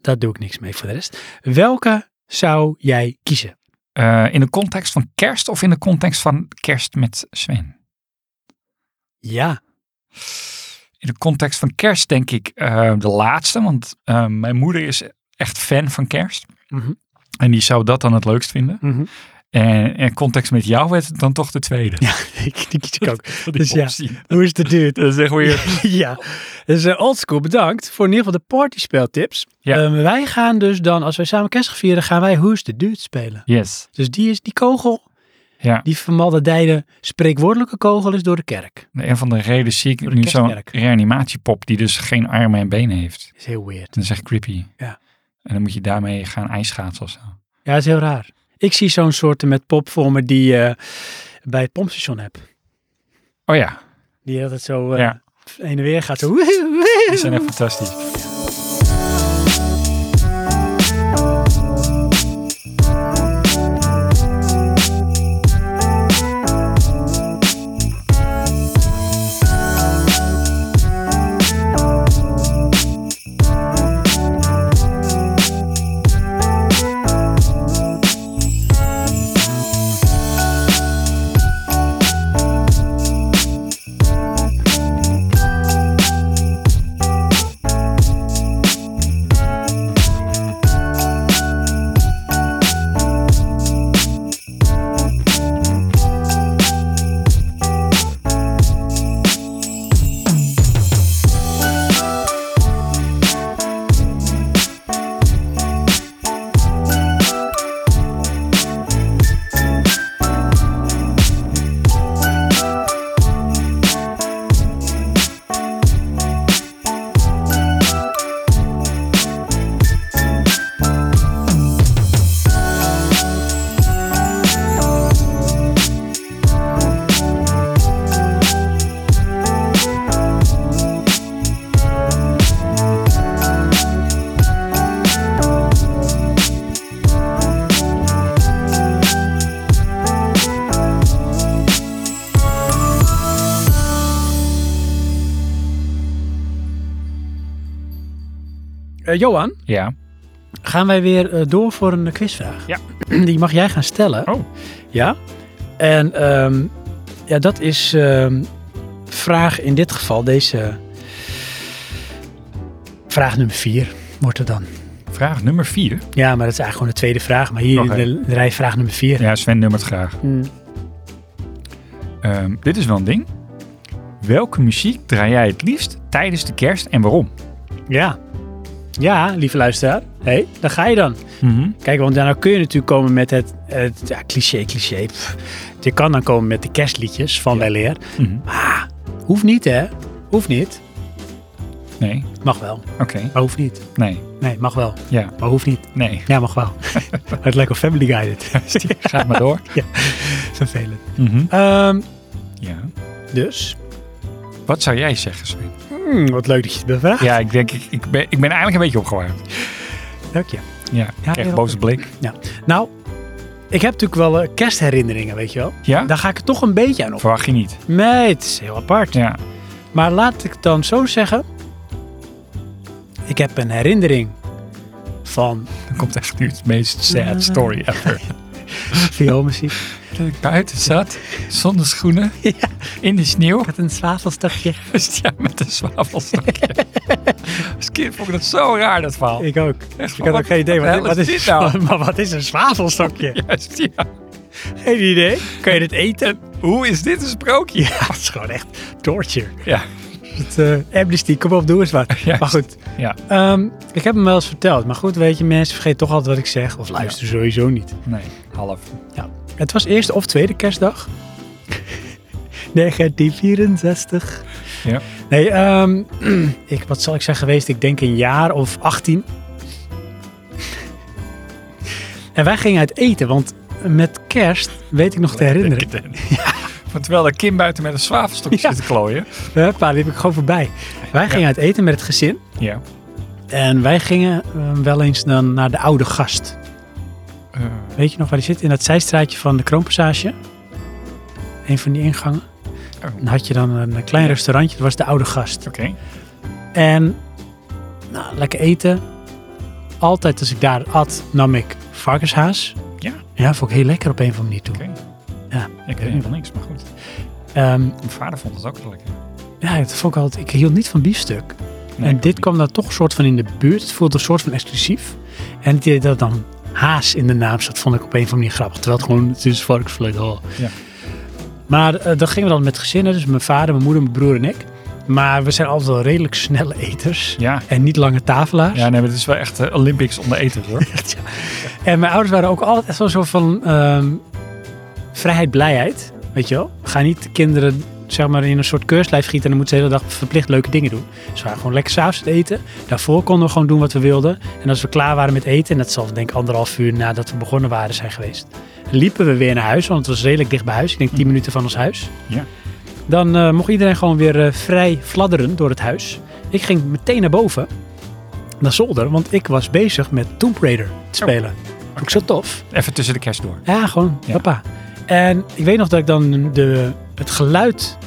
Speaker 1: Daar doe ik niks mee voor de rest. Welke zou jij kiezen?
Speaker 2: Eh, in de context van kerst of in de context van kerst met Sven?
Speaker 1: Ja,
Speaker 2: In de context van kerst denk ik eh, de laatste, want eh, mijn moeder is echt fan van kerst.
Speaker 1: Mhm.
Speaker 2: En die zou dat dan het leukst vinden.
Speaker 1: Mhm.
Speaker 2: En in context met jou werd het dan toch de tweede.
Speaker 1: ja ik, die kies ik ook. Dus ja,
Speaker 2: Optie.
Speaker 1: Who's the Dude?
Speaker 2: Dat is echt weer...
Speaker 1: ja, dus eh, oldschool bedankt voor in ieder geval de partyspeltips.
Speaker 2: Ja.
Speaker 1: Ehm, wij gaan dus dan, als wij samen kerst gaan vieren, gaan wij Who's the Dude spelen.
Speaker 2: Yes.
Speaker 1: Dus die, is, die kogel,
Speaker 2: Ja.
Speaker 1: die vermalderdijde spreekwoordelijke kogel is door de kerk.
Speaker 2: Een van de redenen zie ik nu zo'n
Speaker 1: kerstkerk.
Speaker 2: reanimatiepop die dus geen armen en benen heeft.
Speaker 1: is heel weird.
Speaker 2: Dat is echt creepy.
Speaker 1: Ja.
Speaker 2: En dan moet je daarmee gaan ijsschaatsen of zo.
Speaker 1: Ja, dat is heel raar. Ik zie zo'n soort met pop voor me die je bij het pompstation hebt.
Speaker 2: Oh ja,
Speaker 1: Die altijd zo eh
Speaker 2: Ja.
Speaker 1: heen en weer gaat. Zo, woehoe, woehoe.
Speaker 2: die zijn echt fantastisch.
Speaker 1: Eh, Johan,
Speaker 2: Ja.
Speaker 1: gaan wij weer eh, door voor een quizvraag.
Speaker 2: Ja.
Speaker 1: Die mag jij gaan stellen.
Speaker 2: Oh.
Speaker 1: Ja. En ehm, ja, dat is ehm, vraag in dit geval, deze vraag nummer vier wordt het dan.
Speaker 2: Vraag nummer vier.
Speaker 1: Ja, maar dat is eigenlijk gewoon de tweede vraag. Maar hier
Speaker 2: Oké.
Speaker 1: de, de rij vraag nummer vier.
Speaker 2: Ja, Sven nummert graag.
Speaker 1: Hmm.
Speaker 2: Ehm, dit is wel een ding. Welke muziek draai jij het liefst tijdens de kerst en waarom?
Speaker 1: Ja. Ja, lieve luisteraar. Hé, hey, daar ga je dan.
Speaker 2: Mhm.
Speaker 1: Kijk, want daarna kun je natuurlijk komen met het, het ja, cliché, cliché. Pff. Je kan dan komen met de kerstliedjes van wel Weleer.
Speaker 2: Mhm.
Speaker 1: Maar hoeft niet, hè? Hoeft niet.
Speaker 2: Nee.
Speaker 1: Mag wel,
Speaker 2: Oké.
Speaker 1: maar hoeft niet.
Speaker 2: Nee.
Speaker 1: Nee, mag wel,
Speaker 2: Ja.
Speaker 1: maar hoeft niet.
Speaker 2: Nee.
Speaker 1: Ja, mag wel. het lijkt op Family Guy dit.
Speaker 2: Ga maar door.
Speaker 1: Vervelend.
Speaker 2: Mhm.
Speaker 1: Ehm,
Speaker 2: Ja.
Speaker 1: dus,
Speaker 2: Wat zou jij zeggen, Sven?
Speaker 1: hmm, wat leuk dat je het bevraagt.
Speaker 2: Ja, ik denk, ik, ik, ben, ik ben eigenlijk een beetje opgewarmd.
Speaker 1: Dank je.
Speaker 2: Ja. Ik krijg
Speaker 1: heel
Speaker 2: een boze blik.
Speaker 1: Ja. Nou, ik heb natuurlijk wel eh, kerstherinneringen, weet je wel.
Speaker 2: Ja?
Speaker 1: Daar ga ik er toch een beetje aan op.
Speaker 2: Verwacht je niet.
Speaker 1: Nee, het is heel apart.
Speaker 2: Ja.
Speaker 1: Maar laat ik dan zo zeggen. Ik heb een herinnering van
Speaker 2: Dan komt echt nu het meest
Speaker 1: Eh.
Speaker 2: sad story ever.
Speaker 1: vioolmuziek.
Speaker 2: Dat ik buiten zat, zonder schoenen,
Speaker 1: Ja.
Speaker 2: in de sneeuw. dus
Speaker 1: Met een zwavelstokje.
Speaker 2: Ja, met een zwavelstokje. Als kind vond ik dat zo raar, dat verhaal.
Speaker 1: Ik ook. ik had
Speaker 2: Oh. wat-
Speaker 1: ook geen idee.
Speaker 2: wat de hel is dit nou?
Speaker 1: maar wat is een zwavelstokje?
Speaker 2: Juist, ja.
Speaker 1: Geen idee. Kun je dit eten?
Speaker 2: Hoe is dit een sprookje?
Speaker 1: Ja, het is gewoon echt torture.
Speaker 2: Ja,
Speaker 1: Het, eh, Amnesty, kom op, doe eens wat.
Speaker 2: Juist.
Speaker 1: Maar goed,
Speaker 2: ja.
Speaker 1: ehm, ik heb hem wel eens verteld. Maar goed, weet je, mensen vergeten toch altijd wat ik zeg. Of luisteren sowieso niet.
Speaker 2: nee, half.
Speaker 1: Ja. Het was eerste of tweede kerstdag. 1964.
Speaker 2: Ja.
Speaker 1: Nee, ehm, ik, wat zal ik zijn geweest? Ik denk een jaar of 18. en wij gingen uit eten, want met kerst weet ik nog te herinneren.
Speaker 2: Want terwijl de Kim buiten met een zwavelstokje
Speaker 1: Ja.
Speaker 2: zit te klooien.
Speaker 1: Huppa, die heb ik gewoon voorbij. Wij gingen uit eten met het gezin.
Speaker 2: Ja.
Speaker 1: En wij gingen eh, wel eens dan naar de oude gast.
Speaker 2: Eh,
Speaker 1: Weet je nog waar die zit? In dat zijstraatje van de Kroonpassage. Een van die ingangen.
Speaker 2: Oh.
Speaker 1: Dan had je dan een klein restaurantje. Dat was de oude gast.
Speaker 2: Oké.
Speaker 1: En nou, lekker eten. Altijd als ik daar at, nam ik varkenshaas.
Speaker 2: Ja.
Speaker 1: Ja, vond ik heel lekker op een of andere manier toe.
Speaker 2: Oké.
Speaker 1: Ja.
Speaker 2: Ik weet helemaal niks, maar goed.
Speaker 1: Ehm,
Speaker 2: Mijn vader vond het ook wel lekker.
Speaker 1: ja, dat vond ik altijd... Ik hield niet van biefstuk.
Speaker 2: Nee,
Speaker 1: en
Speaker 2: ik
Speaker 1: dit
Speaker 2: ook
Speaker 1: kwam dan toch een soort van in de buurt. Het voelde een soort van exclusief. En het idee dat er dan haas in de naam zat, vond ik op een of andere manier grappig. Terwijl het gewoon, het is varkensvlees. Oh.
Speaker 2: Ja.
Speaker 1: Maar eh, dan gingen we dan met gezinnen. Dus mijn vader, mijn moeder, mijn broer en ik. Maar we zijn altijd wel redelijk snelle eters.
Speaker 2: niet. Ja.
Speaker 1: En niet lange tafelaars.
Speaker 2: Ja, nee, maar dit is wel echt eh, Olympics onder eten hoor.
Speaker 1: Ja. En mijn ouders waren ook altijd echt wel zo van ehm, vrijheid, blijheid. Weet je wel? Ga niet de kinderen zeg maar, in een soort keurslijf gieten en dan moeten ze de hele dag verplicht leuke dingen doen. Ze waren gewoon lekker s'avonds het eten. Daarvoor konden we gewoon doen wat we wilden. En als we klaar waren met eten, en dat zal denk ik anderhalf uur nadat we begonnen waren zijn geweest, liepen we weer naar huis, want het was redelijk dicht bij huis. Ik denk tien minuten van ons huis.
Speaker 2: Ja.
Speaker 1: Dan eh, mocht iedereen gewoon weer eh, vrij fladderen door het huis. Ik ging meteen naar boven, naar zolder, want ik was bezig met Tomb Raider te spelen. Vond ik zo tof.
Speaker 2: Even tussen de kerst door.
Speaker 1: Ja, gewoon,
Speaker 2: Ja.
Speaker 1: papa. En ik weet nog dat ik dan de, het geluid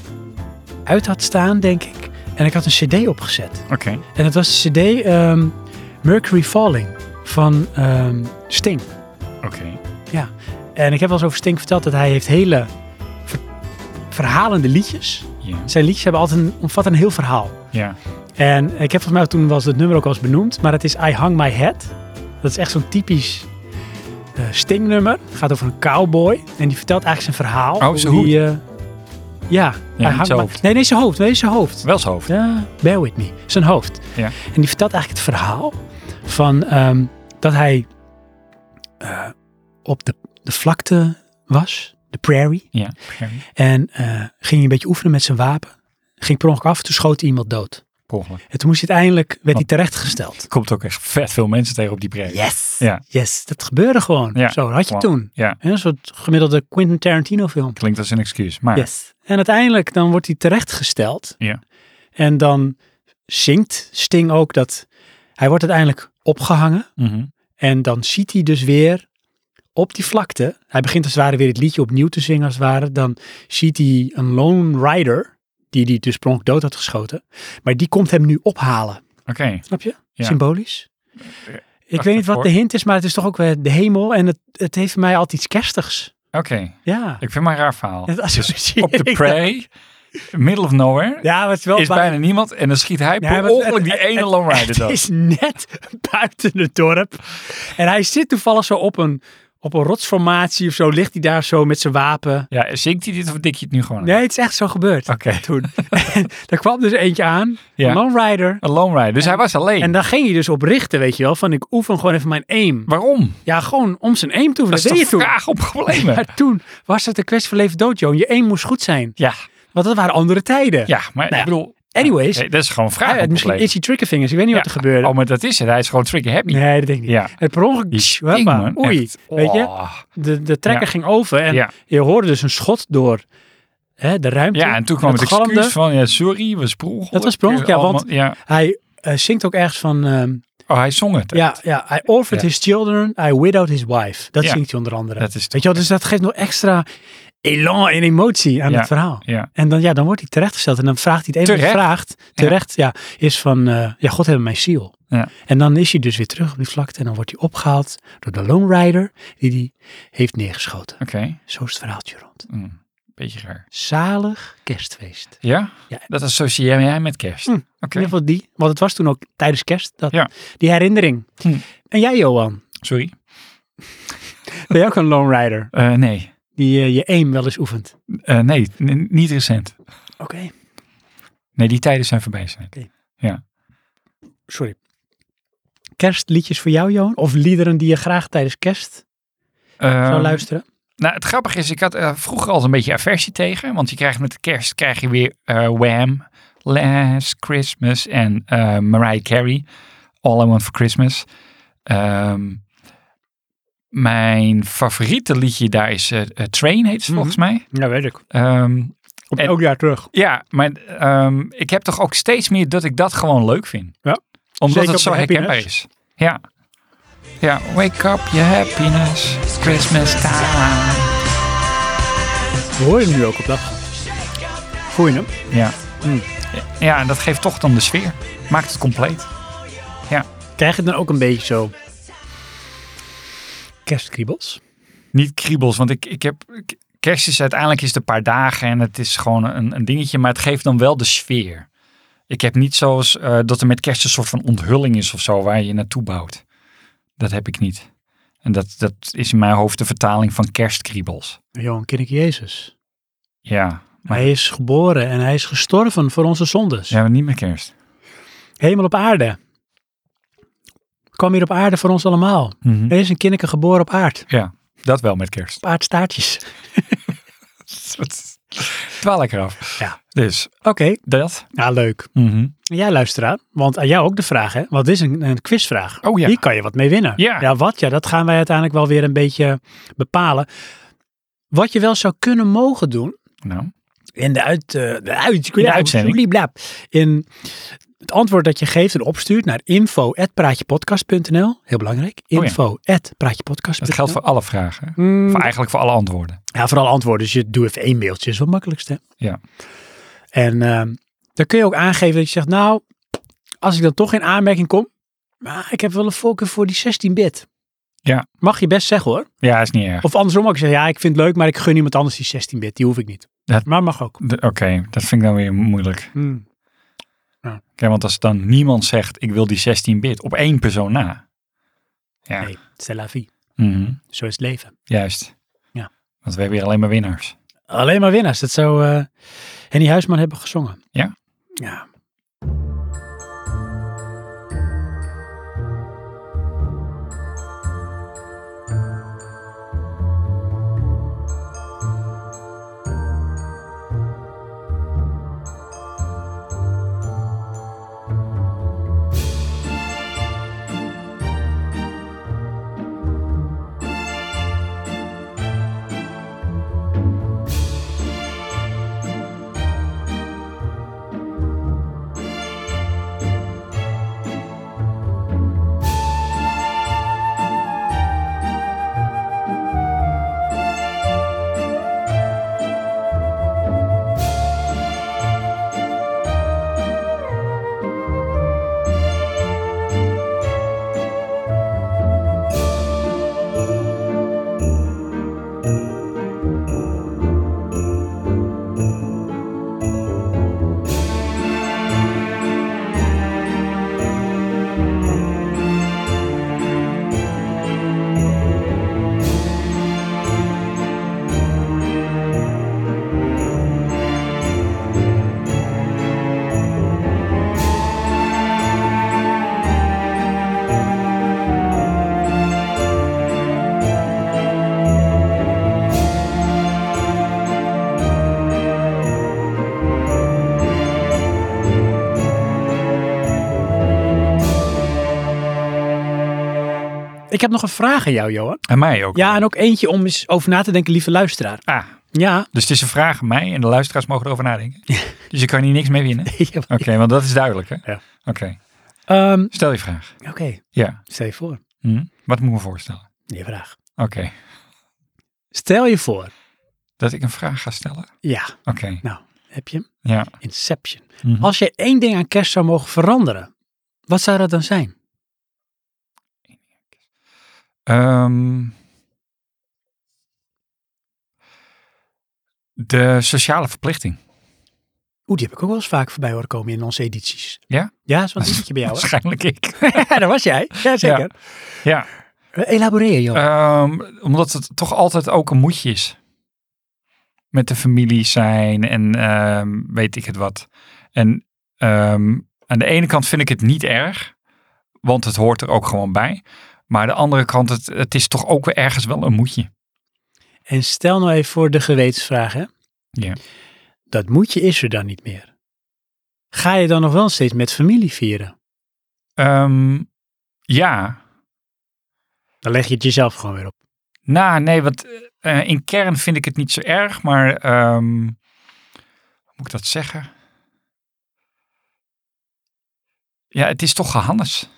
Speaker 1: uit had staan, denk ik. En ik had een cd opgezet.
Speaker 2: Oké.
Speaker 1: En het was de cd ehm, Mercury Falling van ehm, Sting.
Speaker 2: Oké.
Speaker 1: Ja. En ik heb wel eens over Sting verteld dat hij heeft hele ver- verhalende liedjes.
Speaker 2: Ja.
Speaker 1: Zijn liedjes hebben altijd een, omvatten een heel verhaal.
Speaker 2: Ja.
Speaker 1: En ik heb volgens mij toen was het nummer ook al eens benoemd, maar het is I Hung My Head. Dat is echt zo'n typisch eh stingnummer. Het gaat over een cowboy en die vertelt eigenlijk zijn verhaal.
Speaker 2: Oh, zijn
Speaker 1: hoe die, eh, ja, I
Speaker 2: niet
Speaker 1: Hung
Speaker 2: zijn
Speaker 1: My-
Speaker 2: hoofd.
Speaker 1: Nee, nee, zijn hoofd. Nee, zijn hoofd.
Speaker 2: Wel zijn hoofd.
Speaker 1: Ja, bear with me. Zijn hoofd.
Speaker 2: Ja.
Speaker 1: En die vertelt eigenlijk het verhaal van ehm, dat hij eh, op de, de vlakte was, de prairie.
Speaker 2: Ja.
Speaker 1: En eh, ging hij een beetje oefenen met zijn wapen. Ging per ongeluk af, toen schoot hij iemand dood.
Speaker 2: Ongeluk.
Speaker 1: En toen moest hij uiteindelijk, werd
Speaker 2: Oh.
Speaker 1: hij terechtgesteld.
Speaker 2: Er komt ook echt vet veel mensen tegen op die brek.
Speaker 1: Yes!
Speaker 2: Ja.
Speaker 1: Yes, dat gebeurde gewoon.
Speaker 2: Ja.
Speaker 1: Zo had je
Speaker 2: Wow.
Speaker 1: toen.
Speaker 2: Ja.
Speaker 1: Hè, Een soort gemiddelde Quentin Tarantino film.
Speaker 2: Klinkt als een excuus, maar
Speaker 1: Yes. En uiteindelijk dan wordt hij terechtgesteld.
Speaker 2: Ja.
Speaker 1: En dan zingt Sting ook dat hij wordt uiteindelijk opgehangen.
Speaker 2: Mhm.
Speaker 1: En dan ziet hij dus weer op die vlakte. Hij begint als het ware weer het liedje opnieuw te zingen als het ware. Dan ziet hij een lone rider, die hij dus pronk dood had geschoten. Maar die komt hem nu ophalen.
Speaker 2: oké.
Speaker 1: Snap je?
Speaker 2: Ja. Eh,
Speaker 1: Symbolisch. Ik
Speaker 2: Wacht
Speaker 1: weet niet wat
Speaker 2: daarvoor.
Speaker 1: de hint is, maar het is toch ook weer de hemel. En het, het heeft voor mij altijd iets kerstigs.
Speaker 2: Oké.
Speaker 1: Ja.
Speaker 2: Ik vind het maar een raar verhaal.
Speaker 1: Het associeer
Speaker 2: op de
Speaker 1: ik
Speaker 2: prey, middle of nowhere,
Speaker 1: dan- Ja, maar het is wel...
Speaker 2: is
Speaker 1: maar-
Speaker 2: bijna niemand. En dan schiet hij
Speaker 1: Nee, maar
Speaker 2: per
Speaker 1: het-
Speaker 2: ongeluk die
Speaker 1: het-
Speaker 2: ene
Speaker 1: het-
Speaker 2: Lone Rider
Speaker 1: Het
Speaker 2: dood.
Speaker 1: is net buiten het dorp. En hij zit toevallig zo op een, op een rotsformatie of zo. Ligt hij daar zo met zijn wapen.
Speaker 2: Ja, zingt hij dit of dik je het nu gewoon? aan?
Speaker 1: Nee, het is echt zo gebeurd.
Speaker 2: Oké.
Speaker 1: Toen. En daar kwam dus eentje aan.
Speaker 2: Ja.
Speaker 1: Een Lone Rider.
Speaker 2: Een Lone Rider. Dus hij was alleen.
Speaker 1: En daar ging hij dus op richten, weet je wel. Van ik oefen gewoon even mijn aim.
Speaker 2: Waarom?
Speaker 1: Ja, gewoon om zijn aim te
Speaker 2: Dat
Speaker 1: oefenen.
Speaker 2: is
Speaker 1: Dat deed
Speaker 2: toch
Speaker 1: je toen.
Speaker 2: vraag op problemen?
Speaker 1: Maar toen was het een kwestie van leven dood, Joon. Je aim moest goed zijn.
Speaker 2: Ja,
Speaker 1: Want dat waren andere tijden.
Speaker 2: ja maar
Speaker 1: Nou ja,
Speaker 2: ik bedoel...
Speaker 1: anyways.
Speaker 2: Nee, dat is gewoon vraag
Speaker 1: Ah,
Speaker 2: op
Speaker 1: misschien
Speaker 2: probleem.
Speaker 1: is hij triggerfingers. Ik weet niet wat er gebeurde.
Speaker 2: Oh, maar dat is het. Hij is gewoon trigger happy.
Speaker 1: nee, dat denk ik niet.
Speaker 2: Ja.
Speaker 1: Het per ongeluk.
Speaker 2: Die
Speaker 1: tsch,
Speaker 2: sting,
Speaker 1: hoppa,
Speaker 2: man,
Speaker 1: oei.
Speaker 2: echt.
Speaker 1: Weet je?
Speaker 2: Oh.
Speaker 1: De, de trekker
Speaker 2: Ja.
Speaker 1: ging over en
Speaker 2: Ja.
Speaker 1: je hoorde dus een schot door hè, de ruimte.
Speaker 2: Ja, en toen kwam het,
Speaker 1: galmde.
Speaker 2: excuus van, ja, sorry, was sprong.
Speaker 1: Dat was per ongeluk, ja, want-
Speaker 2: Ja.
Speaker 1: Hij eh, zingt ook ergens van... ehm,
Speaker 2: Oh, hij zong het.
Speaker 1: Ja, ja. I offered
Speaker 2: Ja.
Speaker 1: his children, I widowed his wife. Dat
Speaker 2: Ja.
Speaker 1: zingt hij onder andere.
Speaker 2: Dat is
Speaker 1: Weet je wel, dus dat geeft nog extra elan en emotie aan
Speaker 2: Ja.
Speaker 1: het verhaal.
Speaker 2: Ja.
Speaker 1: En dan, ja, dan wordt hij terechtgesteld. En dan vraagt hij het even
Speaker 2: Terecht.
Speaker 1: gevraagd. Terecht, ja. Is van, eh, ja, God hebben mijn ziel.
Speaker 2: Ja.
Speaker 1: En dan is hij dus weer terug op die vlakte. En dan wordt hij opgehaald door de Lone Rider. Die hij heeft neergeschoten.
Speaker 2: Oké.
Speaker 1: Zo is het verhaaltje rond.
Speaker 2: Mm, Beetje raar.
Speaker 1: Zalig kerstfeest.
Speaker 2: Ja?
Speaker 1: Ja.
Speaker 2: Dat associeer jij met kerst.
Speaker 1: Hm.
Speaker 2: Oké.
Speaker 1: In ieder geval die. Want het was toen ook tijdens kerst. Dat,
Speaker 2: Ja.
Speaker 1: Die herinnering.
Speaker 2: Hm.
Speaker 1: En jij Johan.
Speaker 2: Sorry.
Speaker 1: Ben jij ook een Lone Rider?
Speaker 2: Eh, nee.
Speaker 1: Die eh, je aim wel eens oefent.
Speaker 2: Eh, nee, n- niet recent.
Speaker 1: Oké.
Speaker 2: Nee, die tijden zijn voorbij zijn.
Speaker 1: Sorry. Kerstliedjes voor jou Johan? Of liederen die je graag tijdens kerst zou
Speaker 2: Eh,
Speaker 1: luisteren?
Speaker 2: Nou, het grappige is, ik had eh, vroeger al een beetje aversie tegen. Want je krijgt met de kerst krijg je weer eh, Wham, Last Christmas en eh, Mariah Carey. All I Want For Christmas. Ehm, mijn favoriete liedje daar is eh, eh, Train, heet het volgens mij.
Speaker 1: Ja, weet ik.
Speaker 2: Ehm,
Speaker 1: Komt
Speaker 2: En-
Speaker 1: elk jaar terug.
Speaker 2: ja, maar ehm, ik heb toch ook steeds meer dat ik dat gewoon leuk vind.
Speaker 1: Ja.
Speaker 2: Omdat
Speaker 1: Zeker
Speaker 2: het
Speaker 1: op
Speaker 2: zo
Speaker 1: de
Speaker 2: herkenbaar
Speaker 1: happiness.
Speaker 2: is. Ja. Ja, wake up your happiness, it's Christmas time.
Speaker 1: We horen hem nu ook op dat. Voel je hem?
Speaker 2: Ja. Hmm. ja, en dat geeft toch dan de sfeer. Maakt het compleet.
Speaker 1: Krijg je dan ook een beetje zo kerstkriebels?
Speaker 2: Niet kriebels, want ik, ik heb... ik- Kerst is uiteindelijk is het een paar dagen en het is gewoon een, een dingetje, maar het geeft dan wel de sfeer. Ik heb niet zoals eh, dat er met kerst een soort van onthulling is of zo waar je naartoe bouwt. Dat heb ik niet. En dat, dat is in mijn hoofd de vertaling van kerstkriebels.
Speaker 1: Johan, ken ik Jezus?
Speaker 2: Ja, maar,
Speaker 1: Hij is geboren en hij is gestorven voor onze zondes.
Speaker 2: ja, maar niet met kerst.
Speaker 1: Hemel op aarde. Kwam hier op aarde voor ons allemaal.
Speaker 2: Mhm.
Speaker 1: Er is een kindje geboren op aard.
Speaker 2: Ja, dat wel met kerst.
Speaker 1: Op aardstaartjes.
Speaker 2: Twaal lekker af.
Speaker 1: Ja.
Speaker 2: Dus
Speaker 1: Oké,
Speaker 2: dat.
Speaker 1: nou leuk.
Speaker 2: Mhm.
Speaker 1: En Jij luisteraar, want aan jou ook de vraag hè. Wat is een, een quizvraag?
Speaker 2: Oh ja.
Speaker 1: Hier kan je wat mee winnen.
Speaker 2: Ja.
Speaker 1: wat? Ja, dat gaan wij uiteindelijk wel weer een beetje bepalen. Wat je wel zou kunnen mogen doen,
Speaker 2: Nou,
Speaker 1: in de, uit, eh, de, uit,
Speaker 2: de uitzending.
Speaker 1: blieblap. In het antwoord dat je geeft en opstuurt naar info.praatjepodcast.nl. Heel belangrijk.
Speaker 2: Oh ja.
Speaker 1: Info.praatjepodcast.nl.
Speaker 2: dat geldt voor alle vragen. hè?
Speaker 1: Mm,
Speaker 2: Voor eigenlijk voor alle antwoorden.
Speaker 1: ja, vooral antwoorden. Dus je doe even één mailtje. is wel het makkelijkste.
Speaker 2: Ja.
Speaker 1: En ehm, dan kun je ook aangeven dat je zegt, nou, als ik dan toch in aanmerking kom, maar ik heb wel een voorkeur voor die 16-bit.
Speaker 2: Ja.
Speaker 1: Mag je best zeggen hoor.
Speaker 2: Ja, is niet erg.
Speaker 1: Of andersom ook zeggen, ja, ik vind het leuk, maar ik gun iemand anders die 16-bit. Die hoef ik niet.
Speaker 2: Dat-
Speaker 1: Maar mag ook.
Speaker 2: De- Oké, dat vind ik dan weer moeilijk.
Speaker 1: Hmm.
Speaker 2: Kijk, want als dan niemand zegt, ik wil die 16-bit op één persoon na. Ja,
Speaker 1: Nee, c'est la vie.
Speaker 2: mhm,
Speaker 1: Zo is het leven.
Speaker 2: juist.
Speaker 1: Ja.
Speaker 2: Want we hebben hier alleen maar winnaars.
Speaker 1: Alleen maar winnaars. Dat zou eh Henny Huisman hebben gezongen.
Speaker 2: Ja?
Speaker 1: Ja. Ik heb nog een vraag aan jou, Johan.
Speaker 2: En mij ook.
Speaker 1: Ja, en ook eentje om eens over na te denken, lieve luisteraar.
Speaker 2: Ah,
Speaker 1: Ja.
Speaker 2: dus het is een vraag aan mij en de luisteraars mogen erover nadenken. dus je kan hier niks mee winnen. Oké, want dat is duidelijk, hè?
Speaker 1: Ja.
Speaker 2: Oké,
Speaker 1: Ehm,
Speaker 2: stel je vraag.
Speaker 1: Oké,
Speaker 2: Ja. Mhm,
Speaker 1: stel je voor.
Speaker 2: Hm, Wat moet ik me voorstellen?
Speaker 1: Je vraag.
Speaker 2: Oké.
Speaker 1: Stel je voor
Speaker 2: Dat ik een vraag ga stellen?
Speaker 1: Ja,
Speaker 2: Oké,
Speaker 1: nou, heb je hem?
Speaker 2: ja.
Speaker 1: Inception.
Speaker 2: Mhm.
Speaker 1: Als je één ding aan kerst zou mogen veranderen, wat zou dat dan zijn?
Speaker 2: Ehm, de sociale verplichting.
Speaker 1: Oeh, die heb ik ook wel eens vaak voorbij horen komen in onze edities.
Speaker 2: Ja?
Speaker 1: Ja, zo'n dingetje bij jou. hè?
Speaker 2: Waarschijnlijk ik.
Speaker 1: ja, dat was jij. Jazeker.
Speaker 2: ja.
Speaker 1: Eh, Elaboreer, joh.
Speaker 2: Ehm, omdat het toch altijd ook een moedje is. Met de familie zijn en ehm, weet ik het wat. En ehm, aan de ene kant vind ik het niet erg, want het hoort er ook gewoon bij. Maar aan de andere kant, het, het is toch ook weer ergens wel een moedje.
Speaker 1: En stel nou even voor de gewetensvraag, hè.
Speaker 2: Ja.
Speaker 1: Dat moedje is er dan niet meer. Ga je dan nog wel steeds met familie vieren?
Speaker 2: Ehm, ja,
Speaker 1: Dan leg je het jezelf gewoon weer op.
Speaker 2: Nou, nee, want eh, in kern vind ik het niet zo erg, maar ehm, hoe moet ik dat zeggen? Ja, het is toch gehannes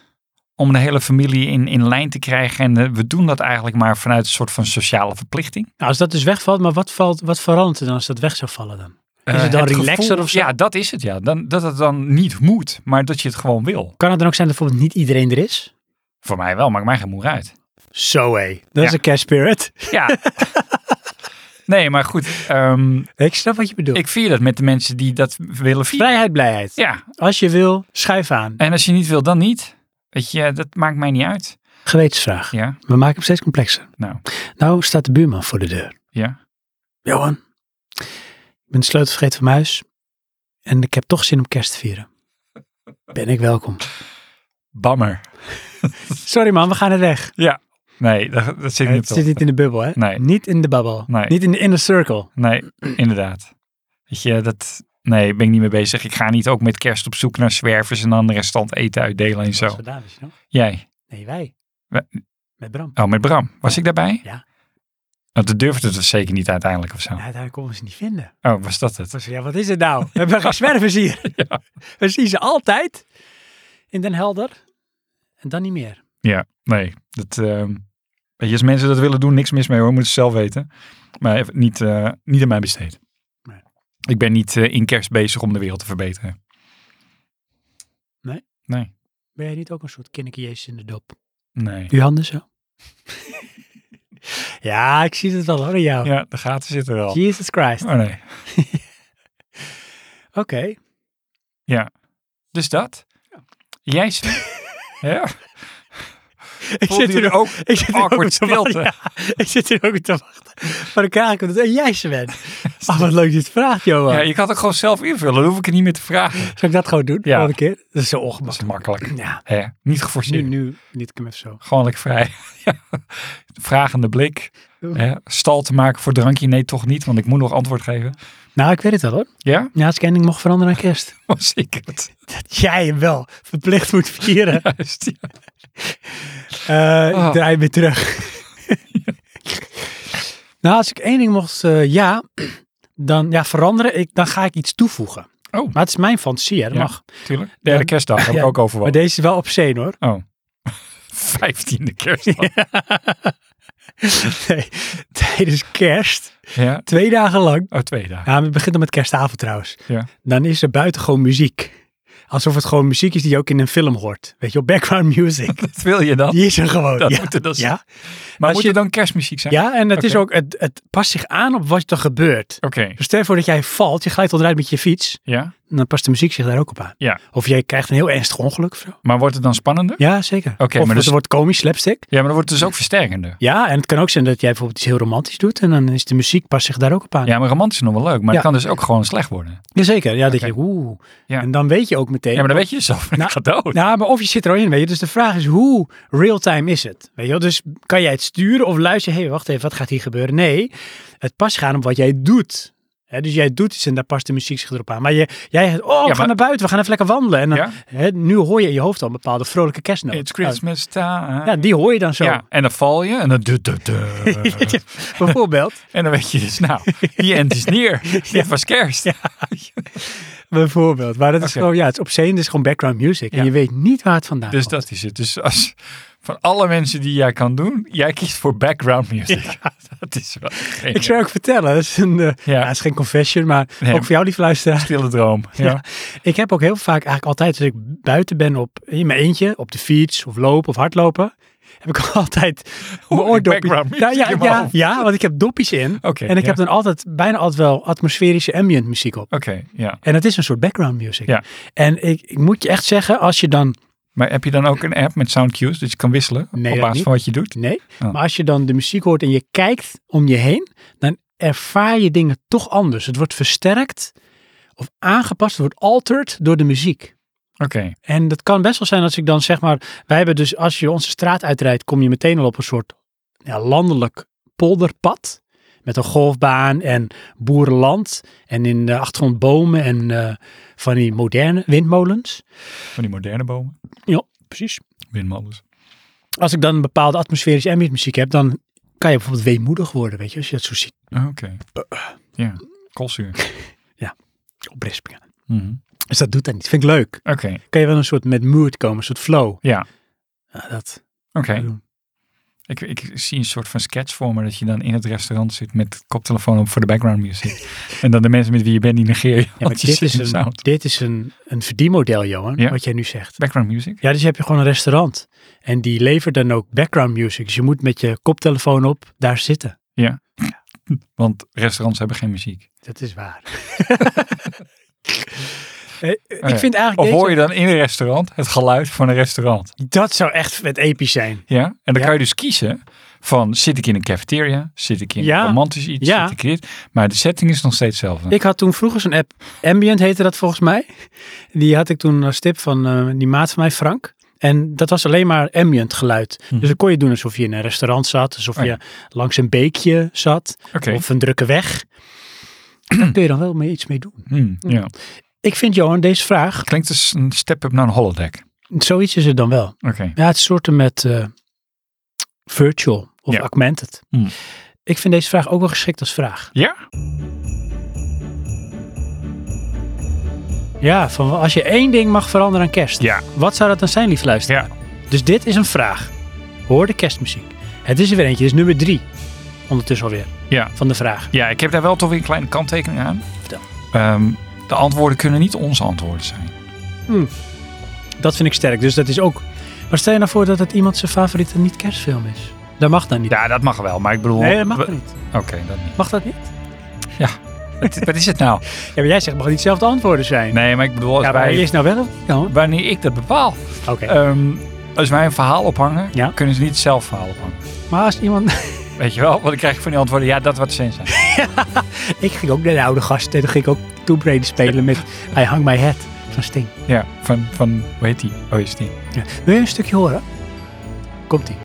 Speaker 2: om de hele familie in, in lijn te krijgen. En eh, we doen dat eigenlijk maar vanuit een soort van sociale verplichting.
Speaker 1: Nou, als dat dus wegvalt, maar wat, valt, wat verandert er dan als dat weg zou vallen dan? Is
Speaker 2: Eh,
Speaker 1: het dan
Speaker 2: gevoel-
Speaker 1: relaxer of zo?
Speaker 2: Ja, dat is het ja. Dan, dat het dan niet moet, maar dat je het gewoon wil.
Speaker 1: Kan het dan ook zijn dat bijvoorbeeld niet iedereen er is?
Speaker 2: Voor mij wel, maakt mij geen moer uit.
Speaker 1: Zo hé, dat is
Speaker 2: Ja.
Speaker 1: een kerstspirit.
Speaker 2: Ja. nee, maar goed. ehm,
Speaker 1: Ik snap wat je bedoelt.
Speaker 2: ik vier dat met de mensen die dat willen vieren.
Speaker 1: Vrijheid, blijheid.
Speaker 2: Ja,
Speaker 1: Als je wil, schuif aan.
Speaker 2: En als je niet wil, dan niet. Weet je, dat maakt mij niet uit.
Speaker 1: Gewetensvraag.
Speaker 2: Ja,
Speaker 1: We maken hem steeds complexer.
Speaker 2: nou,
Speaker 1: Nou staat de buurman voor de deur.
Speaker 2: ja.
Speaker 1: Johan, ik ben de sleutel vergeten van mijn huis. En ik heb toch zin om kerst te vieren. Ben ik welkom.
Speaker 2: Bammer.
Speaker 1: Sorry man, we gaan er weg.
Speaker 2: Ja. Nee, dat, dat zit
Speaker 1: Het
Speaker 2: niet
Speaker 1: zit
Speaker 2: op.
Speaker 1: niet in de bubbel hè?
Speaker 2: Nee.
Speaker 1: Niet in de babbel.
Speaker 2: Nee.
Speaker 1: Niet in de inner circle.
Speaker 2: Nee, inderdaad. Weet je, dat... Nee, ben ik niet mee bezig. Ik ga niet ook met kerst op zoek naar zwervers en dan de restant eten uitdelen en zo.
Speaker 1: gedaan, weet je nog?
Speaker 2: Jij.
Speaker 1: Nee, wij.
Speaker 2: We-
Speaker 1: Met Bram.
Speaker 2: Oh, met Bram. Was ik daarbij?
Speaker 1: Ja.
Speaker 2: Want dat durfde het dus zeker niet uiteindelijk of zo.
Speaker 1: Ja, daar konden we ze niet vinden.
Speaker 2: Oh, was dat het?
Speaker 1: Dus ja, wat is het nou? We hebben geen zwervers hier. We zien ze altijd in Den Helder. En dan niet meer.
Speaker 2: Ja, nee. Dat, ehm, weet je, als mensen dat willen doen, niks mis mee hoor. Moeten ze zelf weten. Maar even niet, eh, niet aan mij besteed.
Speaker 1: Nee.
Speaker 2: Ik ben niet eh, in kerst bezig om de wereld te verbeteren.
Speaker 1: Nee?
Speaker 2: Nee.
Speaker 1: Ben jij niet ook een soort kinderke Jezus in de dop?
Speaker 2: Nee.
Speaker 1: Uw handen zo. ja, ik zie het wel hoor in jou.
Speaker 2: Ja, de gaten zitten er al.
Speaker 1: Jesus Christ.
Speaker 2: Oh nee.
Speaker 1: Oké.
Speaker 2: Dus dat? Jij zegt... ja,
Speaker 1: Ik
Speaker 2: voelt
Speaker 1: zit
Speaker 2: hier
Speaker 1: hier ook.
Speaker 2: ook
Speaker 1: Ik zit hier ook
Speaker 2: awkward
Speaker 1: te wachten.
Speaker 2: stilte.
Speaker 1: Ja, ik zit hier ook te wachten. Maar dan krijg ik het. En jij ze bent. Oh, wat leuk dat je het vraagt, Johan.
Speaker 2: Ja, je kan het ook gewoon zelf invullen. Dan hoef ik het niet meer te vragen.
Speaker 1: Zal ik dat gewoon doen?
Speaker 2: Ja.
Speaker 1: Volgende keer? Dat is zo
Speaker 2: Dat is
Speaker 1: ongemakkelijk.
Speaker 2: makkelijk.
Speaker 1: Ja.
Speaker 2: Hè? Niet
Speaker 1: Nu,
Speaker 2: geforceerd.
Speaker 1: nu. Niet ik hem even zo.
Speaker 2: Gewoon lekker vrij. Ja. Vragende blik.
Speaker 1: Oeh.
Speaker 2: Hè? Stal te maken voor drankje. Nee, toch niet. Want ik moet nog antwoord geven.
Speaker 1: Nou, ik weet het wel hoor.
Speaker 2: Ja?
Speaker 1: Ja, als ik één ding mocht veranderen aan kerst.
Speaker 2: Was ik het?
Speaker 1: Dat jij hem wel verplicht moet vieren.
Speaker 2: Juist, ja.
Speaker 1: Eh,
Speaker 2: Oh.
Speaker 1: Ik draai hem weer terug. nou, als ik één ding mocht eh, ja, dan ja, veranderen, ik, dan ga ik iets toevoegen.
Speaker 2: Oh.
Speaker 1: Maar het is mijn fantasie, hè, dat
Speaker 2: Ja,
Speaker 1: mag.
Speaker 2: Tuurlijk. Derde
Speaker 1: Ja.
Speaker 2: kerstdag heb
Speaker 1: Ja,
Speaker 2: ik ook
Speaker 1: Maar
Speaker 2: overwogen.
Speaker 1: deze is wel op zee hoor.
Speaker 2: Oh. Vijftiende kerstdag. Ja.
Speaker 1: Nee, tijdens kerst,
Speaker 2: ja.
Speaker 1: twee dagen lang.
Speaker 2: Oh, twee dagen.
Speaker 1: Ja, maar het begint dan met kerstavond trouwens.
Speaker 2: Ja.
Speaker 1: Dan is er buiten gewoon muziek. Alsof het gewoon muziek is die je ook in een film hoort. Weet je wel, background music.
Speaker 2: Dat wil je dan?
Speaker 1: Die is er gewoon.
Speaker 2: Dat
Speaker 1: ja.
Speaker 2: moet er dan zijn.
Speaker 1: ja.
Speaker 2: Maar
Speaker 1: als
Speaker 2: moet
Speaker 1: je-
Speaker 2: er dan kerstmuziek zijn?
Speaker 1: ja, en het, is
Speaker 2: Oké.
Speaker 1: ook, het, het past zich aan op wat er gebeurt.
Speaker 2: Oké.
Speaker 1: Dus stel je voor dat jij valt, je glijdt onderuit met je fiets.
Speaker 2: Ja?
Speaker 1: En dan past de muziek zich daar ook op aan.
Speaker 2: Ja.
Speaker 1: Of jij krijgt een heel ernstig ongeluk of zo.
Speaker 2: Maar wordt het dan spannender?
Speaker 1: Ja, zeker.
Speaker 2: Oké,
Speaker 1: of
Speaker 2: maar
Speaker 1: het
Speaker 2: dus-
Speaker 1: wordt komisch, slapstick.
Speaker 2: Ja, maar dan wordt het dus ook versterkender.
Speaker 1: Ja, en het kan ook zijn dat jij bijvoorbeeld iets heel romantisch doet. En dan is de muziek past zich daar ook op aan.
Speaker 2: Ja, maar romantisch is nog wel leuk. Maar
Speaker 1: Ja.
Speaker 2: het kan dus ook gewoon slecht worden.
Speaker 1: Jazeker. Ja, dat
Speaker 2: Oké.
Speaker 1: je oeh.
Speaker 2: Ja.
Speaker 1: En dan weet je ook meteen.
Speaker 2: Ja, maar dan weet je dus zelf.
Speaker 1: Nou,
Speaker 2: ik ga dood.
Speaker 1: Nou, maar of je zit er al in, weet je. Dus de vraag is, hoe real-time is het? Weet je wel? Dus kan jij het sturen of luisteren? Hé, hey, wacht even, wat gaat hier gebeuren? Nee, het past gaan op wat jij doet. Hè, dus jij doet iets en daar past de muziek zich erop aan. Maar je, jij zegt, oh, we gaan
Speaker 2: maar-
Speaker 1: naar buiten, we gaan even lekker wandelen. En dan,
Speaker 2: Ja.
Speaker 1: hè, nu hoor je in je hoofd al een bepaalde vrolijke kerstnoot.
Speaker 2: It's Christmas time.
Speaker 1: Oh, ja, die hoor je dan zo.
Speaker 2: Ja, en dan val je en dan... du- du- du-
Speaker 1: bijvoorbeeld,
Speaker 2: en dan weet je dus, nou, die end is neer. Dit was kerst.
Speaker 1: bijvoorbeeld. Maar dat is
Speaker 2: Oké.
Speaker 1: gewoon, ja, het is obscene, het is gewoon background music.
Speaker 2: Ja.
Speaker 1: En je weet niet waar het vandaan
Speaker 2: Dus
Speaker 1: komt.
Speaker 2: dat is het. Dus als, Van alle mensen die jij kan doen, jij kiest voor background music. Dat is wel geen
Speaker 1: Ik zou ook vertellen, dat is, een, eh,
Speaker 2: Ja.
Speaker 1: nou, het is geen confession, maar
Speaker 2: Nee.
Speaker 1: ook voor jou, lieve luisteraar.
Speaker 2: stille droom. Ja.
Speaker 1: Ja. Ik heb ook heel vaak, eigenlijk altijd, als ik buiten ben op, in mijn eentje, op de fiets of lopen of hardlopen, heb ik altijd mijn
Speaker 2: Hoor je
Speaker 1: oordopjes.
Speaker 2: background music
Speaker 1: Nou, ja,
Speaker 2: in mijn
Speaker 1: ja,
Speaker 2: hoofd?
Speaker 1: ja, want ik heb dopjes in.
Speaker 2: Oké,
Speaker 1: en ik
Speaker 2: ja.
Speaker 1: heb dan altijd, bijna altijd wel atmosferische ambient muziek op.
Speaker 2: Oké, ja.
Speaker 1: En dat is een soort background music.
Speaker 2: Ja.
Speaker 1: En ik, ik moet je echt zeggen, als je dan,
Speaker 2: Maar heb je dan ook een app met sound cues, dat je kan wisselen
Speaker 1: Nee,
Speaker 2: op
Speaker 1: dat
Speaker 2: basis
Speaker 1: niet.
Speaker 2: van wat je doet?
Speaker 1: nee,
Speaker 2: Oh.
Speaker 1: maar als je dan de muziek hoort en je kijkt om je heen, dan ervaar je dingen toch anders. Het wordt versterkt of aangepast, het wordt altered door de muziek.
Speaker 2: Oké,
Speaker 1: En dat kan best wel zijn als ik dan zeg maar, wij hebben dus als je onze straat uitrijdt, kom je meteen al op een soort ja, landelijk polderpad. Met een golfbaan en boerenland. En in de achtergrond bomen en eh, van die moderne windmolens.
Speaker 2: van die moderne bomen,
Speaker 1: Ja, precies.
Speaker 2: windmolens.
Speaker 1: Als ik dan een bepaalde atmosferische ambient muziek heb, dan kan je bijvoorbeeld weemoedig worden, weet je. Als je dat zo ziet
Speaker 2: Oké. Ja, koolzuur.
Speaker 1: oprispingen.
Speaker 2: Mhm.
Speaker 1: Dus dat doet dat niet. Vind ik leuk.
Speaker 2: Oké,
Speaker 1: Kan je wel een soort met mood komen, een soort flow.
Speaker 2: ja.
Speaker 1: Ja, dat.
Speaker 2: Oké.
Speaker 1: doen.
Speaker 2: Ik, ik zie een soort van sketch voor me dat je dan in het restaurant zit met koptelefoon op voor de background music. en dan de mensen met wie je bent, die negeer je.
Speaker 1: Ja, maar
Speaker 2: want je
Speaker 1: dit
Speaker 2: zit
Speaker 1: is,
Speaker 2: in de
Speaker 1: een,
Speaker 2: sound.
Speaker 1: dit is een, een verdienmodel, Johan,
Speaker 2: Ja.
Speaker 1: wat jij nu zegt.
Speaker 2: Background music?
Speaker 1: Ja, dus heb je gewoon een restaurant. En die levert dan ook background music. Dus je moet met je koptelefoon op daar zitten.
Speaker 2: Ja. Want restaurants hebben geen muziek.
Speaker 1: Dat is waar. Eh,
Speaker 2: Oh ja.
Speaker 1: Ik vind eigenlijk
Speaker 2: Of
Speaker 1: deze-
Speaker 2: hoor je dan in een restaurant het geluid van een restaurant?
Speaker 1: dat zou echt vet episch zijn.
Speaker 2: Ja. En dan
Speaker 1: Ja.
Speaker 2: kan je dus kiezen van zit ik in een cafeteria? Zit ik in
Speaker 1: Ja.
Speaker 2: een romantisch iets?
Speaker 1: Ja.
Speaker 2: Zit ik dit? Maar de setting is nog steeds hetzelfde.
Speaker 1: Ik had toen vroeger zo'n app, Ambient heette dat volgens mij. Die had ik toen als tip van eh, die maat van mij, Frank. En dat was alleen maar ambient geluid. Dus dan kon je doen alsof je in een restaurant zat, alsof
Speaker 2: Hm. Oh ja.
Speaker 1: je langs een beekje zat
Speaker 2: Oké.
Speaker 1: of een drukke weg. Daar kun je dan wel mee iets mee doen.
Speaker 2: Hmm, ja.
Speaker 1: Ik vind, Johan, deze vraag,
Speaker 2: Klinkt als een step-up naar een holodeck.
Speaker 1: zoiets is het dan wel.
Speaker 2: Oké.
Speaker 1: Ja, het is soorten met eh, virtual of
Speaker 2: Ja.
Speaker 1: augmented.
Speaker 2: Hmm.
Speaker 1: Ik vind deze vraag ook wel geschikt als vraag.
Speaker 2: Ja?
Speaker 1: Ja, van als je één ding mag veranderen aan kerst.
Speaker 2: Ja.
Speaker 1: Wat zou dat dan zijn, lief luisteraar?
Speaker 2: Ja.
Speaker 1: Dus dit is een vraag. Hoor de kerstmuziek. Het is er weer eentje. Dit is nummer drie. Ondertussen alweer.
Speaker 2: Ja.
Speaker 1: Van de vraag.
Speaker 2: Ja, ik heb daar wel toch weer een kleine kanttekening aan.
Speaker 1: Vertel.
Speaker 2: Ehm, de antwoorden kunnen niet onze antwoorden zijn.
Speaker 1: Dat vind ik sterk. Dus dat is ook... Maar stel je nou voor dat het iemand zijn favoriete niet-kerstfilm is. Dat mag dan niet.
Speaker 2: Ja, dat mag wel, maar ik bedoel...
Speaker 1: Nee, dat mag
Speaker 2: we-
Speaker 1: niet.
Speaker 2: Oké, dat niet.
Speaker 1: Mag dat niet?
Speaker 2: Wat, wat is het nou?
Speaker 1: Ja, maar jij zegt, mag het niet zelf de antwoorden zijn?
Speaker 2: Nee, maar ik bedoel, als
Speaker 1: Ja, maar
Speaker 2: wij,
Speaker 1: wie is nou wel of niet, Johan?
Speaker 2: wanneer ik dat bepaal.
Speaker 1: Oké.
Speaker 2: Ehm, als wij een verhaal ophangen,
Speaker 1: Ja.
Speaker 2: kunnen ze niet zelf verhaal ophangen.
Speaker 1: maar als iemand...
Speaker 2: Weet je wel? Want dan krijg ik van die antwoorden, ja, dat wat zin zijn.
Speaker 1: Ik ging ook naar de oude gasten en toen ging ik ook Tomb Raider spelen met I Hang My Head van Sting.
Speaker 2: ja, van, van, hoe heet die? Oh, is die?
Speaker 1: Ja. Wil je een stukje horen? Komt ie.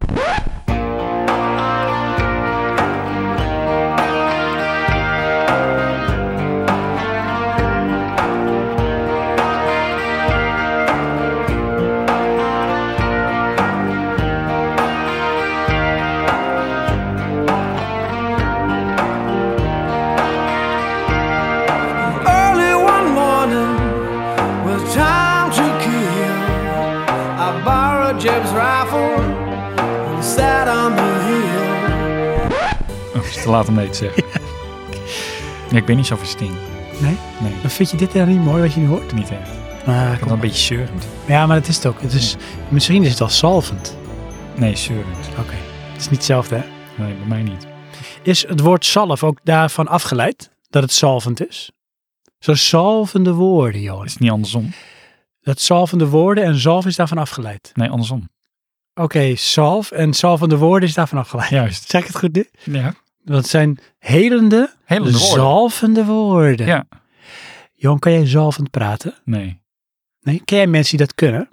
Speaker 5: Early one morning, with time to kill, I borrowed Jeb's rifle and sat on the hill.
Speaker 2: Oh, is te laat om nee te zeggen. Ja, ik ben niet zo van Sting.
Speaker 1: Nee?
Speaker 2: Nee,
Speaker 1: Dan vind je dit dan niet mooi wat je nu hoort?
Speaker 2: niet echt. Ik
Speaker 1: Ah,
Speaker 2: vond het een beetje zeurend.
Speaker 1: ja, maar dat is het ook. Het is, misschien is het wel salvend.
Speaker 2: Nee, zeurend.
Speaker 1: Oké. Het is niet hetzelfde, hè?
Speaker 2: Nee, bij mij niet.
Speaker 1: Is het woord zalf ook daarvan afgeleid dat het salvend is? Zo salvende woorden, Johan.
Speaker 2: Is het niet andersom?
Speaker 1: Dat salvende woorden en zalf is daarvan afgeleid.
Speaker 2: Nee, andersom.
Speaker 1: Oké, salf en salvende woorden is daarvan afgeleid.
Speaker 2: Juist.
Speaker 1: Zeg ik het goed nu?
Speaker 2: Ja.
Speaker 1: Dat zijn helende,
Speaker 2: Helende woorden.
Speaker 1: zalvende woorden.
Speaker 2: Ja.
Speaker 1: Jon, kan jij zalvend praten?
Speaker 2: Nee.
Speaker 1: Nee, ken jij mensen die dat kunnen?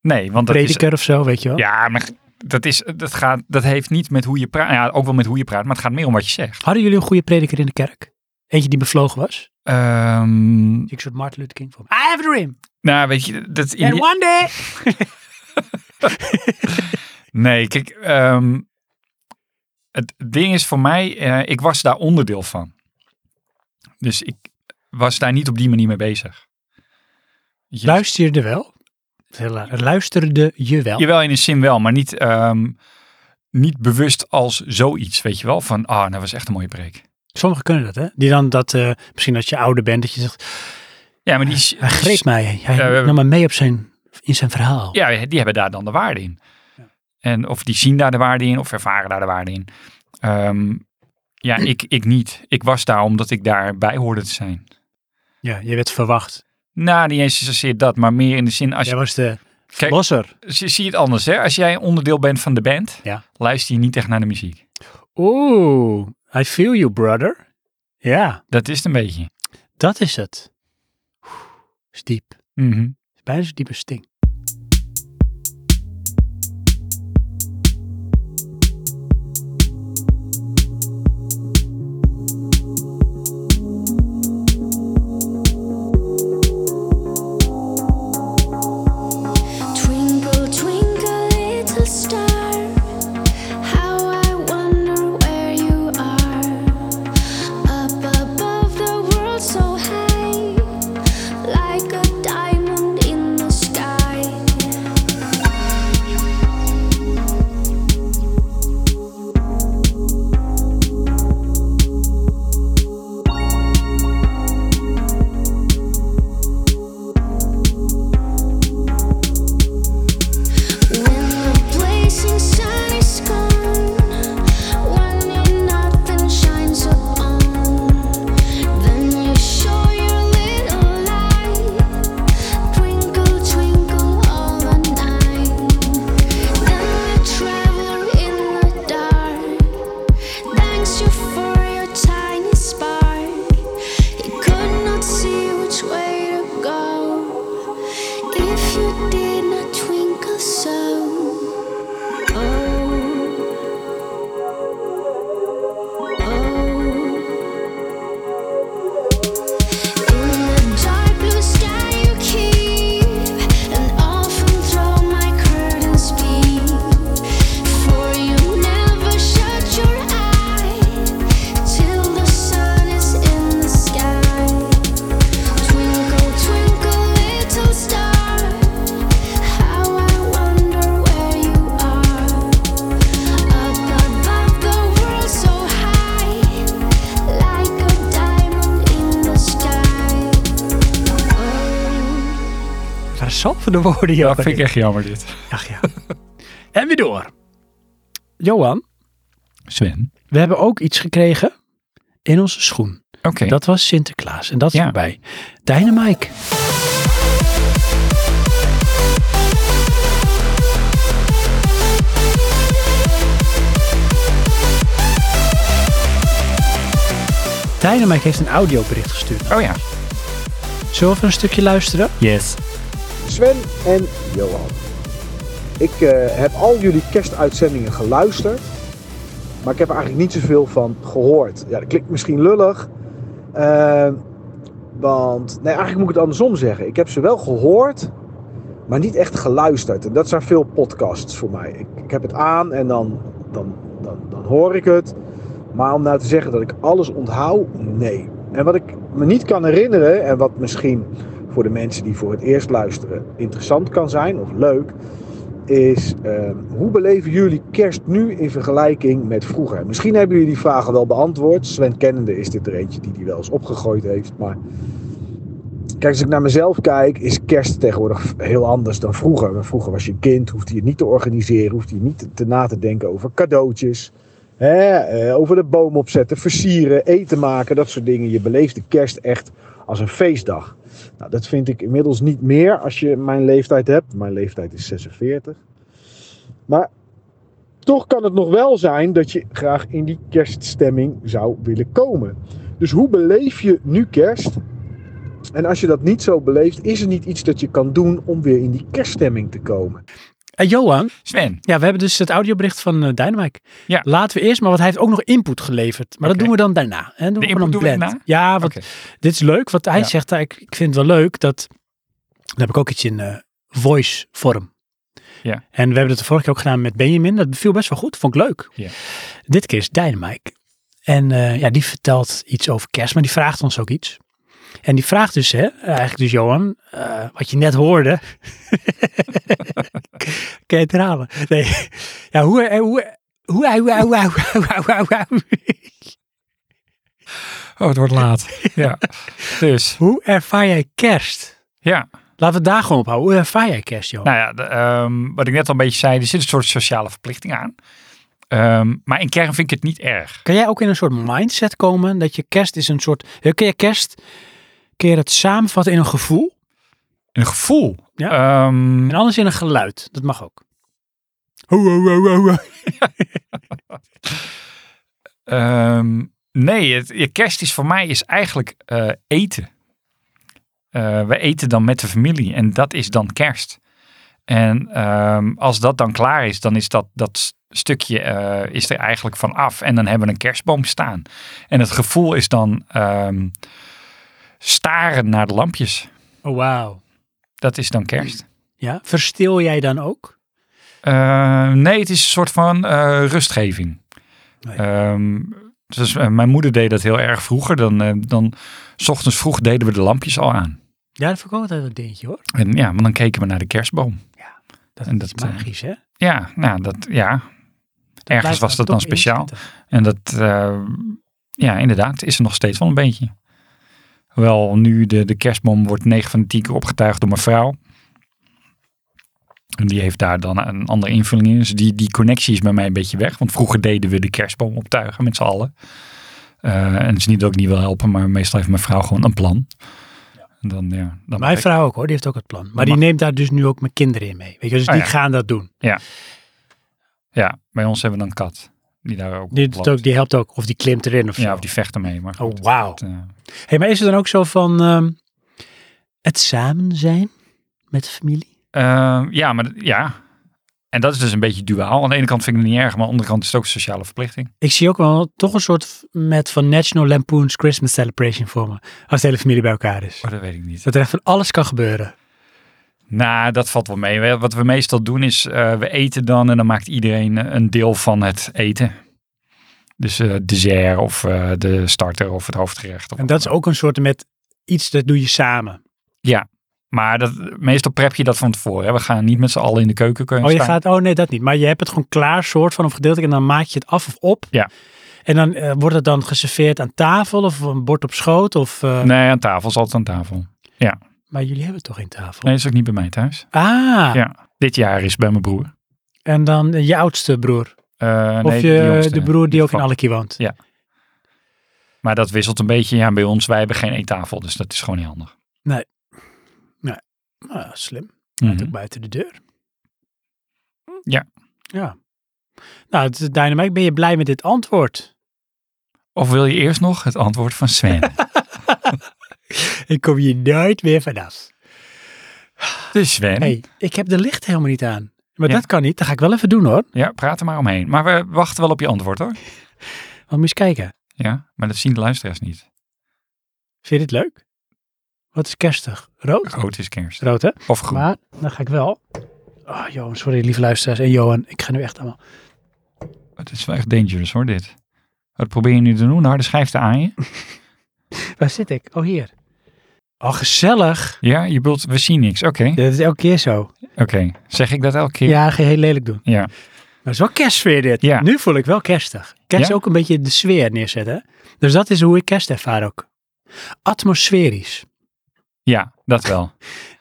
Speaker 2: Nee, want dat is...
Speaker 1: Prediker of zo, weet je wel?
Speaker 2: Ja, maar dat, is, dat, gaat, dat heeft niet met hoe je praat... Ja, ook wel met hoe je praat, maar het gaat meer om wat je zegt.
Speaker 1: Hadden jullie een goede prediker in de kerk? Eentje die bevlogen was?
Speaker 2: Ehm,
Speaker 1: Ik soort Martin Luther King van. I have a dream.
Speaker 2: nou, weet je... Dat in
Speaker 1: And
Speaker 2: die-
Speaker 1: one day.
Speaker 2: Nee, kijk... ehm, het ding is voor mij... eh, ik was daar onderdeel van. Dus ik was daar niet op die manier mee bezig. Weet je,
Speaker 1: Luister je er wel? Het luisterde je wel.
Speaker 2: Jawel, in een zin wel, maar niet, ehm, niet bewust als zoiets, weet je wel. Van, ah, nou, dat was echt een mooie break.
Speaker 1: Sommigen kunnen dat, hè? Die dan dat, eh, misschien als je ouder bent, dat je zegt,
Speaker 2: Ja, maar die, is-
Speaker 1: hij greep mij. Hij
Speaker 2: Ja, we-
Speaker 1: nam me mee op zijn, in zijn verhaal.
Speaker 2: ja, die hebben daar dan de waarde in. En of die zien daar de waarde in, of ervaren daar de waarde in. Ehm, ja, ik, ik niet. Ik was daar omdat ik daarbij hoorde te zijn.
Speaker 1: Ja, je werd verwacht.
Speaker 2: Nou, niet eens zozeer dat, maar meer in de zin, als
Speaker 1: Jij was de
Speaker 2: Kijk,
Speaker 1: losser.
Speaker 2: zie zie je het anders, hè? Als jij onderdeel bent van de band,
Speaker 1: Ja.
Speaker 2: luister je niet echt naar de muziek.
Speaker 1: Oeh, I feel you, brother. Ja,
Speaker 2: Dat is het een beetje.
Speaker 1: dat is het. Oeh, is diep.
Speaker 2: Mhm.
Speaker 1: Is Bijna zo diep als Sting.
Speaker 6: Twinkle, twinkle, little star, how I wonder where you are. Up above the world so high, like a diamond in the sky. When the blazing sun is gone, when your nothing shines upon, then you show your little light, twinkle, twinkle all the night. Then the traveler in the dark thanks you for your tiny spark. He could not see which way to go if you did not twinkle so. Oh, oh. So high, like a diamond in the sky. Oh,
Speaker 1: Het waren zoveel woorden,
Speaker 2: Ja,
Speaker 1: joh.
Speaker 2: vind ik echt jammer dit.
Speaker 1: Ach ja. en weer door. Johan,
Speaker 2: Sven.
Speaker 1: we hebben ook iets gekregen in onze schoen.
Speaker 2: Oké.
Speaker 1: Dat was Sinterklaas en dat is
Speaker 2: Ja.
Speaker 1: voorbij. Dynamite. Dynamite heeft een audiobericht gestuurd.
Speaker 2: Oh ja.
Speaker 1: Zullen we even een stukje luisteren?
Speaker 2: Yes.
Speaker 7: Sven en Johan. Ik eh, heb al jullie kerstuitzendingen geluisterd, maar ik heb er eigenlijk niet zoveel van gehoord. Ja, dat klinkt misschien lullig, eh, want nee, eigenlijk moet ik het andersom zeggen. Ik heb ze wel gehoord, maar niet echt geluisterd. En dat zijn veel podcasts voor mij. Ik, ik heb het aan en dan, dan, dan, dan hoor ik het. Maar om nou te zeggen dat ik alles onthoud, nee. En wat ik me niet kan herinneren, en wat misschien voor de mensen die voor het eerst luisteren interessant kan zijn of leuk, is eh, hoe beleven jullie kerst nu in vergelijking met vroeger? Misschien hebben jullie die vragen wel beantwoord. Sven Kennende is dit er eentje die die wel eens opgegooid heeft. Maar kijk, als ik naar mezelf kijk, is kerst tegenwoordig heel anders dan vroeger. Want vroeger was je kind, hoefde je het niet te organiseren, hoefde je niet te, te na te denken over cadeautjes. Hè, eh, over de boom opzetten, versieren, eten maken, dat soort dingen. Je beleefde kerst echt als een feestdag. Nou, dat vind ik inmiddels niet meer als je mijn leeftijd hebt. Mijn leeftijd is 46. Maar toch kan het nog wel zijn dat je graag in die kerststemming zou willen komen. Dus hoe beleef je nu kerst? En als je dat niet zo beleeft, is er niet iets dat je kan doen om weer in die kerststemming te komen?
Speaker 1: Eh, Johan,
Speaker 2: Sven.
Speaker 1: ja, we hebben dus het audiobericht van eh, Dynamite.
Speaker 2: Ja.
Speaker 1: Laten we eerst, maar want hij heeft ook nog input geleverd. Maar
Speaker 2: Oké.
Speaker 1: dat doen we dan daarna. Hè? Doen
Speaker 2: De
Speaker 1: we gewoon
Speaker 2: input
Speaker 1: een
Speaker 2: doen we
Speaker 1: blend. Ja, want
Speaker 2: Oké.
Speaker 1: Dit is leuk, want hij
Speaker 2: Ja.
Speaker 1: zegt, eh, ik, ik vind het wel leuk dat, dan heb ik ook iets in eh, voice vorm.
Speaker 2: Ja.
Speaker 1: En we hebben het de vorige keer ook gedaan met Benjamin. Dat beviel best wel goed, vond ik leuk.
Speaker 2: Ja.
Speaker 1: Dit keer is Dynamite. En eh, ja, die vertelt iets over kerst, maar die vraagt ons ook iets. En die vraagt dus, hè, eigenlijk dus Johan, eh, wat je net hoorde. Kan je het herhalen? Nee. Ja, hoe... eh, hoe hoe, hoe, hoe, hoe, hoe, hoe, hoe, hoe,
Speaker 2: Oh, het wordt laat. ja. Dus,
Speaker 1: hoe ervaar jij kerst?
Speaker 2: ja.
Speaker 1: Laten we het daar gewoon op houden. Hoe ervaar jij kerst, Johan?
Speaker 2: Nou ja, de, ehm, wat ik net al een beetje zei, er zit een soort sociale verplichting aan. Ehm, maar in kern vind ik het niet erg.
Speaker 1: Kan jij ook in een soort mindset komen dat je kerst is een soort... eh, Kun je kerst, kun je dat samenvatten in een gevoel?
Speaker 2: Een gevoel.
Speaker 1: Ja.
Speaker 2: Ehm,
Speaker 1: En anders in een geluid. Dat mag ook. Hoe, hoe, hoe, hoe, hoe.
Speaker 2: Ehm, nee, het, je kerst is voor mij is eigenlijk eh, eten. Eh, we eten dan met de familie en dat is dan kerst. En ehm, als dat dan klaar is, dan is dat, dat s- stukje eh, is er eigenlijk van af. En dan hebben we een kerstboom staan. En het gevoel is dan ehm, staren naar de lampjes.
Speaker 1: Oh, wauw.
Speaker 2: Dat is dan kerst.
Speaker 1: Ja, verstil jij dan ook?
Speaker 2: Eh, nee, het is een soort van eh, rustgeving.
Speaker 1: Nee.
Speaker 2: Ehm, dus, eh, mijn moeder deed dat heel erg vroeger. Dan, eh, dan s ochtends vroeg deden we de lampjes al aan.
Speaker 1: Ja, dat vind ik ook altijd een dingetje hoor.
Speaker 2: En ja, want dan keken we naar de kerstboom.
Speaker 1: Dat is
Speaker 2: En
Speaker 1: iets
Speaker 2: dat, eh,
Speaker 1: magisch, hè?
Speaker 2: Ja, nou, dat, ja. ergens
Speaker 1: Blijft
Speaker 2: was dat dan
Speaker 1: toch
Speaker 2: speciaal.
Speaker 1: inzitten.
Speaker 2: En dat, eh, ja, inderdaad, is er nog steeds wel een beetje. Hoewel nu de, de kerstboom wordt 9 van de 10 keer opgetuigd door mijn vrouw. En die heeft daar dan een andere invulling in. Dus die, die connectie is bij mij een beetje weg. Want vroeger deden we de kerstboom optuigen met z'n allen. Eh, en het is niet dat ik niet wil helpen, maar meestal heeft mijn vrouw gewoon een plan. En dan, ja, dan
Speaker 1: Mijn
Speaker 2: mag ik-
Speaker 1: vrouw ook hoor, die heeft ook het plan. Maar die
Speaker 2: mag-
Speaker 1: neemt daar dus nu ook mijn kinderen in mee. Weet je, dus
Speaker 2: Ah,
Speaker 1: die
Speaker 2: ja.
Speaker 1: gaan dat doen.
Speaker 2: Ja, bij ons hebben we dan een kat. Die daar ook
Speaker 1: Die,
Speaker 2: op
Speaker 1: doet
Speaker 2: loopt.
Speaker 1: ook, die helpt ook. Of die klimt erin of zo.
Speaker 2: Ja, of die vecht ermee. Maar
Speaker 1: Oh,
Speaker 2: goed,
Speaker 1: wauw.
Speaker 2: dat, eh,
Speaker 1: Hey, maar is het dan ook zo van ehm, het samen zijn met de familie?
Speaker 2: Eh, ja, maar d- ja. En dat is dus een beetje duaal. Aan de ene kant vind ik het niet erg, maar aan de andere kant is het ook een sociale verplichting.
Speaker 1: Ik zie ook wel toch een soort f- met van National Lampoon's Christmas Celebration voor me. Als de hele familie bij elkaar is.
Speaker 2: Oh, dat weet ik niet.
Speaker 1: Dat er echt van alles kan gebeuren.
Speaker 2: Nou, dat valt wel mee. We- Wat we meestal doen is, eh, we eten dan en dan maakt iedereen eh, een deel van het eten. Dus eh dessert of eh, de starter of het hoofdgerecht. Of
Speaker 1: En dat is ook een soort met iets dat doe je samen. Oh,
Speaker 2: Maar dat, meestal prep je dat van tevoren. Hè. We gaan niet met z'n allen in de keuken kunnen
Speaker 1: Oh, je
Speaker 2: staan.
Speaker 1: gaat, oh nee, dat niet. Maar je hebt het gewoon klaar, soort van of gedeeltelijk. En dan maak je het af of op.
Speaker 2: Ja.
Speaker 1: En dan eh, wordt het dan geserveerd aan tafel of een bord op schoot. Of, eh,
Speaker 2: Nee, aan tafel. Is altijd aan tafel.
Speaker 1: Maar jullie hebben toch geen tafel?
Speaker 2: Nee, is ook niet bij mij thuis.
Speaker 1: Ah,
Speaker 2: Ja. Dit jaar is bij mijn broer.
Speaker 1: en dan eh, je oudste broer.
Speaker 2: Eh,
Speaker 1: Of
Speaker 2: nee,
Speaker 1: je,
Speaker 2: de jongste.
Speaker 1: de broer die ook in
Speaker 2: geval.
Speaker 1: Allekie woont.
Speaker 2: Maar dat wisselt een beetje. Ja, bij ons, wij hebben geen eettafel, dus dat is gewoon niet handig.
Speaker 1: Ah, slim.
Speaker 2: Mhm.
Speaker 1: Ook buiten de deur.
Speaker 2: Ja.
Speaker 1: Ja. Nou, het is Dynamite. Ben je blij met dit antwoord?
Speaker 2: Of wil je eerst nog het antwoord van Sven?
Speaker 1: Ik kom hier nooit meer vanaf.
Speaker 2: dus Sven,
Speaker 1: hey, ik heb de licht helemaal niet aan. Maar
Speaker 2: Ja.
Speaker 1: dat kan niet. Dat ga ik wel even doen hoor.
Speaker 2: ja, praat er maar omheen. Maar we wachten wel op je antwoord hoor.
Speaker 1: Want moet je eens kijken.
Speaker 2: Ja, maar dat zien de luisteraars niet.
Speaker 1: Vind je dit leuk? Wat is kerstig? Rood?
Speaker 2: Rood is kerst.
Speaker 1: Rood hè?
Speaker 2: Of groen.
Speaker 1: Maar dan ga ik wel. Oh Johan, sorry lieve luisteraars. En Johan, ik ga nu echt allemaal.
Speaker 2: Het is wel echt dangerous hoor, dit. Wat probeer je nu te doen? Een harde schijf te aan je?
Speaker 1: Waar zit ik? Oh hier. Oh gezellig.
Speaker 2: Ja, je bedoelt, we zien niks. Oké,
Speaker 1: Dat is elke keer zo.
Speaker 2: oké. Zeg ik dat elke keer?
Speaker 1: Ja, dat ga je heel lelijk doen.
Speaker 2: Ja.
Speaker 1: Maar het is wel kerstsfeer dit.
Speaker 2: Ja.
Speaker 1: Nu voel ik wel kerstig. Kerst
Speaker 2: Ja?
Speaker 1: ook een beetje de sfeer neerzetten. hè? Dus dat is hoe ik kerst ervaar ook. Atmosferisch.
Speaker 2: Ja, dat wel.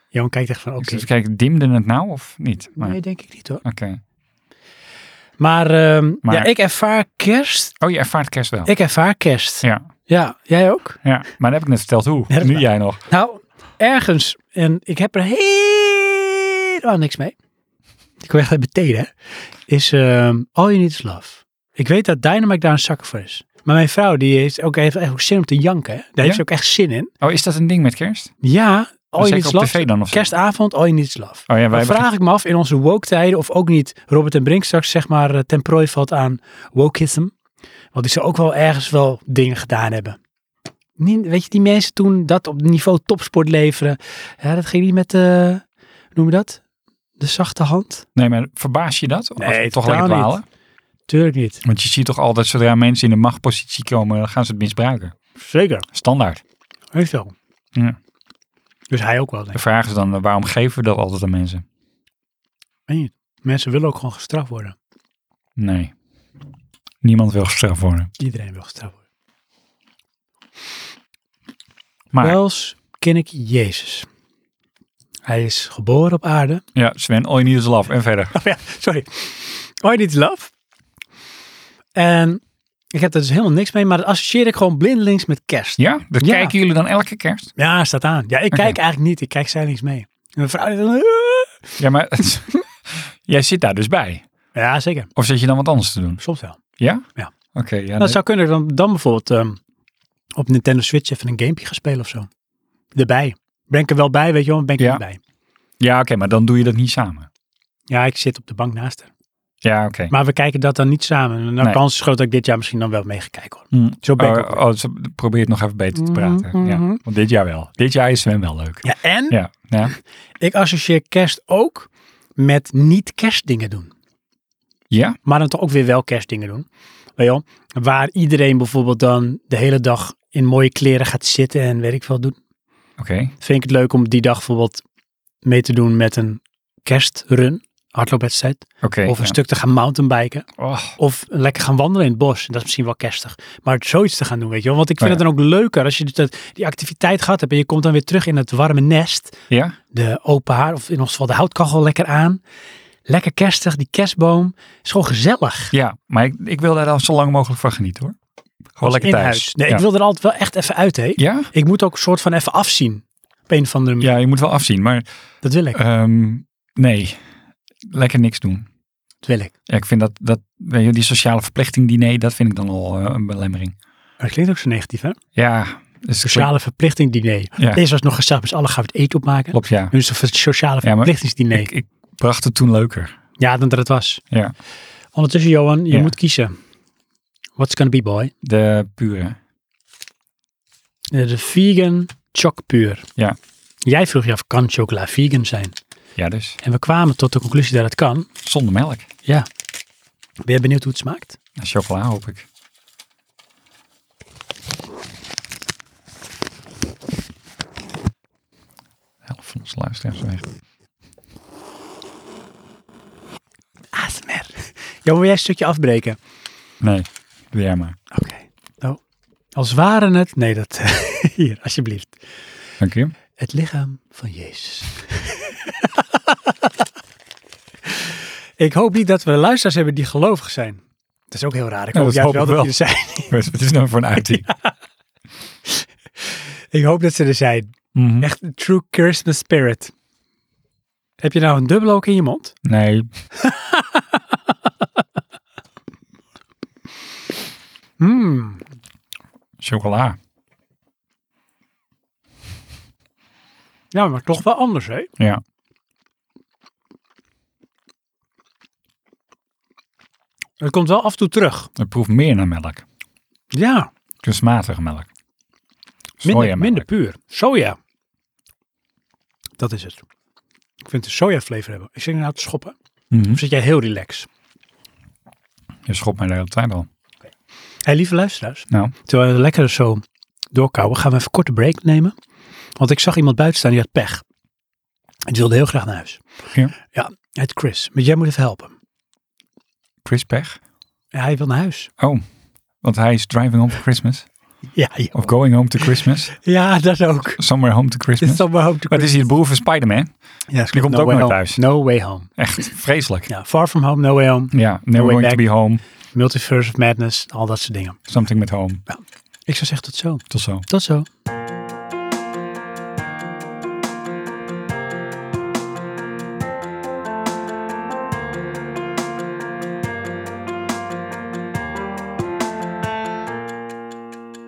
Speaker 1: Johan kijkt echt van oké.
Speaker 2: Dus kijk, dimde het nou of niet? Maar,
Speaker 1: Nee, denk ik niet hoor.
Speaker 2: Oké.
Speaker 1: Maar, ehm,
Speaker 2: Maar-
Speaker 1: Ja, ik ervaar kerst.
Speaker 2: Oh, je ervaart kerst wel.
Speaker 1: Ik ervaar kerst. Ja,
Speaker 2: Ja,
Speaker 1: jij ook?
Speaker 2: ja, maar dan heb ik net verteld hoe.
Speaker 1: Ja, dat is
Speaker 2: nu
Speaker 1: waar.
Speaker 2: jij nog.
Speaker 1: Nou, ergens. En ik heb er helemaal niks mee. Ik wil echt uit mijn tenen, hè. Is ehm All You Need Is Love. Ik weet dat Dynamite daar een zakker voor is. Maar mijn vrouw die heeft ook, heeft echt ook zin om te janken. hè. Daar heeft ze ook echt zin in.
Speaker 2: Oh, is dat een ding met kerst?
Speaker 1: Ja, al je
Speaker 2: Zeker
Speaker 1: niets
Speaker 2: op
Speaker 1: laf.
Speaker 2: tv dan of zo?
Speaker 1: Kerstavond, al je niets laf.
Speaker 2: Oh ja, wij
Speaker 1: Dan
Speaker 2: hebben
Speaker 1: vraag ik me af in onze woke tijden of ook niet Robert en Brink straks zeg maar eh, ten prooi valt aan wokeism. Want die zou ook wel ergens wel dingen gedaan hebben. Niet, weet je, die mensen toen dat op niveau topsport leveren. Ja, dat ging niet met, eh, hoe noem je dat? De zachte hand?
Speaker 2: Nee, maar verbaas je dat? Of
Speaker 1: Nee,
Speaker 2: was het toch
Speaker 1: totaal
Speaker 2: lekker dwalen?
Speaker 1: Tuurlijk niet.
Speaker 2: Want je ziet toch altijd, zodra mensen in de machtpositie komen, dan gaan ze het misbruiken.
Speaker 1: Zeker.
Speaker 2: Standaard.
Speaker 1: Heeft wel. Dus hij ook wel, denk
Speaker 2: De
Speaker 1: ik.
Speaker 2: vraag is dan, eh, waarom geven we dat altijd aan mensen?
Speaker 1: Meen je het? Mensen willen ook gewoon gestraft worden.
Speaker 2: Nee. Niemand wil gestraft worden.
Speaker 1: Iedereen wil gestraft worden.
Speaker 2: Maar,
Speaker 1: Wels ken ik Jezus. Hij is geboren op aarde.
Speaker 2: ja, Sven, all you need is love. En verder.
Speaker 1: Oh ja, sorry. Oh, dit is love. En ik heb daar dus helemaal niks mee, maar dat associeer ik gewoon blindelings met kerst.
Speaker 2: Ja? Dat
Speaker 1: Ja.
Speaker 2: kijken jullie dan elke kerst?
Speaker 1: Ja, staat aan. Ja, ik
Speaker 2: Oké.
Speaker 1: kijk eigenlijk niet. Ik kijk zijlings mee. En mijn vrouw die dan... "Ah."
Speaker 2: Ja, maar jij zit daar dus bij.
Speaker 1: Ja, zeker.
Speaker 2: Of zit je dan wat anders te doen?
Speaker 1: Soms wel.
Speaker 2: Ja?
Speaker 1: Ja.
Speaker 2: Oké, ja.
Speaker 1: dat
Speaker 2: nee.
Speaker 1: zou kunnen. Dan, dan bijvoorbeeld ehm, op Nintendo Switch even een gamepje gaan spelen of zo. Erbij. Ben ik er wel bij, weet je wel, maar ben ik er
Speaker 2: Ja.
Speaker 1: niet bij.
Speaker 2: Ja, oké, maar dan doe je dat niet samen.
Speaker 1: Ja, ik zit op de bank naast haar.
Speaker 2: Ja, oké.
Speaker 1: Maar we kijken dat dan niet samen. En de
Speaker 2: Nee.
Speaker 1: kans is groot dat ik dit jaar misschien dan wel mee ga kijken. Hoor.
Speaker 2: Hm.
Speaker 1: Zo ben ik ook
Speaker 2: Oh, oh, ze probeert nog even
Speaker 1: Mhm,
Speaker 2: beter te praten. ja. Want dit jaar wel. Dit jaar is Sven wel leuk.
Speaker 1: Ja, en
Speaker 2: Ja. Ja.
Speaker 1: ik associeer kerst ook met niet kerstdingen doen.
Speaker 2: ja?
Speaker 1: Maar dan toch ook weer wel kerstdingen doen. Weet je wel? Waar iedereen bijvoorbeeld dan de hele dag in mooie kleren gaat zitten en weet ik veel doen.
Speaker 2: Oké.
Speaker 1: Vind ik het leuk om die dag bijvoorbeeld mee te doen met een kerstrun, hardloopwedstrijd.
Speaker 2: Oké.
Speaker 1: of een
Speaker 2: ja.
Speaker 1: stuk te gaan mountainbiken.
Speaker 2: Oh,
Speaker 1: Of lekker gaan wandelen in het bos. Dat is misschien wel kerstig. Maar zoiets te gaan doen, weet je wel. Want ik vind
Speaker 2: Oh ja.
Speaker 1: het dan ook leuker als je dus dat, die activiteit gehad hebt. En je komt dan weer terug in het warme nest.
Speaker 2: ja?
Speaker 1: De open haar, of in ons geval de houtkachel lekker aan. Lekker kerstig, die kerstboom. Is gewoon gezellig.
Speaker 2: Ja, maar ik, ik wil daar dan zo lang mogelijk van genieten hoor. Gewoon lekker
Speaker 1: in
Speaker 2: thuis.
Speaker 1: huis. Nee,
Speaker 2: ja.
Speaker 1: ik wil er altijd wel echt even uit, hè.
Speaker 2: Ja?
Speaker 1: Ik moet ook een soort van even afzien. Op een van de...
Speaker 2: Ja, je moet wel afzien, maar
Speaker 1: Dat wil ik.
Speaker 2: ehm, nee. Lekker niks doen.
Speaker 1: Dat wil ik.
Speaker 2: Ja, ik vind dat, dat weet je, die sociale verplichting diner, dat vind ik dan al eh, een belemmering.
Speaker 1: Maar dat klinkt ook zo negatief, hè?
Speaker 2: Ja, dus
Speaker 1: Sociale verplichting diner.
Speaker 2: Ja.
Speaker 1: Deze was nog gezellig, dus alle gaan het eten opmaken.
Speaker 2: Klopt, ja.
Speaker 1: Nu is het een sociale
Speaker 2: Ja, maar
Speaker 1: verplichtingsdiner.
Speaker 2: Ik, ik bracht het toen leuker.
Speaker 1: Ja, dan dat het was.
Speaker 2: Ja.
Speaker 1: Ondertussen, Johan, je
Speaker 2: Ja.
Speaker 1: moet kiezen. What's gonna be, boy?
Speaker 2: De pure.
Speaker 1: Eh, De vegan chocpuur.
Speaker 2: Ja.
Speaker 1: Jij vroeg je af, kan chocola vegan zijn?
Speaker 2: Ja, dus
Speaker 1: En we kwamen tot de conclusie dat het kan.
Speaker 2: zonder melk.
Speaker 1: Ja. Ben je benieuwd hoe het smaakt?
Speaker 2: Nou, Chocola hoop ik. De helft van onze luisteraars weg.
Speaker 1: ASMR. Johan, wil jij een stukje afbreken?
Speaker 2: Nee, doe jij maar.
Speaker 1: Oké. Nou, als waren het... Nee, dat... Hier, alsjeblieft.
Speaker 2: Dank je.
Speaker 1: Het lichaam van Jezus. ik hoop niet dat we luisteraars hebben die gelovig zijn. Dat is ook heel raar. Ik
Speaker 2: Ja,
Speaker 1: hoop
Speaker 2: dat
Speaker 1: juist wel
Speaker 2: hoop ik
Speaker 1: dat die
Speaker 2: wel.
Speaker 1: er zijn.
Speaker 2: Wat is nou voor een uiting?
Speaker 1: Ik hoop dat ze er zijn.
Speaker 2: Mhm.
Speaker 1: Echt een true Christmas spirit. Heb je nou een dubbel ook in je mond?
Speaker 2: Nee. Hmm.
Speaker 1: Mm.
Speaker 2: Chocola.
Speaker 1: Ja, maar toch wel anders, hè?
Speaker 2: Ja.
Speaker 1: Het komt wel af en toe terug.
Speaker 2: Het proeft meer naar melk.
Speaker 1: Ja,
Speaker 2: Kunstmatige melk.
Speaker 1: minder,
Speaker 2: Sojamelk.
Speaker 1: minder puur. Soja. Dat is het. Ik vind de soja flavor hebben. Ik zit nou te schoppen.
Speaker 2: Mhm.
Speaker 1: Of zit jij heel relaxed?
Speaker 2: Je schopt mij de hele tijd al.
Speaker 1: Hé, hey, lieve luisteraars.
Speaker 2: Nou,
Speaker 1: Terwijl we lekker zo doorkouwen, gaan we even een korte break nemen. Want ik zag iemand buiten staan die had pech. En die wilde heel graag naar huis.
Speaker 2: Ja.
Speaker 1: Ja, het Chris. Maar jij moet even helpen.
Speaker 2: Chris Pech.
Speaker 1: Ja, hij wil naar huis.
Speaker 2: Oh, want hij is driving home for Christmas.
Speaker 1: Ja, ja.
Speaker 2: Of going home to Christmas.
Speaker 1: ja dat ook.
Speaker 2: Somewhere home to
Speaker 1: Dit
Speaker 2: Christmas.
Speaker 1: is allemaal home to
Speaker 2: Maar het
Speaker 1: Christmas.
Speaker 2: is hier de broer van Spider-Man.
Speaker 1: Ja, is
Speaker 2: die
Speaker 1: goed.
Speaker 2: komt ook
Speaker 1: way
Speaker 2: nooit
Speaker 1: home.
Speaker 2: thuis.
Speaker 1: No way home.
Speaker 2: Echt vreselijk.
Speaker 1: Ja, far from home, no way home.
Speaker 2: Ja, never
Speaker 1: way
Speaker 2: going to
Speaker 1: back.
Speaker 2: be home.
Speaker 1: Multiverse of madness, al dat soort dingen.
Speaker 2: Something met home.
Speaker 1: Ik zou zeggen tot zo.
Speaker 2: Tot zo.
Speaker 1: Tot zo.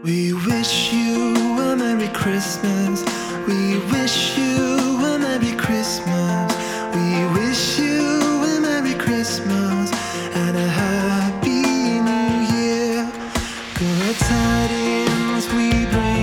Speaker 4: We wish you a Merry Christmas. We wish you a Merry Christmas. We wish you a Merry Christmas and a Happy New Year. Good tidings we bring.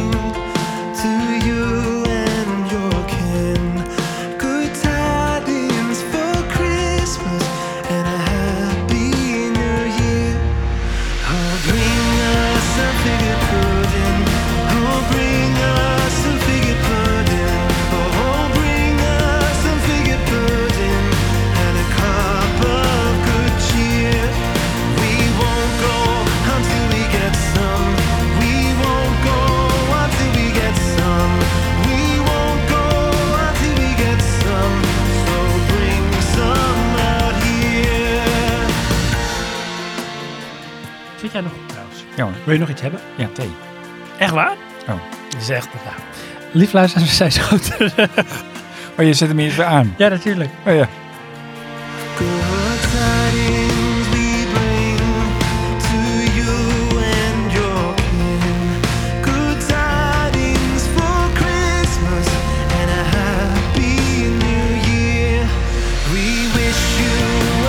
Speaker 2: Ja hoor.
Speaker 1: Wil je nog iets hebben?
Speaker 2: Ja, thee.
Speaker 1: Echt waar?
Speaker 2: Oh.
Speaker 1: Dat is echt... Nou. Lief luisteraars, we zijn zo terug.
Speaker 2: Maar Oh, je zet hem eerst weer aan.
Speaker 1: Ja, natuurlijk.
Speaker 2: Oh ja.
Speaker 4: Good tidings we bring to you and your kin. Good tidings for Christmas and a happy new year. We wish you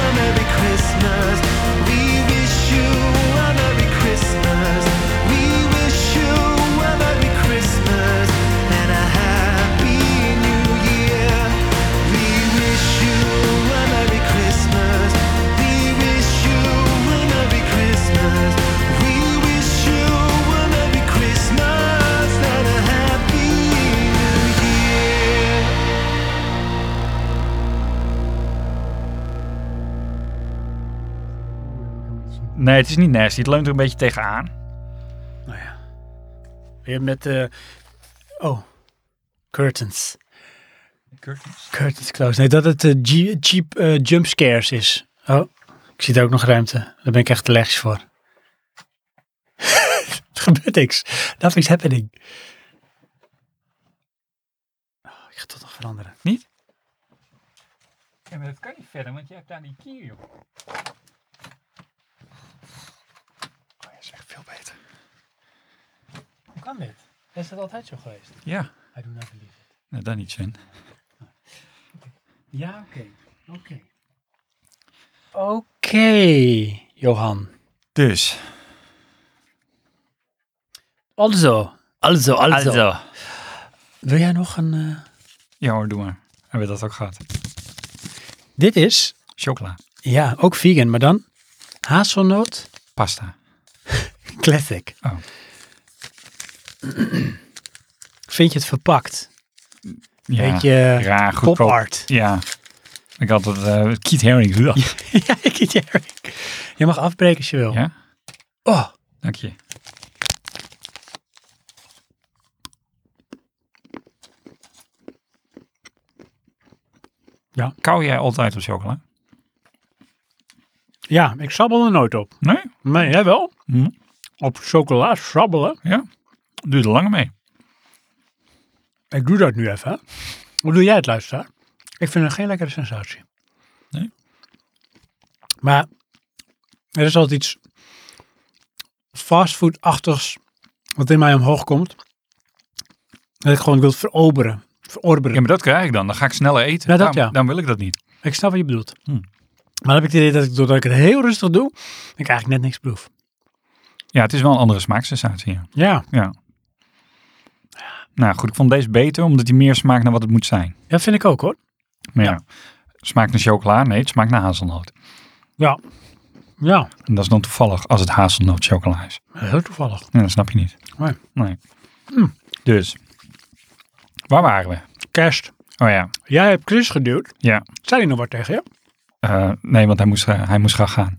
Speaker 4: a Merry Christmas. We wish you a Merry Christmas. We wish you a Merry Christmas and a happy new year. We wish you a Merry Christmas. We wish you a Merry Christmas. We wish you a Merry Christmas and a Happy New Year.
Speaker 2: Nee, het is niet nasty. Het leunt er een beetje tegenaan.
Speaker 1: Weer met... eh, oh. Curtains.
Speaker 2: Curtains.
Speaker 1: Curtains close. Nee, dat het eh, je- cheap eh, jump scares is. Oh, ik zie daar ook nog ruimte. Daar ben ik echt allergisch voor. er gebeurt niks. Nothing's happening. Oh, ik ga toch nog veranderen.
Speaker 2: Niet? Ja, maar dat kan niet verder, want je hebt daar die kier, joh. Oh, dat is echt veel beter.
Speaker 1: Hoe kan dit? Is dat altijd zo geweest?
Speaker 2: Ja.
Speaker 1: Hij doet nou verliefd.
Speaker 2: Nou, daar niet, Sven.
Speaker 1: Ja, oké. Oké. Oké, Johan.
Speaker 2: Dus.
Speaker 1: Also. Also, also. Wil jij nog een... eh,
Speaker 2: Ja hoor, doe maar. Hebben we dat ook gehad.
Speaker 1: Dit is...
Speaker 2: Chocola.
Speaker 1: Ja, ook vegan, maar dan hazelnoot
Speaker 2: Pasta.
Speaker 1: classic.
Speaker 2: Oh.
Speaker 1: Vind je het verpakt?
Speaker 2: Ja.
Speaker 1: Beetje eh,
Speaker 2: raar,
Speaker 1: pop
Speaker 2: goedkoop.
Speaker 1: art.
Speaker 2: Ja. Ik had het eh Keith Haring. Ja.
Speaker 1: ja, ik eet Eric. Je mag afbreken als je wil.
Speaker 2: ja.
Speaker 1: Oh,
Speaker 2: Dank je.
Speaker 1: Ja.
Speaker 2: Kauw jij altijd op chocola?
Speaker 1: ja, ik sabbel er nooit op.
Speaker 2: Nee?
Speaker 1: Nee, jij wel?
Speaker 2: Hm.
Speaker 1: Op chocola sabbelen?
Speaker 2: Ja. Doe er lang mee.
Speaker 1: Ik doe dat nu even. hè. Hoe doe jij het, luisteraar? Ik vind het geen lekkere sensatie.
Speaker 2: Nee.
Speaker 1: Maar er is altijd iets fastfood-achtigs wat in mij omhoog komt. Dat ik gewoon wil veroberen.
Speaker 2: Ja,
Speaker 1: Verorberen.
Speaker 2: maar dat krijg ik dan. Dan ga ik sneller eten.
Speaker 1: Ja, dat
Speaker 2: Daarom-
Speaker 1: ja.
Speaker 2: daarom wil ik dat niet.
Speaker 1: Ik snap wat je bedoelt.
Speaker 2: Hmm.
Speaker 1: Maar dan heb ik het idee dat ik, doordat ik het heel rustig doe, ik eigenlijk net niks proef.
Speaker 2: Ja, het is wel een andere smaaksensatie. Ja.
Speaker 1: Ja.
Speaker 2: ja. Nou goed, ik vond deze beter omdat hij meer smaakt naar wat het moet zijn.
Speaker 1: Dat vind ik ook hoor.
Speaker 2: Maar ja, smaakt naar chocola? Nee, het smaakt naar hazelnoot.
Speaker 1: Ja. Ja.
Speaker 2: En dat is dan toevallig als het hazelnoot chocola is.
Speaker 1: Heel toevallig.
Speaker 2: Nee, dat snap je niet.
Speaker 1: Nee.
Speaker 2: Dus, waar waren we?
Speaker 1: Kerst.
Speaker 2: Oh ja,
Speaker 1: Jij hebt Chris geduwd.
Speaker 2: ja.
Speaker 1: Zei hij nog wat tegen je?
Speaker 2: Eh, nee, want hij moest, eh, hij moest graag gaan.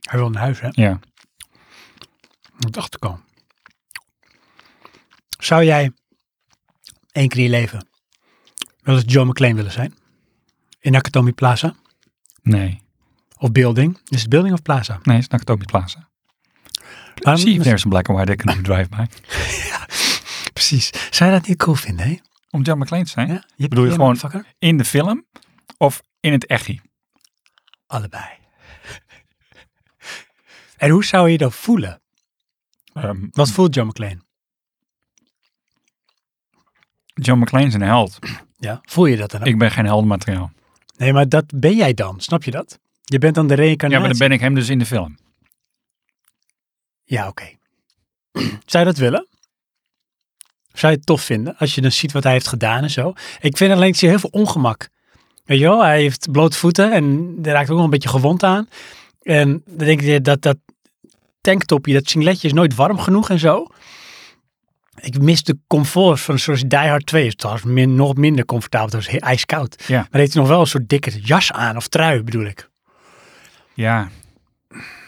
Speaker 1: Hij wil naar huis hè.
Speaker 2: Ja.
Speaker 1: Dat dacht ik al. Zou jij één keer in je leven wel eens Joe McLean willen zijn? In Nakatomi Plaza?
Speaker 2: Nee.
Speaker 1: Of Building? Is het Building of Plaza?
Speaker 2: Nee, is Nakatomi Plaza.
Speaker 1: Waarom-
Speaker 2: Zie je, there's a black and white economic drive-by.
Speaker 1: Precies. Zou je dat niet cool vinden, hè?
Speaker 2: Om John McClane te zijn?
Speaker 1: Ja? Je
Speaker 2: Bedoel je
Speaker 1: ja,
Speaker 2: gewoon-
Speaker 1: motherfucker?
Speaker 2: In de film of in het echi?
Speaker 1: Allebei. En hoe zou je dat voelen?
Speaker 2: Ehm
Speaker 1: Wat voelt John McLean?
Speaker 2: John McClane is een held.
Speaker 1: Ja, voel je dat dan? ook?
Speaker 2: Ik ben geen heldenmateriaal.
Speaker 1: Nee, maar dat ben jij dan. Snap je dat? Je bent dan de
Speaker 2: Ja,
Speaker 1: reïncarnatie.
Speaker 2: maar dan ben ik hem dus in de film.
Speaker 1: Ja, oké. Zou je dat willen? Zou je het tof vinden als je dan ziet wat hij heeft gedaan en zo? Ik vind alleen, ik zie heel veel ongemak. Weet je wel, hij heeft blote voeten en daar raakt ook nog een beetje gewond aan. En dan denk je dat dat tanktopje, dat singletje is nooit warm genoeg en zo. Ik mis de comfort van zoals Die Hard 2 is trouwens min, nog minder comfortabel, dat is heel ijskoud.
Speaker 2: Ja.
Speaker 1: Maar heeft hij nog wel een soort dikke jas aan of trui bedoel ik.
Speaker 2: Ja.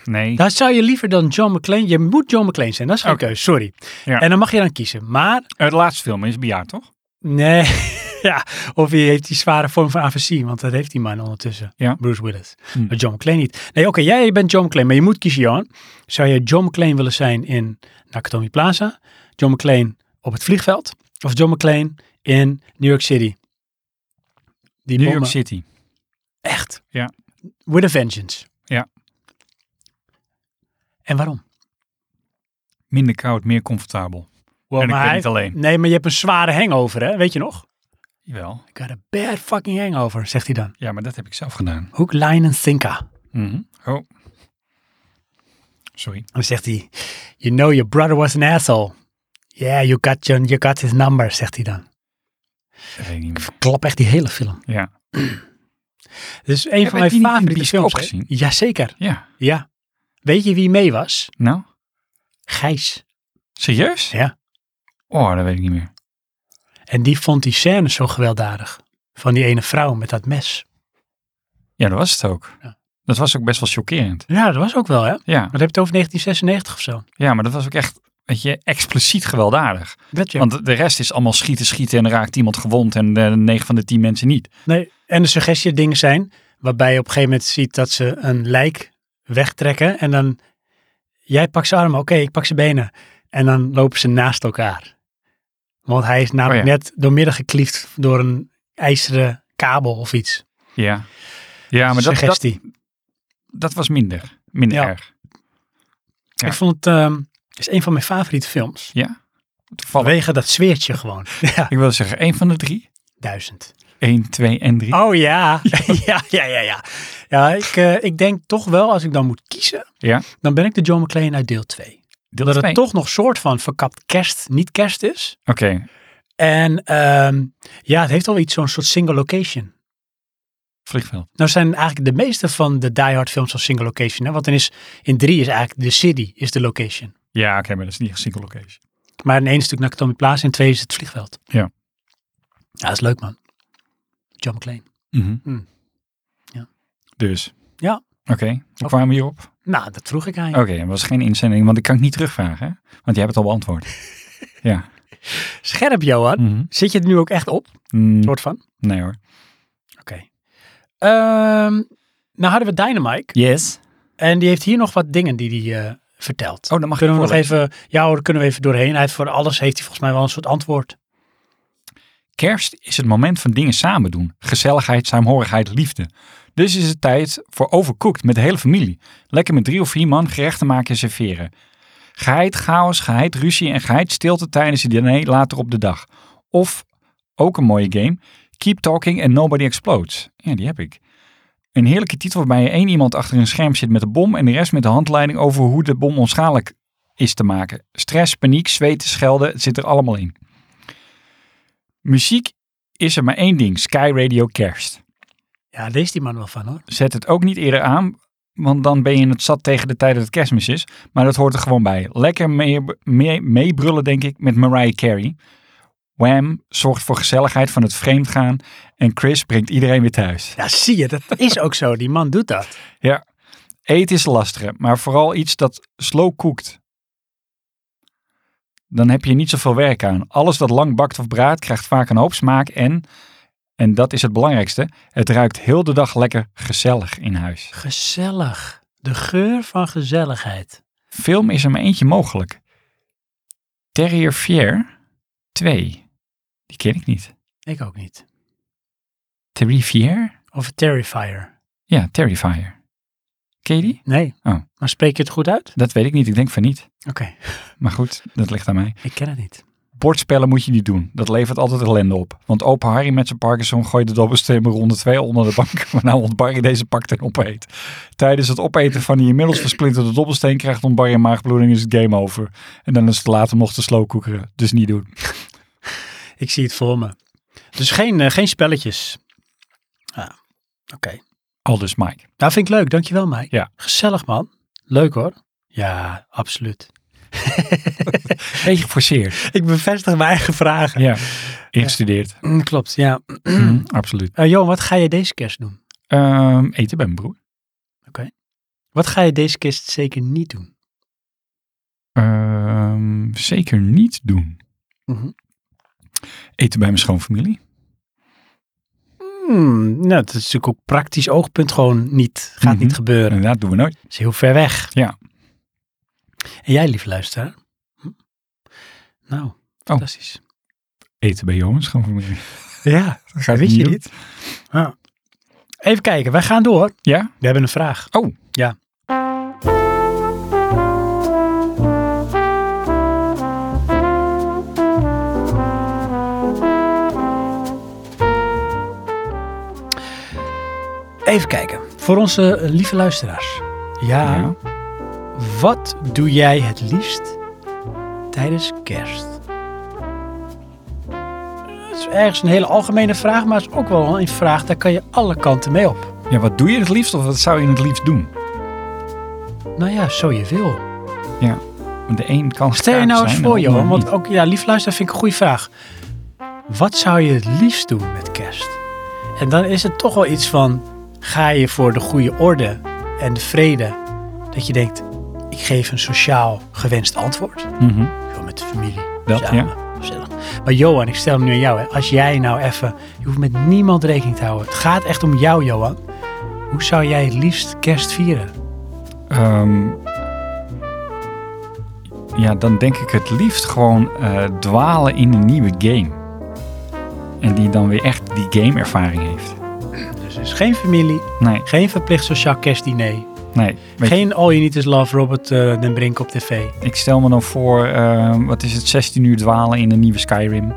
Speaker 2: Nee.
Speaker 1: Daar zou je liever dan John McClane. Je moet John McClane zijn. Dat is geen
Speaker 2: Oké.
Speaker 1: keuze. Sorry.
Speaker 2: Ja.
Speaker 1: En dan mag je dan kiezen. Maar
Speaker 2: Eh, De laatste film is Bejaard, toch?
Speaker 1: nee, ja, of hij heeft die zware vorm van afasie, want dat heeft die man ondertussen.
Speaker 2: Ja.
Speaker 1: Bruce Willis.
Speaker 2: Hm.
Speaker 1: Maar John McClane niet. Nee, oké, jij bent John McClane, maar je moet kiezen, Johan. Zou je John McClane willen zijn in Nakatomi Plaza, John McClane op het vliegveld, of John McClane in New York City?
Speaker 2: New
Speaker 1: Die bommen-
Speaker 2: York City.
Speaker 1: Echt?
Speaker 2: Ja.
Speaker 1: With a vengeance.
Speaker 2: Ja.
Speaker 1: En waarom?
Speaker 2: Minder koud, meer comfortabel.
Speaker 1: Wow,
Speaker 2: en ik
Speaker 1: maar
Speaker 2: ben
Speaker 1: hij-
Speaker 2: niet alleen.
Speaker 1: Nee, maar je hebt een zware hangover, hè? Weet je nog?
Speaker 2: Jawel.
Speaker 1: I got a bad fucking hangover, zegt hij dan.
Speaker 2: Ja, maar dat heb ik zelf gedaan.
Speaker 1: Hook, line and sinker.
Speaker 2: Mhm. Oh. Sorry.
Speaker 1: Dan zegt hij, you know your brother was an asshole. Yeah, you got, your, you got his number, zegt hij dan.
Speaker 2: Dat weet ik niet meer.
Speaker 1: Klap echt die hele film.
Speaker 2: Ja.
Speaker 1: Dit is een
Speaker 2: Heb
Speaker 1: van
Speaker 2: ik die
Speaker 1: mijn
Speaker 2: niet in de
Speaker 1: favoriete
Speaker 2: bioscoop
Speaker 1: films. hè?
Speaker 2: gezien?
Speaker 1: Jazeker,
Speaker 2: Ja.
Speaker 1: ja. Weet je wie mee was?
Speaker 2: Nou,
Speaker 1: Gijs.
Speaker 2: serieus?
Speaker 1: Ja.
Speaker 2: Oh, dat weet ik niet meer.
Speaker 1: En die vond die scène zo gewelddadig. Van die ene vrouw met dat mes.
Speaker 2: Ja, dat was het ook.
Speaker 1: Ja.
Speaker 2: Dat was ook best wel chockerend.
Speaker 1: Ja, dat was ook wel, hè?
Speaker 2: Ja.
Speaker 1: Wat heb je het over 1996 of zo?
Speaker 2: ja, maar dat was ook echt, weet je, expliciet gewelddadig.
Speaker 1: Dat je.
Speaker 2: Want de rest is allemaal schieten, schieten en raakt iemand gewond en eh, negen van de tien mensen niet.
Speaker 1: Nee, en de suggestie dingen zijn waarbij je op een gegeven moment ziet dat ze een lijk wegtrekken en dan jij pakt zijn armen, oké, ik pak zijn benen. En dan lopen ze naast elkaar. Want hij is namelijk
Speaker 2: Oh ja.
Speaker 1: net doormidden gekliefd door een ijzeren kabel of iets.
Speaker 2: Ja. Ja, maar dat, dat,
Speaker 1: suggestie.
Speaker 2: dat was minder. Minder
Speaker 1: Ja.
Speaker 2: erg. ja.
Speaker 1: Ik vond het ehm, is een van mijn favoriete films.
Speaker 2: Ja. Toevallig.
Speaker 1: Vanwege dat zweertje gewoon. Ja,
Speaker 2: Ik wil zeggen, één van de drie.
Speaker 1: duizend.
Speaker 2: Eén, twee en drie.
Speaker 1: Oh ja, ja, ja, ja, ja. Ja, ik, eh, ik denk toch wel, als ik dan moet kiezen,
Speaker 2: Ja.
Speaker 1: dan ben ik de John McClane uit deel 2.
Speaker 2: Deel
Speaker 1: dat
Speaker 2: twee.
Speaker 1: het toch nog soort van verkapt kerst, niet kerst is.
Speaker 2: Oké.
Speaker 1: En ehm, ja, het heeft al iets, zo'n soort single location.
Speaker 2: Vliegveld.
Speaker 1: Nou zijn eigenlijk de meeste van de Die Hard films al single location. Hè? Want dan is, in drie is eigenlijk de city is de location.
Speaker 2: Ja, oké, maar dat is niet een single location.
Speaker 1: Maar in één is natuurlijk Nakatomi Plaza, in twee is het vliegveld.
Speaker 2: Ja.
Speaker 1: Ja, dat is leuk man. John McClane. Hm. Ja.
Speaker 2: Dus.
Speaker 1: Ja.
Speaker 2: Oké, hoe kwamen we hierop? Oké,
Speaker 1: Nou, dat vroeg ik aan je.
Speaker 2: dat was geen inzending, want ik kan het niet terugvragen. Hè? Want jij hebt het al beantwoord. ja.
Speaker 1: Scherp Johan.
Speaker 2: Mhm.
Speaker 1: Zit je het nu ook echt op?
Speaker 2: Mm,
Speaker 1: Soort van.
Speaker 2: nee hoor.
Speaker 1: Oké. Ehm, nou hadden we Dynamite.
Speaker 2: Yes.
Speaker 1: En die heeft hier nog wat dingen die hij eh, vertelt.
Speaker 2: Oh, dan mag je
Speaker 1: kunnen we nog
Speaker 2: voorlezen.
Speaker 1: even, ja hoor, kunnen we even doorheen. Hij heeft voor alles heeft hij volgens mij wel een soort antwoord.
Speaker 2: Kerst is het moment van dingen samen doen. Gezelligheid, saamhorigheid, liefde. Dus is het tijd voor overcooked met de hele familie. Lekker met drie of vier man gerechten maken en serveren. Geheid chaos, geheid ruzie en geheid stilte tijdens het diner later op de dag. Of, ook een mooie game, Keep Talking and Nobody Explodes. Ja, die heb ik. Een heerlijke titel waarbij je één iemand achter een scherm zit met de bom en de rest met de handleiding over hoe de bom onschadelijk is te maken. Stress, paniek, zweten, schelden, het zit er allemaal in. Muziek is er maar één ding, Sky Radio Kerst.
Speaker 1: Ja, leest die man wel van hoor.
Speaker 2: Zet het ook niet eerder aan, want dan ben je het zat tegen de tijd dat het kerstmis is. Maar dat hoort er gewoon bij. Lekker meebrullen, mee, meebrullen, denk ik, met Mariah Carey. Wham zorgt voor gezelligheid van het vreemdgaan. En Chris brengt iedereen weer thuis.
Speaker 1: Ja, zie je, dat is ook zo. Die man doet dat.
Speaker 2: Ja. Eten is lastig, maar vooral iets dat slow koekt. Dan heb je niet zoveel werk aan. Alles dat lang bakt of braadt krijgt vaak een hoop smaak en, en dat is het belangrijkste, het ruikt heel de dag lekker gezellig in huis.
Speaker 1: Gezellig. De geur van gezelligheid.
Speaker 2: Film is er maar eentje mogelijk. Terrier Fier 2. Die ken ik niet.
Speaker 1: Ik ook niet.
Speaker 2: Terrier Fier?
Speaker 1: Of Terrifier.
Speaker 2: Ja, Terrifier. Ken je die?
Speaker 1: Nee.
Speaker 2: Oh.
Speaker 1: Maar spreek je het goed uit?
Speaker 2: Dat weet ik niet, ik denk van niet.
Speaker 1: Oké,
Speaker 2: Maar goed, dat ligt aan mij.
Speaker 1: ik ken het niet.
Speaker 2: Bordspellen moet je niet doen. Dat levert altijd ellende op. Want opa Harry met zijn Parkinson gooit de dobbelsteen ronde 2 onder de bank. Maar nou ontbarry deze pakt en opeet. Tijdens het opeten van die inmiddels versplinterde dobbelsteen krijgt ontbarry een maagbloeding is het game over. En dan is het later nog te slowcookeren. Dus niet doen.
Speaker 1: Ik zie het voor me. Dus geen, eh, geen spelletjes. Ah, Oké.
Speaker 2: Al dus Mike.
Speaker 1: Nou, vind ik leuk. Dankjewel, Mike.
Speaker 2: Ja.
Speaker 1: Gezellig, man. Leuk hoor. Ja, absoluut.
Speaker 2: Beetje geforceerd.
Speaker 1: Ik bevestig mijn eigen vragen.
Speaker 2: Ja. Ingestudeerd.
Speaker 1: Mm, klopt, ja.
Speaker 2: Mhm, absoluut.
Speaker 1: Eh Johan, wat ga je deze kerst doen?
Speaker 2: Ehm, eten bij mijn broer.
Speaker 1: Wat ga je deze kerst zeker niet doen?
Speaker 2: Ehm, zeker niet doen.
Speaker 1: Mhm.
Speaker 2: Eten bij mijn schoonfamilie.
Speaker 1: hmm, nou, dat is natuurlijk ook praktisch oogpunt gewoon niet, gaat
Speaker 2: Mhm.
Speaker 1: niet gebeuren.
Speaker 2: Inderdaad, doen we nooit.
Speaker 1: is heel ver weg.
Speaker 2: Ja.
Speaker 1: En jij, lieve luisteraar? Hm?
Speaker 2: Oh.
Speaker 1: Nou, fantastisch.
Speaker 2: Eten bij jongens gewoon voor mij.
Speaker 1: Ja,
Speaker 2: Dat gaat
Speaker 1: wist
Speaker 2: niet
Speaker 1: je
Speaker 2: doen.
Speaker 1: niet? Ja. Even kijken, wij gaan door.
Speaker 2: Ja?
Speaker 1: We hebben een vraag.
Speaker 2: Oh.
Speaker 1: Ja. Even kijken. Voor onze eh, lieve luisteraars. Ja,
Speaker 2: Ja.
Speaker 1: Wat doe jij het liefst tijdens kerst? Dat is ergens een hele algemene vraag, maar het is ook wel een vraag, daar kan je alle kanten mee op.
Speaker 2: ja, wat doe je het liefst of wat zou je het liefst doen?
Speaker 1: Nou ja, zo je wil.
Speaker 2: Ja. Want de een kan
Speaker 1: Stel je
Speaker 2: schaap
Speaker 1: nou eens
Speaker 2: zijn,
Speaker 1: voor,
Speaker 2: de ander
Speaker 1: Johan, want
Speaker 2: niet.
Speaker 1: ook, ja, lief luister, vind ik een goede vraag. Wat zou je het liefst doen met kerst? En dan is het toch wel iets van, ga je voor de goede orde en de vrede? Dat je denkt, ik geef een sociaal gewenst antwoord.
Speaker 2: Mhm.
Speaker 1: Gewoon met de familie.
Speaker 2: Dat,
Speaker 1: samen.
Speaker 2: ja.
Speaker 1: Gezellig. Maar Johan, ik stel hem nu aan jou. Hè. Als jij nou even... Je hoeft met niemand rekening te houden. Het gaat echt om jou, Johan. Hoe zou jij het liefst kerst vieren?
Speaker 2: Ehm, ja, dan denk ik het liefst gewoon eh, dwalen in een nieuwe game. En die dan weer echt die game-ervaring heeft.
Speaker 1: Dus er is geen familie,
Speaker 2: Nee,
Speaker 1: geen verplicht sociaal kerstdiner.
Speaker 2: nee. Weet je,
Speaker 1: geen All You Need Is Love, Robert eh, den Brink op tv.
Speaker 2: ik stel me dan voor, ehm, wat is het, 16 uur dwalen in een nieuwe Skyrim.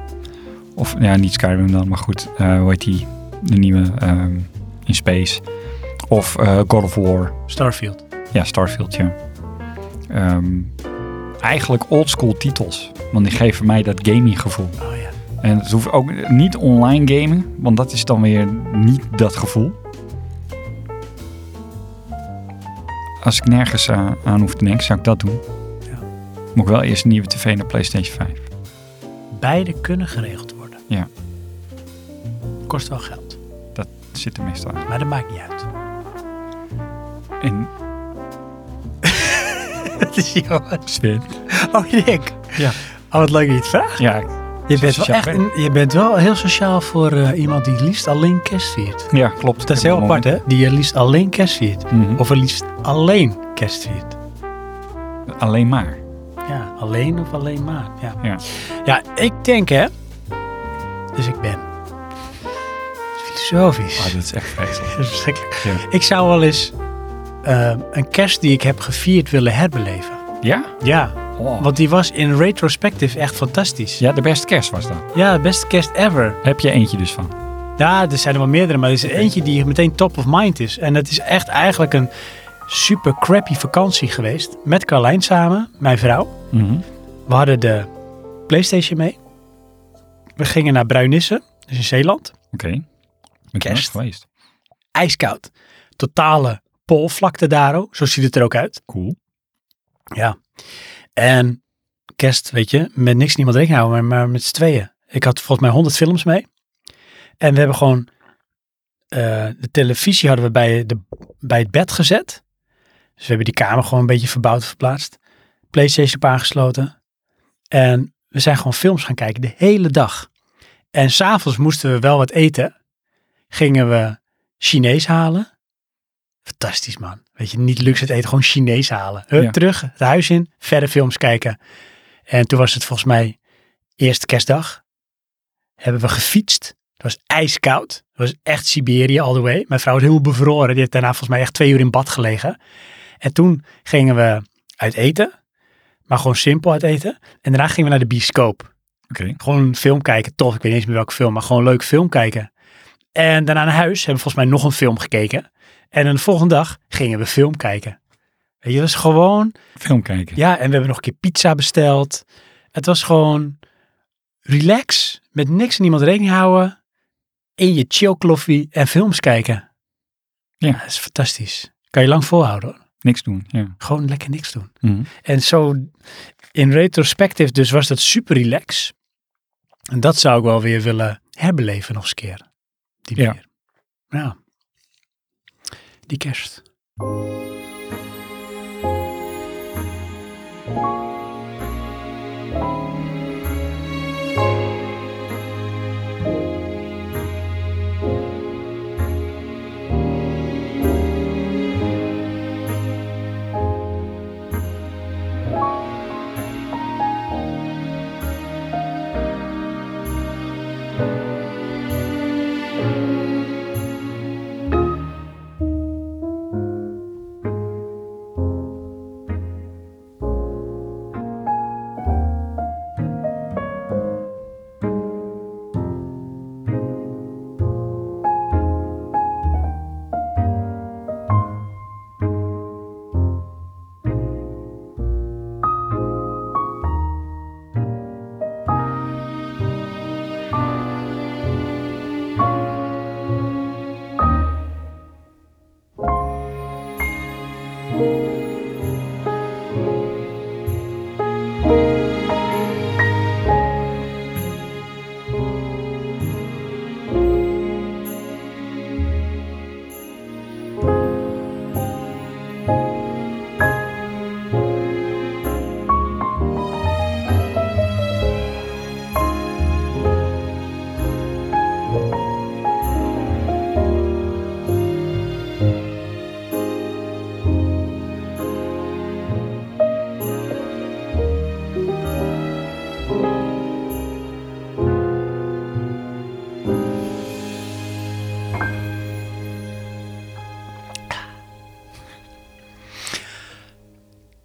Speaker 2: Of, ja, niet Skyrim dan, maar goed. eh hoe heet die? De nieuwe ehm, in Space. Of eh, God of War.
Speaker 1: Starfield.
Speaker 2: Ja, Starfield, ja. Ehm, eigenlijk oldschool titels. Want die geven mij dat gaming gevoel.
Speaker 1: Oh ja.
Speaker 2: En het hoeft ook niet online gamen, want dat is dan weer niet dat gevoel. Als ik nergens eh, aan hoef te denken, zou ik dat doen.
Speaker 1: Ja.
Speaker 2: Moet ik wel eerst een nieuwe tv naar PlayStation 5.
Speaker 1: Beide kunnen geregeld worden.
Speaker 2: Ja.
Speaker 1: Kost wel geld,
Speaker 2: Dat zit er meestal aan.
Speaker 1: maar dat maakt niet uit.
Speaker 2: En
Speaker 1: Dat is Johan.
Speaker 2: Sven.
Speaker 1: Oh, Nick.
Speaker 2: Ja.
Speaker 1: Oh, wat leuk dat je het vraagt.
Speaker 2: Ja,
Speaker 1: Je bent, wel
Speaker 2: sociaal
Speaker 1: echt,
Speaker 2: ben.
Speaker 1: een- je bent wel heel sociaal voor eh, iemand die het liefst alleen kerst viert.
Speaker 2: ja, klopt.
Speaker 1: Dat is heel apart, hè? Die het liefst alleen kerst viert.
Speaker 2: Mhm.
Speaker 1: Of het liefst alleen kerst viert.
Speaker 2: Alleen maar.
Speaker 1: Ja, alleen of alleen maar. Ja,
Speaker 2: Ja.
Speaker 1: ja ik denk, hè? Dus ik ben. Dat is Filosofisch.
Speaker 2: Ah, dat is echt vreselijk.
Speaker 1: Dat is verschrikkelijk.
Speaker 2: Ja.
Speaker 1: Ik zou wel eens eh, een kerst die ik heb gevierd willen herbeleven.
Speaker 2: Ja?
Speaker 1: Ja,
Speaker 2: Oh.
Speaker 1: want die was in retrospective echt fantastisch.
Speaker 2: Ja, de beste kerst was dat.
Speaker 1: Ja, beste kerst ever.
Speaker 2: Heb je eentje dus van?
Speaker 1: Ja, er zijn er wel meerdere, maar er is er eentje die meteen top of mind is. En het is echt eigenlijk een super crappy vakantie geweest. Met Carlijn samen, mijn vrouw.
Speaker 2: Mhm.
Speaker 1: We hadden de PlayStation mee. We gingen naar Bruinissen, dus in Zeeland.
Speaker 2: Oké. Ik Ben er
Speaker 1: Kerst.
Speaker 2: nooit geweest.
Speaker 1: Ijskoud. Totale poolvlakte daar, oh. zo ziet het er ook uit.
Speaker 2: Cool.
Speaker 1: Ja. En kerst, weet je, met niks niemand rekening houden, maar, maar met z'n tweeën. Ik had volgens mij 100 films mee. En we hebben gewoon eh, de televisie hadden we bij, de, bij het bed gezet. Dus we hebben die kamer gewoon een beetje verbouwd, verplaatst. Playstation op aangesloten. En we zijn gewoon films gaan kijken de hele dag. En s'avonds moesten we wel wat eten. Gingen we Chinees halen. Fantastisch man. Weet je, niet luxe het eten, gewoon Chinees halen. Hup,
Speaker 2: Ja.
Speaker 1: terug, het huis in, verder films kijken. En toen was het volgens mij eerste kerstdag. Hebben we gefietst. Het was ijskoud. Het was echt Siberië all the way. Mijn vrouw is helemaal bevroren. Die heeft daarna volgens mij echt twee uur in bad gelegen. En toen gingen we uit eten. Maar gewoon simpel uit eten. En daarna gingen we naar de bioscoop.
Speaker 2: Oké.
Speaker 1: Gewoon een film kijken. Tof, ik weet niet eens meer welke film. Maar gewoon een leuk film kijken. En daarna naar huis. Hebben we volgens mij nog een film gekeken. En dan de volgende dag gingen we film kijken. Weet je, dat is gewoon...
Speaker 2: Film kijken.
Speaker 1: Ja, en we hebben nog een keer pizza besteld. Het was gewoon relax, met niks en niemand rekening houden. In je chillkloffie en films kijken.
Speaker 2: Ja.
Speaker 1: Dat is fantastisch. Kan je lang volhouden hoor.
Speaker 2: Niks doen. Ja.
Speaker 1: Gewoon lekker niks doen.
Speaker 2: Mhm.
Speaker 1: En zo in retrospectief dus was dat super relax. En dat zou ik wel weer willen herbeleven nog eens een keer. Die
Speaker 2: Ja.
Speaker 1: manier. Ja. Die kerst.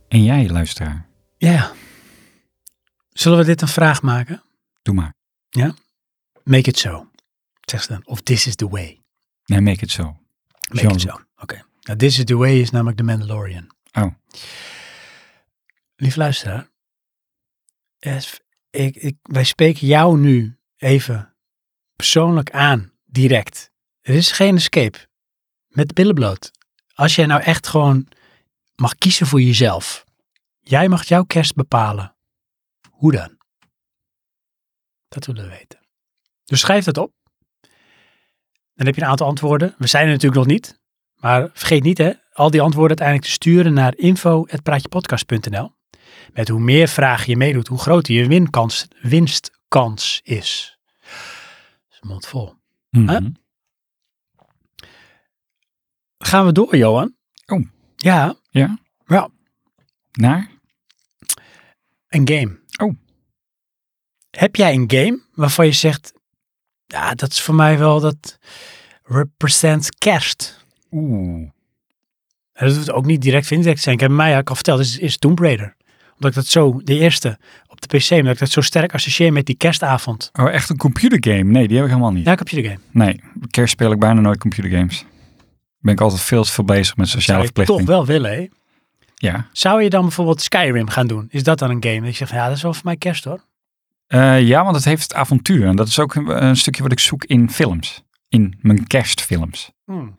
Speaker 2: En jij, luisteraar,
Speaker 1: Ja. Zullen we dit een vraag maken?
Speaker 2: doe maar.
Speaker 1: Make it so. Zeg ze dan. Of this is the way.
Speaker 2: Nee, make it so.
Speaker 1: Make
Speaker 2: Jean-Luc.
Speaker 1: it so. Oké. Nou, this is the way is namelijk The Mandalorian.
Speaker 2: Oh.
Speaker 1: Lief luisteraar. es- ik, ik, wij spreken jou nu even persoonlijk aan. Direct. Er is geen escape. Met de billen bloot. Als jij nou echt gewoon mag kiezen voor jezelf. Jij mag jouw kerst bepalen. Hoe dan? Dat willen we weten. Dus schrijf dat op. Dan heb je een aantal antwoorden. We zijn er natuurlijk nog niet. Maar vergeet niet hè, al die antwoorden uiteindelijk te sturen naar info.praatjepodcast.nl. Met hoe meer vragen je meedoet, hoe groter je winkans, winstkans is. Dat is een mond vol.
Speaker 2: Mhm.
Speaker 1: Huh? Gaan we door, Johan?
Speaker 2: Oh.
Speaker 1: Ja,
Speaker 2: Ja,
Speaker 1: wel,
Speaker 2: naar?
Speaker 1: een game.
Speaker 2: Oh.
Speaker 1: Heb jij een game waarvan je zegt, ja, dat is voor mij wel dat represent kerst.
Speaker 2: Oeh.
Speaker 1: En dat hoeft ook niet direct indirect te zijn. Ik heb mij eigenlijk al verteld, is, is Tomb Raider. Omdat ik dat zo, de eerste op de PC, omdat ik dat zo sterk associeer met die kerstavond.
Speaker 2: Oh, echt een computergame? Nee, die heb ik helemaal niet.
Speaker 1: Ja, ik heb je de game.
Speaker 2: Nee, kerst speel ik bijna nooit computergames. Ben ik altijd veel te veel bezig met
Speaker 1: Zou
Speaker 2: sociale
Speaker 1: je toch
Speaker 2: verplichting.
Speaker 1: wel willen, hè?
Speaker 2: Ja.
Speaker 1: Zou je dan bijvoorbeeld Skyrim gaan doen? Is dat dan een game? Dat je zegt, ja, dat is wel voor mij kerst hoor.
Speaker 2: Eh, ja, want het heeft het avontuur. En dat is ook een, een stukje wat ik zoek in films. In mijn kerstfilms.
Speaker 1: Hmm.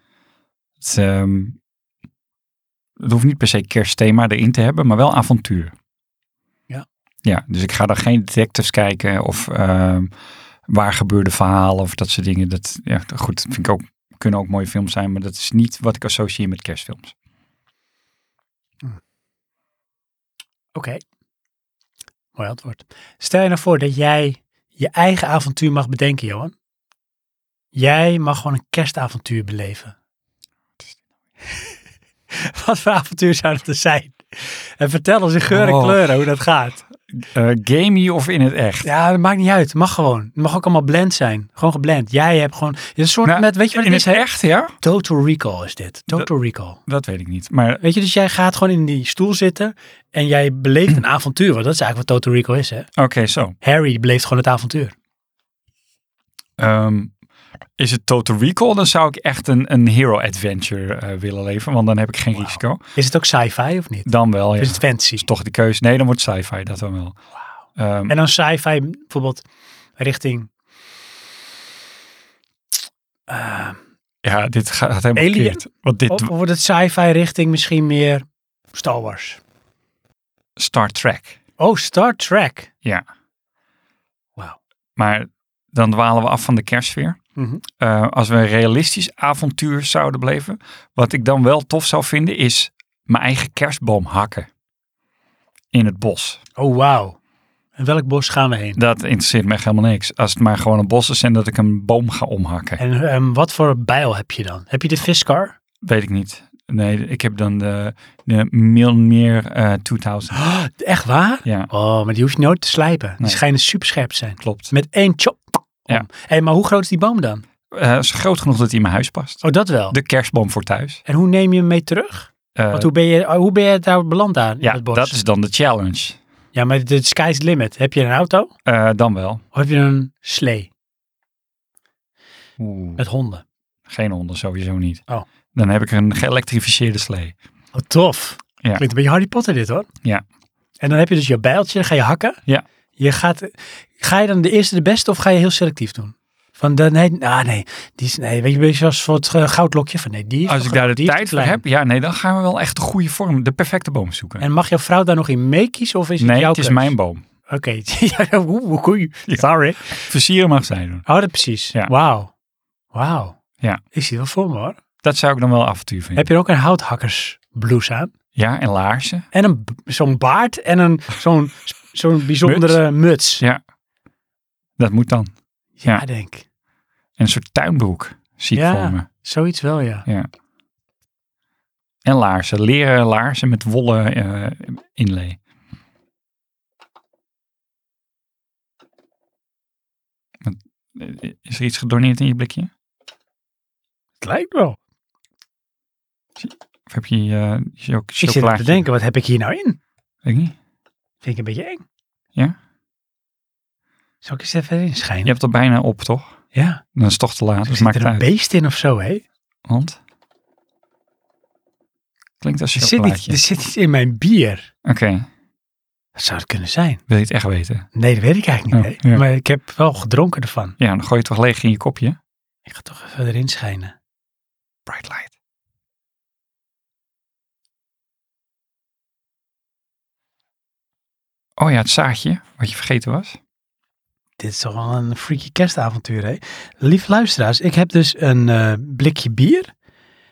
Speaker 2: Het, ehm, het hoeft niet per se kerstthema erin te hebben, maar wel avontuur.
Speaker 1: Ja.
Speaker 2: Ja, dus ik ga daar geen detectives kijken of ehm, waar gebeurde verhalen of dat soort dingen. Dat, ja, goed, dat vind ik ook, kunnen ook mooie films zijn, maar dat is niet wat ik associeer met kerstfilms.
Speaker 1: Oké. Mooi antwoord. Stel je nou voor dat jij je eigen avontuur mag bedenken, Johan. Jij mag gewoon een kerstavontuur beleven. Wat voor avontuur zou dat er zijn? En vertel ons in geur en
Speaker 2: Oh.
Speaker 1: kleuren hoe dat gaat.
Speaker 2: Eh gamey of in het echt?
Speaker 1: Ja, dat maakt niet uit. Mag gewoon. Het mag ook allemaal blend zijn. Gewoon geblend. Jij hebt gewoon... Het is een soort
Speaker 2: Nou,
Speaker 1: met... Weet je wat
Speaker 2: in
Speaker 1: het
Speaker 2: het
Speaker 1: is? hè?
Speaker 2: echt, ja?
Speaker 1: Total recall is dit. Total recall.
Speaker 2: Dat weet ik niet. Maar
Speaker 1: Weet je, dus jij gaat gewoon in die stoel zitten en jij beleeft een avontuur. Want dat is eigenlijk wat Total Recall is, hè?
Speaker 2: oké, zo.
Speaker 1: Harry beleeft gewoon het avontuur.
Speaker 2: Ehm, is het Total Recall, dan zou ik echt een, een hero adventure eh, willen leveren, want dan heb ik geen risico.
Speaker 1: Is het ook sci-fi of niet?
Speaker 2: Dan wel, ja.
Speaker 1: Of is het fantasy?
Speaker 2: is toch de keuze. Nee, dan wordt sci-fi, dat dan wel. Ehm,
Speaker 1: En dan sci-fi bijvoorbeeld richting
Speaker 2: ja, dit gaat helemaal
Speaker 1: Alien? Oh,
Speaker 2: verkeerd. Want dit
Speaker 1: of of wordt het sci-fi richting misschien meer Star Wars.
Speaker 2: Star Trek.
Speaker 1: Oh, Star Trek.
Speaker 2: Ja,
Speaker 1: Wauw.
Speaker 2: maar dan dwalen we af van de kerstsfeer.
Speaker 1: Mhm.
Speaker 2: Eh, als we een realistisch avontuur zouden beleven, wat ik dan wel tof zou vinden, is mijn eigen kerstboom hakken. In het bos.
Speaker 1: Oh, wauw. En welk bos gaan we heen?
Speaker 2: Dat interesseert me echt helemaal niks. Als het maar gewoon een bos is en dat ik een boom ga omhakken.
Speaker 1: En ehm, wat voor bijl heb je dan? Heb je de Fiskar?
Speaker 2: Weet ik niet. Nee, ik heb dan de, de Milner eh 2000.
Speaker 1: Oh, echt waar?
Speaker 2: Ja,
Speaker 1: Oh, maar die hoef je nooit te slijpen. Die
Speaker 2: Nee.
Speaker 1: schijnen super scherp te zijn.
Speaker 2: klopt.
Speaker 1: Met één chop. om.
Speaker 2: Ja.
Speaker 1: Hey, maar hoe groot is die boom dan?
Speaker 2: Eh, is groot genoeg dat hij in mijn huis past.
Speaker 1: Oh, dat wel.
Speaker 2: De kerstboom voor thuis.
Speaker 1: En hoe neem je hem mee terug?
Speaker 2: Eh,
Speaker 1: Want hoe ben je, hoe ben je daar beland daar? in
Speaker 2: ja,
Speaker 1: het bos?
Speaker 2: dat is dan de challenge.
Speaker 1: Ja, maar de sky's the limit. Heb je een auto?
Speaker 2: Eh, dan wel.
Speaker 1: Of heb je een slee
Speaker 2: Oeh.
Speaker 1: met honden?
Speaker 2: Geen honden, sowieso niet.
Speaker 1: Oh.
Speaker 2: Dan heb ik een geëlektrificeerde slee.
Speaker 1: Wat Oh, tof.
Speaker 2: Ja.
Speaker 1: Klinkt een beetje Harry Potter dit hoor.
Speaker 2: Ja.
Speaker 1: En dan heb je dus je bijltje, ga je hakken.
Speaker 2: Ja.
Speaker 1: Je gaat, ga je dan de eerste de beste of ga je heel selectief doen? Van, de, nee, ah nee, die is, nee, weet je, een beetje zoals voor het eh, goudlokje van, nee, die is
Speaker 2: Als ik
Speaker 1: te groot,
Speaker 2: daar de
Speaker 1: die is te
Speaker 2: tijd voor
Speaker 1: klein.
Speaker 2: heb, ja, nee, dan gaan we wel echt de goede vorm, de perfecte boom zoeken.
Speaker 1: En mag jouw vrouw daar nog in mee kiezen of is het
Speaker 2: nee,
Speaker 1: jouw
Speaker 2: het is
Speaker 1: keus?
Speaker 2: mijn boom.
Speaker 1: Oké, Ja, oeh, oeh, oei.
Speaker 2: Ja.
Speaker 1: sorry.
Speaker 2: Versieren mag zij doen.
Speaker 1: Oh, dat precies.
Speaker 2: Ja.
Speaker 1: Wauw. Wauw.
Speaker 2: Ja.
Speaker 1: Ik zie het wel voor me hoor.
Speaker 2: Dat zou ik dan wel avontuur vinden.
Speaker 1: Heb je ook een houthakkersblouse aan?
Speaker 2: Ja, en laarzen.
Speaker 1: En een, b- zo'n baard en een, zo'n, zo'n bijzondere muts.
Speaker 2: Ja. Dat moet dan.
Speaker 1: Ja,
Speaker 2: ja.
Speaker 1: denk.
Speaker 2: En een soort tuinbroek zie ik
Speaker 1: Ja.
Speaker 2: voor me.
Speaker 1: Zoiets wel, ja.
Speaker 2: Ja. En laarzen. Leren laarzen met wollen eh, inlay. Wat- eh, Is er iets gedoneerd in je blikje?
Speaker 1: Het lijkt wel.
Speaker 2: Of heb je eh, je ook
Speaker 1: Ik zit aan te
Speaker 2: chocolaatje?
Speaker 1: denken, wat heb ik hier nou in?
Speaker 2: Weet ik niet.
Speaker 1: Vind ik een beetje eng.
Speaker 2: Ja.
Speaker 1: Zal ik eens even erin
Speaker 2: Je
Speaker 1: schijnen?
Speaker 2: hebt er bijna op, toch?
Speaker 1: Ja.
Speaker 2: Dan is het toch te laat.
Speaker 1: Er
Speaker 2: Dus
Speaker 1: zit
Speaker 2: maakt
Speaker 1: er
Speaker 2: het
Speaker 1: een
Speaker 2: uit.
Speaker 1: beest in of zo, hé?
Speaker 2: Want? Klinkt als
Speaker 1: Er zit, niet,
Speaker 2: chocolaatje.
Speaker 1: er zit iets in mijn bier.
Speaker 2: Oké,
Speaker 1: Wat zou het kunnen zijn?
Speaker 2: wil je het echt weten?
Speaker 1: Nee, dat weet ik eigenlijk niet.
Speaker 2: Oh,
Speaker 1: hè.
Speaker 2: ja.
Speaker 1: Maar ik heb wel gedronken ervan.
Speaker 2: Ja, dan gooi je het toch leeg in je kopje.
Speaker 1: Ik ga toch even erin schijnen.
Speaker 2: Bright light. Oh ja, het zaadje, wat je vergeten was.
Speaker 1: Dit is toch wel een freaky kerstavontuur, hè? Lief luisteraars, ik heb dus een eh, blikje bier.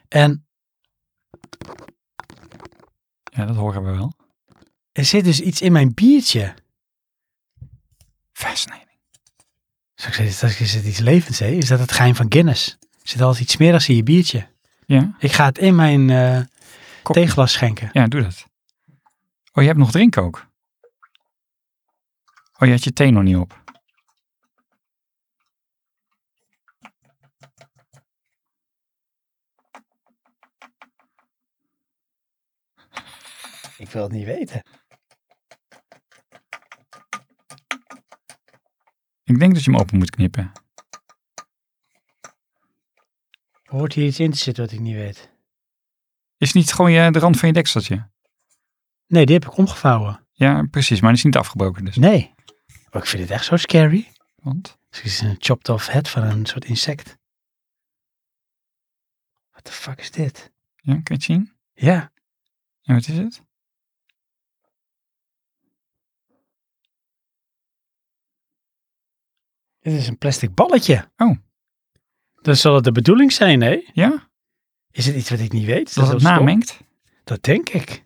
Speaker 1: En
Speaker 2: Ja, dat horen we wel.
Speaker 1: er zit dus iets in mijn biertje.
Speaker 2: Fascinating.
Speaker 1: Zal ik zeggen, straks is het iets levends, hè? Is dat het geheim van Guinness? Er zit altijd iets smerigs in je biertje.
Speaker 2: Ja,
Speaker 1: Ik ga het in mijn eh
Speaker 2: Kop.
Speaker 1: theeglas schenken.
Speaker 2: ja, doe dat. Oh, je hebt nog drinken ook. Oh, je had je thee nog niet op.
Speaker 1: Ik wil het niet weten.
Speaker 2: Ik denk dat je hem open moet knippen.
Speaker 1: Hoort hier iets in te zitten wat ik niet weet?
Speaker 2: Is het niet gewoon je, de rand van je dekseltje?
Speaker 1: Nee, die heb ik omgevouwen.
Speaker 2: Ja, precies, maar die is niet afgebroken dus.
Speaker 1: Nee. Maar ik vind het echt zo scary.
Speaker 2: Want?
Speaker 1: Het is een chopped off head van een soort insect. What the fuck is dit?
Speaker 2: Ja, kan je het zien?
Speaker 1: Ja.
Speaker 2: En wat is het?
Speaker 1: Dit is een plastic balletje.
Speaker 2: Oh.
Speaker 1: Dan zal het de bedoeling zijn, hè?
Speaker 2: Ja?
Speaker 1: Is het iets wat ik niet weet? Is
Speaker 2: Dat, het
Speaker 1: heel stom?
Speaker 2: namengt?
Speaker 1: Dat denk ik.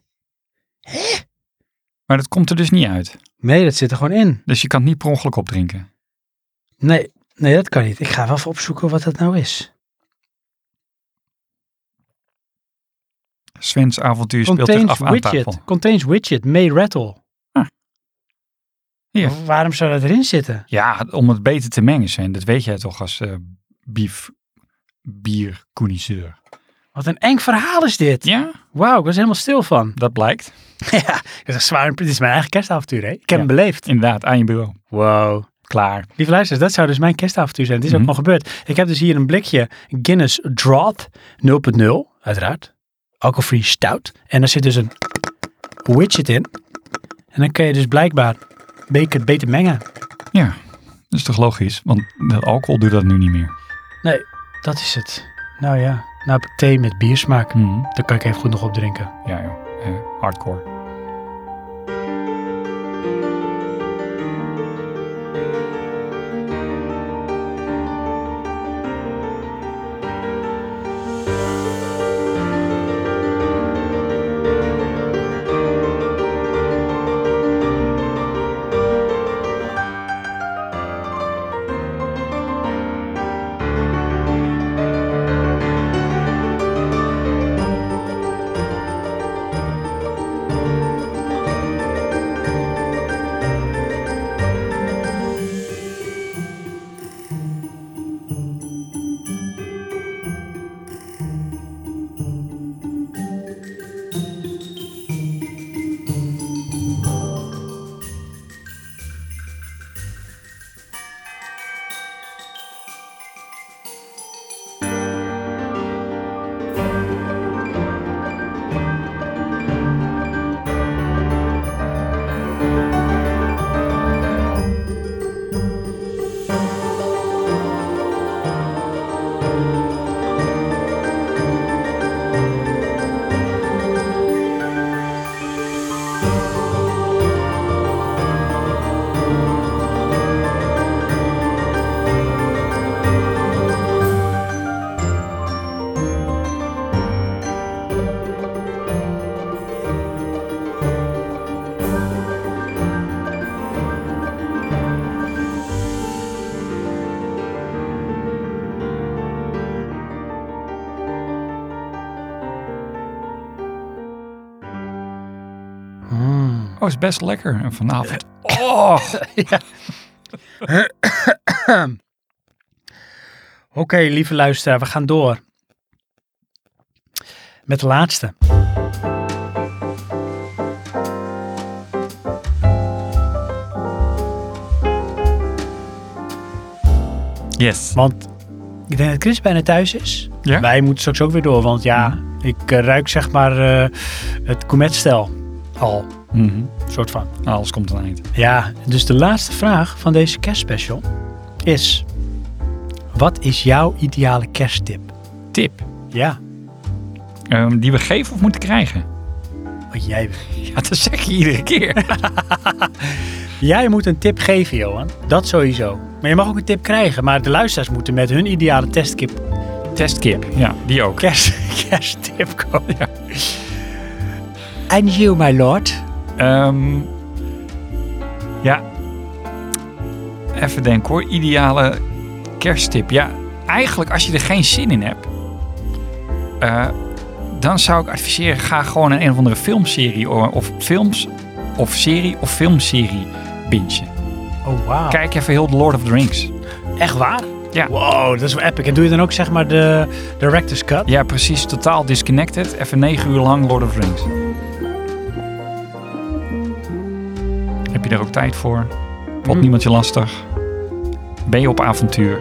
Speaker 2: Maar dat komt er dus niet uit.
Speaker 1: Nee, dat zit er gewoon in.
Speaker 2: Dus je kan het niet per ongeluk opdrinken.
Speaker 1: Nee, nee, dat kan niet. Ik ga wel even opzoeken wat dat nou is.
Speaker 2: Svens avontuur speelt zich
Speaker 1: Contains
Speaker 2: af aan
Speaker 1: widget.
Speaker 2: tafel.
Speaker 1: Contains widget. May rattle.
Speaker 2: Hier.
Speaker 1: Waarom zou dat erin zitten?
Speaker 2: Ja, om het beter te mengen zijn. Dat weet jij toch als eh bief, bierconnoisseur.
Speaker 1: Wat een eng verhaal is dit.
Speaker 2: Ja,
Speaker 1: Wauw, ik was helemaal stil van.
Speaker 2: dat blijkt.
Speaker 1: ja, dat is echt zwaar. Dit is mijn eigen kerstavontuur, hè? Ik heb
Speaker 2: Ja.
Speaker 1: hem beleefd.
Speaker 2: Inderdaad, aan je bureau.
Speaker 1: Wow.
Speaker 2: Klaar.
Speaker 1: Lieve luisteraars, dat zou dus mijn kerstavontuur zijn. Het is
Speaker 2: Mhm.
Speaker 1: ook nog gebeurd. Ik heb dus hier een blikje Guinness Draught 0.0, uiteraard. Alcoholfree stout. En daar zit dus een widget in. En dan kun je dus blijkbaar beter, beter mengen.
Speaker 2: Ja, dat is toch logisch? Want dat alcohol doet dat nu niet meer.
Speaker 1: Nee, dat is het. Nou ja, nou heb ik thee met biersmaak.
Speaker 2: Mhm.
Speaker 1: Daar kan ik even goed nog op drinken.
Speaker 2: Ja joh, Eh, hardcore. Oh, is best lekker. En vanavond. Oh,
Speaker 1: Oké, lieve luisteraar, we gaan door. Met de laatste.
Speaker 2: Yes.
Speaker 1: Want ik denk dat Chris bijna thuis is.
Speaker 2: Ja? Mhm.
Speaker 1: Wij moeten straks ook weer door, want ja, ik eh, ruik zeg maar eh, het koemetstel al.
Speaker 2: Mhm.
Speaker 1: soort van.
Speaker 2: Nou, alles komt aan het eind.
Speaker 1: Ja, dus de laatste vraag van deze kerstspecial is... Wat is jouw ideale kersttip?
Speaker 2: Tip.
Speaker 1: Ja,
Speaker 2: Ehm, die we geven of moeten krijgen?
Speaker 1: wat jij
Speaker 2: Ja, dat zeg je iedere keer.
Speaker 1: Jij moet een tip geven, Johan. Dat sowieso. Maar je mag ook een tip krijgen. Maar de luisteraars moeten met hun ideale testkip,
Speaker 2: Testkip. Ja, die ook.
Speaker 1: kerst, kersttip komen. And you, my lord.
Speaker 2: Ehm, ja. Even denken hoor. Ideale kersttip. Ja, eigenlijk als je er geen zin in hebt, eh, dan zou ik adviseren: ga gewoon een, een of andere filmserie o- of films of serie of filmserie bingen.
Speaker 1: Oh, wauw.
Speaker 2: Kijk even heel The Lord of the Rings.
Speaker 1: Echt waar?
Speaker 2: Ja.
Speaker 1: Wow, dat is wel epic. En doe je dan ook zeg maar de director's cut?
Speaker 2: Ja, precies. Totaal disconnected. Even negen uur lang Lord of the Rings. Heb je daar ook tijd voor? Wordt
Speaker 1: Mhm.
Speaker 2: niemand je lastig? Ben je op avontuur?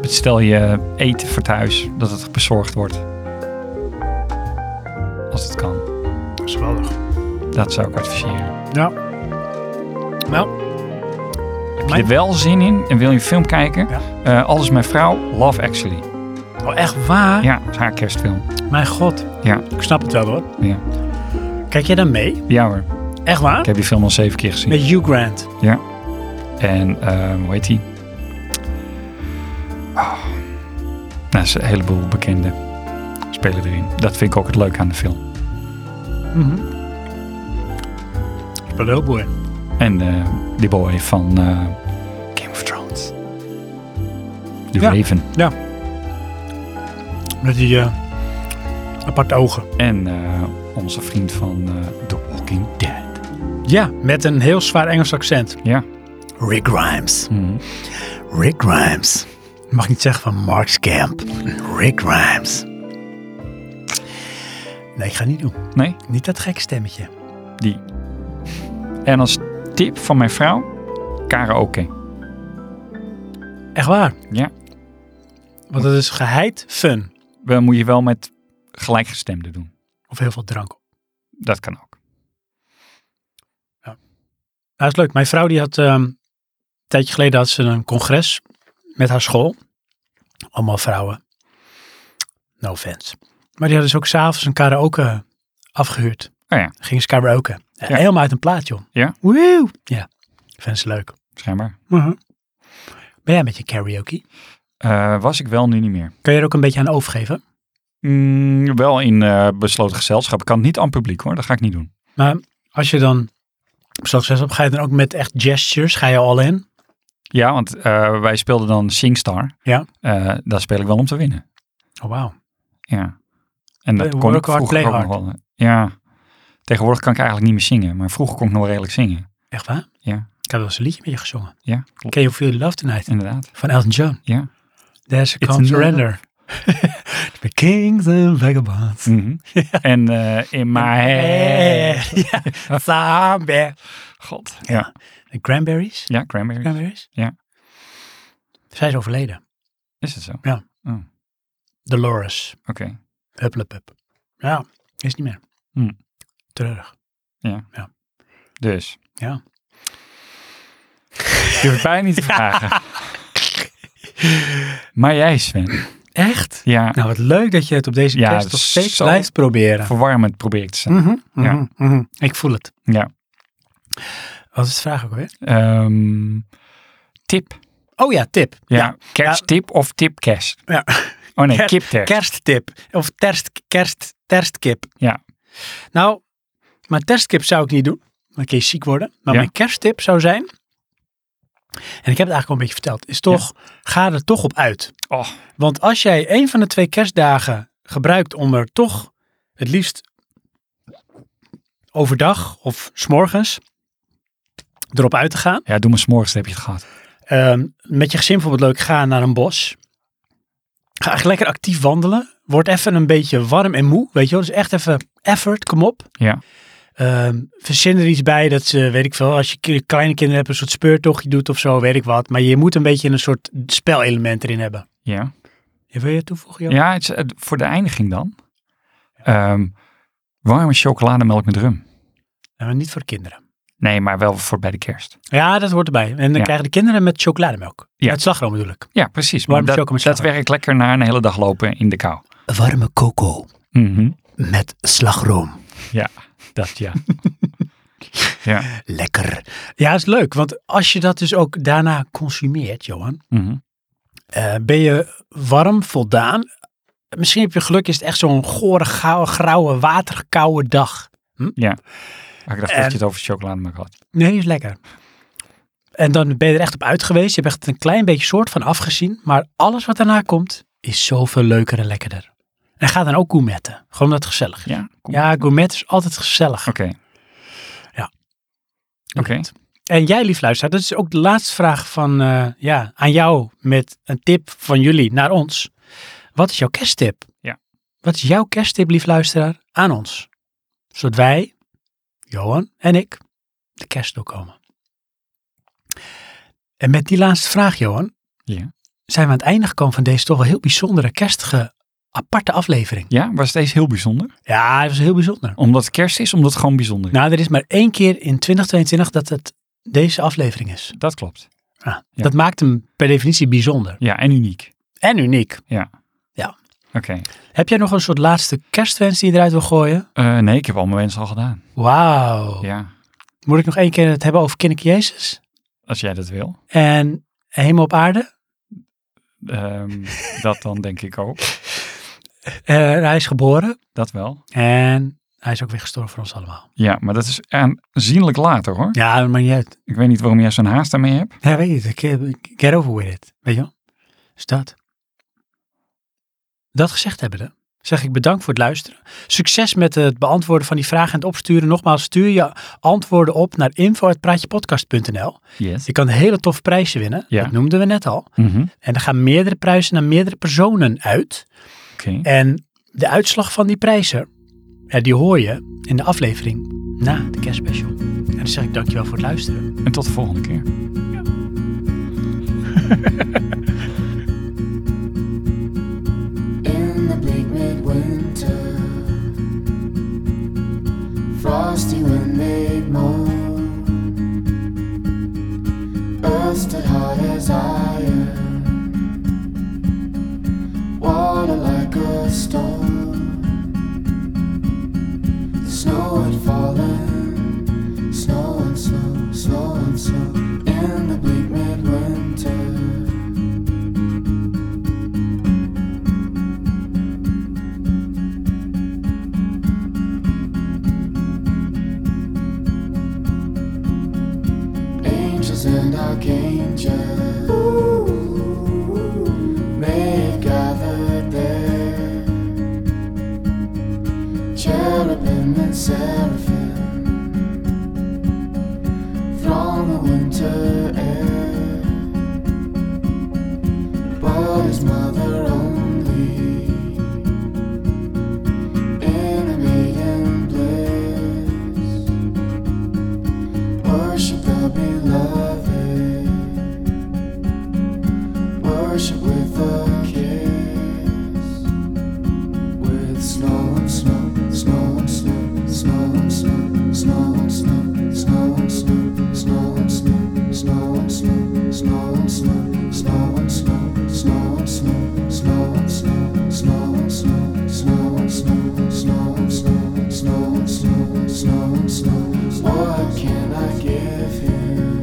Speaker 2: Bestel je eten voor thuis, dat het bezorgd wordt. Als het kan.
Speaker 1: Dat is geweldig.
Speaker 2: Dat zou ik adviseren.
Speaker 1: Ja. Nou,
Speaker 2: Heb je
Speaker 1: Mijn-
Speaker 2: er wel zin in en wil je een film kijken?
Speaker 1: Ja.
Speaker 2: Eh, Alles mijn vrouw, Love Actually.
Speaker 1: oh, echt waar?
Speaker 2: Ja, is haar kerstfilm.
Speaker 1: Mijn god.
Speaker 2: Ja,
Speaker 1: Ik snap het wel hoor.
Speaker 2: ja.
Speaker 1: Kijk jij dan mee?
Speaker 2: ja hoor.
Speaker 1: Echt waar?
Speaker 2: Ik heb die film al zeven keer gezien.
Speaker 1: Met Hugh Grant.
Speaker 2: Ja. En ehm, hoe heet die? Ah. Nou, is een heleboel bekende spelen erin. Dat vind ik ook het leuke aan de film.
Speaker 1: Belowboy.
Speaker 2: En eh, die boy van eh, Game of Thrones. De
Speaker 1: Ja.
Speaker 2: Raven.
Speaker 1: Met die eh, aparte ogen.
Speaker 2: En eh, onze vriend van eh, The Walking Dead.
Speaker 1: Ja, met een heel zwaar Engels accent.
Speaker 2: Ja.
Speaker 1: Rick Grimes.
Speaker 2: Mhm.
Speaker 1: Rick Grimes. Hmm. Mag ik niet zeggen van Mark Camp. Rick Grimes. Nee, ik ga niet doen.
Speaker 2: Nee,
Speaker 1: Niet dat gekke stemmetje.
Speaker 2: die. En als tip van mijn vrouw, karaoke.
Speaker 1: Echt waar.
Speaker 2: Ja.
Speaker 1: Want dat is geheid fun.
Speaker 2: Wel moet je wel met gelijkgestemden doen.
Speaker 1: Of heel veel drank.
Speaker 2: Dat kan ook.
Speaker 1: Nou, dat is leuk. Mijn vrouw die had ehm, een tijdje geleden had ze een congres met haar school. Allemaal vrouwen. No offense. Maar die hadden dus ook s'avonds een karaoke afgehuurd.
Speaker 2: Oh ja,
Speaker 1: Gingen ze karaoke. Ja,
Speaker 2: Ja.
Speaker 1: Helemaal uit een plaat, joh.
Speaker 2: Ja?
Speaker 1: Woehoe. Ja. Vind ze leuk.
Speaker 2: schijnbaar.
Speaker 1: Ben jij met je karaoke?
Speaker 2: Eh, was ik wel nu niet meer.
Speaker 1: Kan je er ook een beetje aan overgeven?
Speaker 2: Mm, wel in eh, besloten gezelschap. Ik kan het niet aan het publiek hoor, dat ga ik niet doen.
Speaker 1: Maar als je dan op slag zes op, ga je dan ook met echt gestures, ga je al in?
Speaker 2: Ja, want eh, wij speelden dan Singstar.
Speaker 1: Ja.
Speaker 2: Eh, daar speel ik wel om te winnen.
Speaker 1: Oh, wauw.
Speaker 2: Ja. En dat
Speaker 1: Play-
Speaker 2: kon ik
Speaker 1: Eh, work hard,
Speaker 2: vroeger
Speaker 1: play
Speaker 2: ook nog wel. eh, Ja. Tegenwoordig kan ik eigenlijk niet meer zingen, maar vroeger kon ik nog wel redelijk zingen.
Speaker 1: Echt waar?
Speaker 2: Ja.
Speaker 1: Ik heb wel eens een liedje met je gezongen.
Speaker 2: Ja, klopt.
Speaker 1: Can You Feel the Love Tonight?
Speaker 2: Inderdaad.
Speaker 1: Van Elton John.
Speaker 2: Ja.
Speaker 1: There's a
Speaker 2: It's
Speaker 1: Come
Speaker 2: not-
Speaker 1: Surrender. The Kings and Vagabonds.
Speaker 2: Mhm. En eh, in my head. eh,
Speaker 1: Ja, Somewhere.
Speaker 2: God.
Speaker 1: Ja. De Cranberries.
Speaker 2: Ja, Cranberry.
Speaker 1: Cranberries?
Speaker 2: Ja.
Speaker 1: Zij is overleden.
Speaker 2: Is het zo? Oké.
Speaker 1: Dolores. Hup, hup, hup. Ja, is niet meer.
Speaker 2: Hm.
Speaker 1: Treurig.
Speaker 2: Dus.
Speaker 1: Ja.
Speaker 2: Je hoeft het bijna niet te vragen. maar jij Sven.
Speaker 1: Echt?
Speaker 2: Ja.
Speaker 1: Nou, wat leuk dat je het op deze
Speaker 2: Ja,
Speaker 1: kerst
Speaker 2: dat
Speaker 1: nog
Speaker 2: is
Speaker 1: steeds
Speaker 2: zo-
Speaker 1: blijft proberen.
Speaker 2: verwarmend probeer ik te zijn.
Speaker 1: Mhm, mhm,
Speaker 2: Ja.
Speaker 1: mhm. Ik voel het.
Speaker 2: Ja.
Speaker 1: Wat is de vraag ook weer?
Speaker 2: Ehm, tip.
Speaker 1: Oh ja, tip.
Speaker 2: Ja, kersttip of tipkerst?
Speaker 1: Ja.
Speaker 2: Oh nee,
Speaker 1: Ker-
Speaker 2: kipkerst.
Speaker 1: Kersttip. Of terst, kerst, terstkip.
Speaker 2: Ja.
Speaker 1: Nou, mijn terstkip zou ik niet doen. Dan kun je ziek worden. Maar
Speaker 2: Ja.
Speaker 1: mijn kersttip zou zijn... En ik heb het eigenlijk al een beetje verteld. Is toch, ga er toch op uit.
Speaker 2: Oh,
Speaker 1: Want als jij een van de twee kerstdagen gebruikt om er toch het liefst overdag of 's morgens erop uit te gaan.
Speaker 2: ja, doe maar s'morgens, dan heb je het gehad.
Speaker 1: Ehm, met je gezin bijvoorbeeld leuk, ga naar een bos. Ga echt lekker actief wandelen. Word even een beetje warm en moe, weet je wel. Dus echt even effort, kom op.
Speaker 2: Ja.
Speaker 1: Ehm verzin er iets bij dat ze, weet ik veel, als je ki- kleine kinderen hebt, een soort speurtochtje doet of zo, weet ik wat. Maar je moet een beetje een soort spelelement erin hebben.
Speaker 2: Ja,
Speaker 1: Ja, Wil je toevoegen, Joop?
Speaker 2: ja het, is, eh, voor de eindiging dan. Ehm, warme chocolademelk met rum.
Speaker 1: Ja, maar niet voor kinderen.
Speaker 2: Nee, maar wel voor bij de kerst.
Speaker 1: Ja, dat hoort erbij. En dan
Speaker 2: Ja.
Speaker 1: krijgen de kinderen met chocolademelk.
Speaker 2: Ja.
Speaker 1: Ja. Met slagroom bedoel ik.
Speaker 2: Ja, precies. Maar
Speaker 1: Warme
Speaker 2: dat,
Speaker 1: chocomelk.
Speaker 2: dat werkt lekker na een hele dag lopen in de kou.
Speaker 8: Warme coco
Speaker 2: Mhm.
Speaker 8: met slagroom.
Speaker 2: Ja, dat ja. ja.
Speaker 8: Lekker.
Speaker 1: Ja, is leuk. Want als je dat dus ook daarna consumeert, Johan,
Speaker 2: mhm.
Speaker 1: eh, ben je warm, voldaan. Misschien heb je geluk, is het echt zo'n gore, gauwe, grauwe, waterkoude dag.
Speaker 2: Maar Ah, ik dacht
Speaker 1: En-
Speaker 2: dat je het over chocolademelk had.
Speaker 1: Nee, is lekker. En dan ben je er echt op uit geweest. Je hebt echt een klein beetje soort van afgezien. Maar alles wat daarna komt, is zoveel leuker en lekkerder. En ga dan ook gourmetten. Gewoon omdat het gezellig is.
Speaker 2: Ja, kom.
Speaker 1: Ja, gourmet is altijd gezellig.
Speaker 2: Oké.
Speaker 1: Ja.
Speaker 2: Oké.
Speaker 1: En jij, lief luisteraar, dat is ook de laatste vraag van, eh, ja, aan jou met een tip van jullie naar ons. Wat is jouw kersttip?
Speaker 2: Ja.
Speaker 1: Wat is jouw kersttip, lief luisteraar, aan ons? Zodat wij, Johan en ik, de kerst doorkomen. En met die laatste vraag, Johan,
Speaker 2: Ja.
Speaker 1: zijn we aan het einde gekomen van deze toch wel heel bijzondere kerstige aparte aflevering.
Speaker 2: Ja, was deze heel bijzonder?
Speaker 1: Ja, dat was heel bijzonder.
Speaker 2: Omdat het kerst is, omdat het gewoon bijzonder is.
Speaker 1: Nou, er is maar één keer in 2022 dat het deze aflevering is.
Speaker 2: dat klopt.
Speaker 1: Ah,
Speaker 2: Ja.
Speaker 1: Dat maakt hem per definitie bijzonder.
Speaker 2: Ja, en uniek.
Speaker 1: En uniek.
Speaker 2: Oké.
Speaker 1: Heb jij nog een soort laatste kerstwens die je eruit wil gooien?
Speaker 2: Eh, nee, ik heb al mijn wensen al gedaan.
Speaker 1: Wauw.
Speaker 2: Ja,
Speaker 1: Moet ik nog één keer het hebben over kinderke Jezus?
Speaker 2: als jij dat wil.
Speaker 1: En hemel op aarde?
Speaker 2: Ehm, dat dan denk ik ook.
Speaker 1: Eh, hij is geboren
Speaker 2: Dat wel.
Speaker 1: en hij is ook weer gestorven voor ons allemaal.
Speaker 2: Ja, maar dat is aanzienlijk later hoor.
Speaker 1: Ja, dat maakt niet uit.
Speaker 2: Ik weet niet waarom jij zo'n haast daarmee hebt.
Speaker 1: Ja, weet je, het, ik- ik- get over with it. Weet je wel? Dus dat. Dat gezegd hebbende, zeg ik bedankt voor het luisteren. Succes met het beantwoorden van die vragen en het opsturen. Nogmaals, stuur je antwoorden op naar info.praatjepodcast.nl.
Speaker 2: Yes.
Speaker 1: Je kan hele toffe prijzen winnen.
Speaker 2: Ja.
Speaker 1: Dat noemden we net al.
Speaker 2: Mhm.
Speaker 1: En er gaan meerdere prijzen naar meerdere personen uit.
Speaker 2: Oké.
Speaker 1: En de uitslag van die prijzen, ja, die hoor je in de aflevering na de kerstspecial. En dan zeg ik dankjewel voor het luisteren.
Speaker 2: En tot de volgende keer.
Speaker 9: in the bleak midwinter. Frosty wind made moan. Earth stood hard as iron. Water like a stone. Snow had fallen. Snow and snow, snow and snow. In the bleak midwinter. angels and archangels may have gathered there. Cherubim and seraphim throng the winter air. But his mother only in a maiden bliss worship the beloved, worship with a kiss, with snow and snow, snow and snow, snow and snow, snow and snow, snow and snow, snow and snow, snow and snow, snow and snow, snow and snow, snow and snow, snow and snow, snow and snow, snow and snow, snow and snow, snow and snow, snow and snow. What can I give him?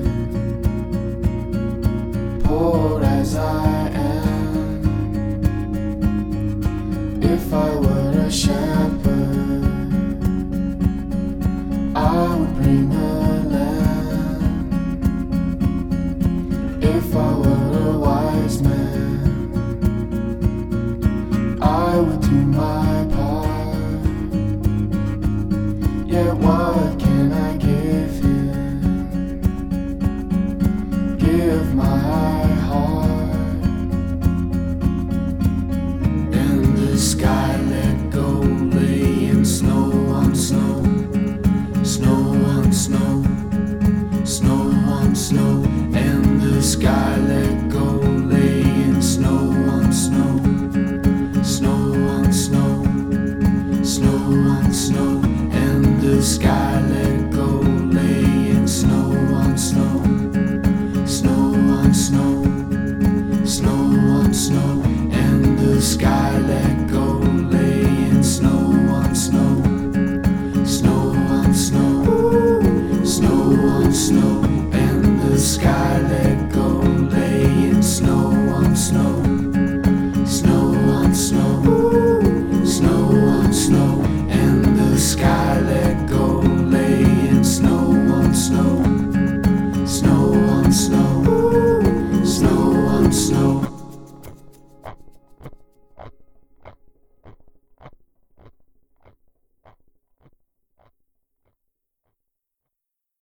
Speaker 9: Poor as I am, if I were a shepherd, I would bring a lamb. If I were a wise man, I would do my part. Yet what can I give him? Give my heart in the sky, let go, lay in snow on snow,
Speaker 10: snow and the sky like